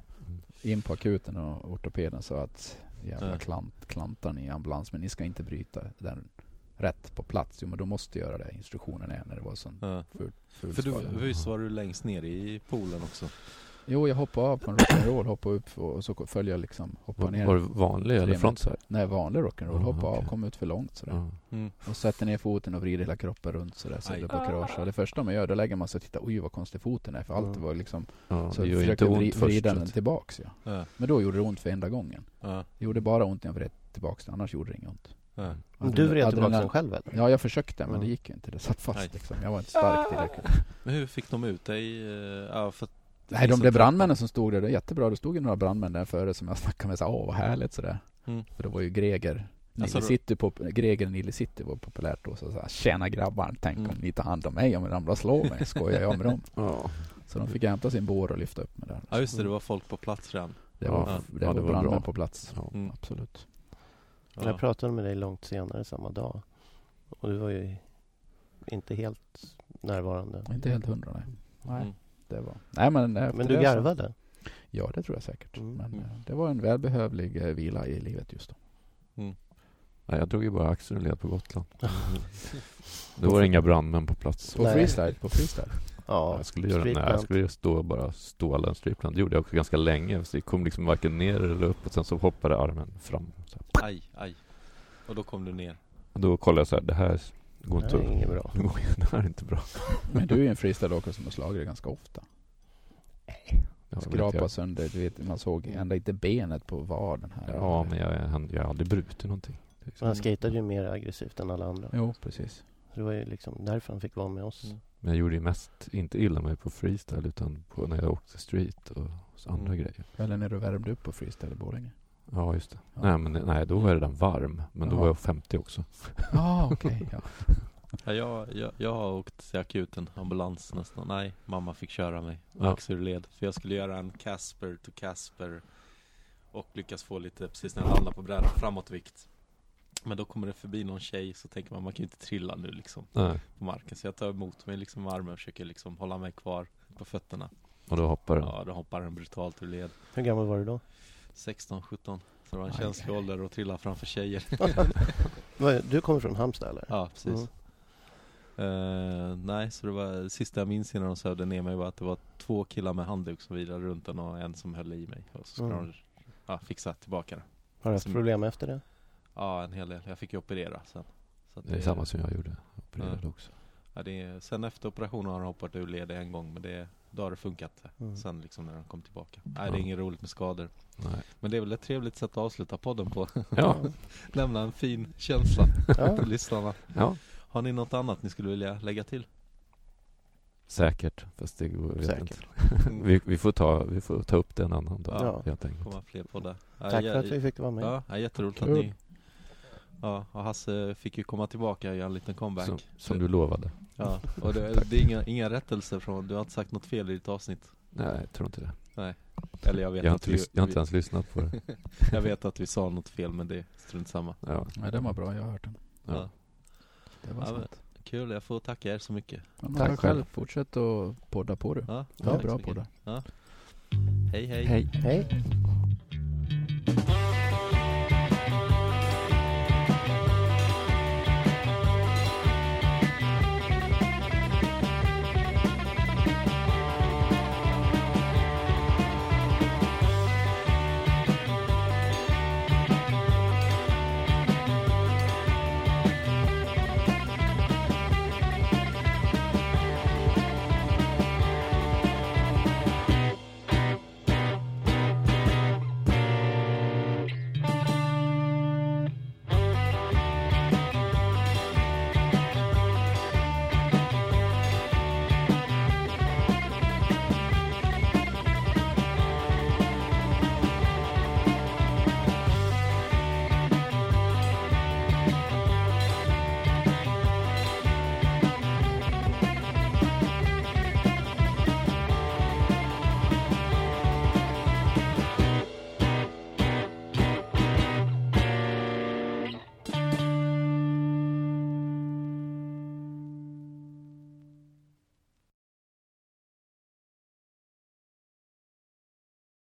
D: in på akuten och ortopeden sa att jävla
A: Ja.
D: klant, klantar ni i ambulans men ni ska inte bryta den rätt på plats. Jo men då måste jag göra det. Instruktionen är när det var sån
A: Ja.
D: full
A: För
D: skada.
A: du, visst var du längst ner i poolen också?
D: Jo jag hoppade av på en rock'n'roll, hoppade upp och och så följer jag liksom, hoppade
B: Var var
D: ner.
B: det vanlig
D: Tre
B: eller
D: meter.
B: frontside?
D: Nej vanlig rock'n'roll,
B: Ja,
D: hoppade av,
B: okej.
D: kom ut för långt sådär.
B: Ja.
A: Mm.
D: Och sätter ner foten och vrider hela kroppen runt sådär så
A: Aj.
D: det bara kraschar. Det första man gör då lägger man sig och tittar, oj vad konstig foten är för allt
C: Mm.
D: var liksom
B: Ja,
D: Så
B: det
D: jag
B: gör ju inte
D: försökte vri,
B: ont först.
D: vrida
B: så
D: den
B: att-
D: tillbaks ja.
A: Ja.
D: Men då gjorde det ont för enda gången.
A: Ja.
D: Det gjorde bara ont när jag vred tillbaks den, annars gjorde det inget ont.
A: Ja.
C: Du vred
D: Adrenalin-
C: tillbaka den själv eller?
D: Ja, jag försökte men
C: Mm.
D: det gick ju inte. Det satt
A: Nej.
D: fast liksom. Jag var inte stark tillräckligt.
A: Men hur fick de ut dig? eh, Ja, för att det
D: Nej, de
A: finns
D: där
A: ett-
D: brandmännen som stod där, det är jättebra. Det stod ju några brandmän där före som jag snackade med. Så, Åh, vad härligt sådär.
A: Mm.
D: För det var ju Greger. Nile
A: Alltså, då-
D: City, pop, Greger och Nile City var populärt då. Så, så här, Tjena grabbar, tänk
A: Mm.
D: om ni tar hand om mig om jag ramlar och slår mig. Skojar jag med dem?
B: Ja.
D: Så de fick hämta sin bår och lyfta upp mig där.
A: Ja just det, det var folk på plats redan.
D: Det var,
A: Ja,
D: det
B: ja,
D: var,
B: det var
D: brandmän
B: bra.
D: på plats.
B: Ja.
A: Mm.
D: Absolut.
C: Jag
A: Ja.
C: pratade med dig långt senare samma dag. Och du var ju inte helt närvarande.
D: Inte helt hundra nej. Nej,
A: Mm.
D: det var... Nej men... efter
C: Men du
D: det så-
C: garvade?
D: Ja, det tror jag säkert.
C: Mm.
D: Men
A: Mm.
D: eh, det var en välbehövlig eh, vila i livet just då.
B: Nej, jag drog ju bara axeln och led på Gotland. Det var inga brandmän på plats.
D: På
C: Nej.
D: freestyle, på freestyle.
C: Ja,
B: jag skulle göra, nej,
C: streetplant.
B: jag skulle ju stå och bara ståla en streetplant. Det gjorde jag också ganska länge. Så det kom liksom varken ner eller upp och sen så hoppade armen fram. Så här.
A: Aj, aj. Och då kom du ner.
B: Och då kollade jag så här, det här går inte,
C: Nej, det är inget bra.
B: det går- det här är inte bra.
D: Men du är ju en freestyleåkare som har slagit det ganska ofta.
B: Jag vet,
D: Skrapa
B: jag-
D: sönder, du vet, man såg ända inte benet på vaden här.
B: Ja, men jag, jag, jag har aldrig brutit någonting. Det är
C: Men
B: liksom-
C: han skatade ju mer aggressivt än alla andra.
D: Jo, precis.
C: Det var ju liksom därför han fick vara med oss.
A: Mm.
B: Men jag gjorde ju mest, inte illa mig på freestyle utan på när jag åkte street och så andra
A: Mm.
B: grejer.
D: Eller när du värmde upp på freestyle i Borlänge.
B: Ja, just det.
D: Ja.
B: Nej, men det- nej, då var jag redan varm. Men då
D: Jaha.
B: var jag 50 också.
D: Ah, okej, ja,
A: Ja, jag, jag, jag har åkt till akuten, ambulans nästan. Nej, mamma fick köra mig.
B: Ja.
A: Axel ur led. För jag skulle göra en Casper to Casper. Och lyckas få lite, precis när jag landar på brädan, framåtvikt. Men då kommer det förbi någon tjej så tänker man, man kan ju inte trilla nu liksom
B: Nej.
A: på marken. Så jag tar emot mig liksom med armen och försöker liksom hålla mig kvar på fötterna.
B: Och då hoppade den.
A: Ja, då hoppar den brutalt ur led.
C: Hur gammal var du då?
A: 16, 17. Så det var en
D: Aj,
A: känslig
D: aj.
A: ålder att trilla framför tjejer.
C: Vad- Du kommer från Halmstad eller?
A: Ja, precis.
C: Mm.
A: Eh, nej, så det var det sista jag minns innan de sövde ner mig var att det var två killar med handduk som virade runt den och en som höll i mig. Och så skulle
C: Mm.
A: de ja, fixa tillbaka den.
C: Har du haft
A: Som-
C: problem efter det?
A: Ja, en hel del. Jag fick ju operera sen. Så att
B: Det är samma som jag gjorde. Jag Opererade också.
A: Ja, det är, sen efter operationen har han hoppat ur led en gång, men det, då har det funkat.
C: Mm.
A: Sen liksom när han kom tillbaka. Nej, det
B: Ja.
A: är inget roligt med skador.
B: Nej.
A: Men det är väl ett trevligt sätt att avsluta podden på.
B: Ja,
A: Lämna en fin känsla
C: Ja.
A: till lyssnarna.
B: ja.
A: Har ni något annat ni skulle vilja lägga till?
B: Säkert. Fast det går, jag vet
C: Säkert.
B: inte. Vi, vi, får ta, vi får ta upp det en annan dag
C: Ja.
B: helt enkelt.
A: Komma fler poddar. Ja,
C: Tack för
A: jag-
C: att vi fick vara med.
A: Ja, ja jätteroligt att
D: Kul.
A: ni... Ja, och Hasse fick ju komma tillbaka och göra en liten comeback.
B: Som, som du lovade.
A: Ja, och det, det är inga, inga rättelser från... Du har inte sagt något fel i ditt avsnitt.
B: Nej, jag tror inte det.
A: Eller jag vet,
B: Jag har
A: att,
B: inte,
A: vi,
B: lys- jag har inte ens lyssnat på det.
A: vi, jag vet att vi sa något fel, men det är strunt samma.
B: Ja.
D: Nej, den var bra. Jag har hört den.
A: Ja.
B: Ja.
D: Det var
A: Ja, men-
D: sant.
A: Kul, jag får tacka er så mycket.
D: Ja, men
B: Tack
D: tack
B: själv.
D: själv. Fortsätt att podda på du.
A: Ja,
D: Ja,
A: tack så
D: bra
A: mycket.
D: poddar.
A: Ja. Hej, hej.
B: Hej.
C: Hej!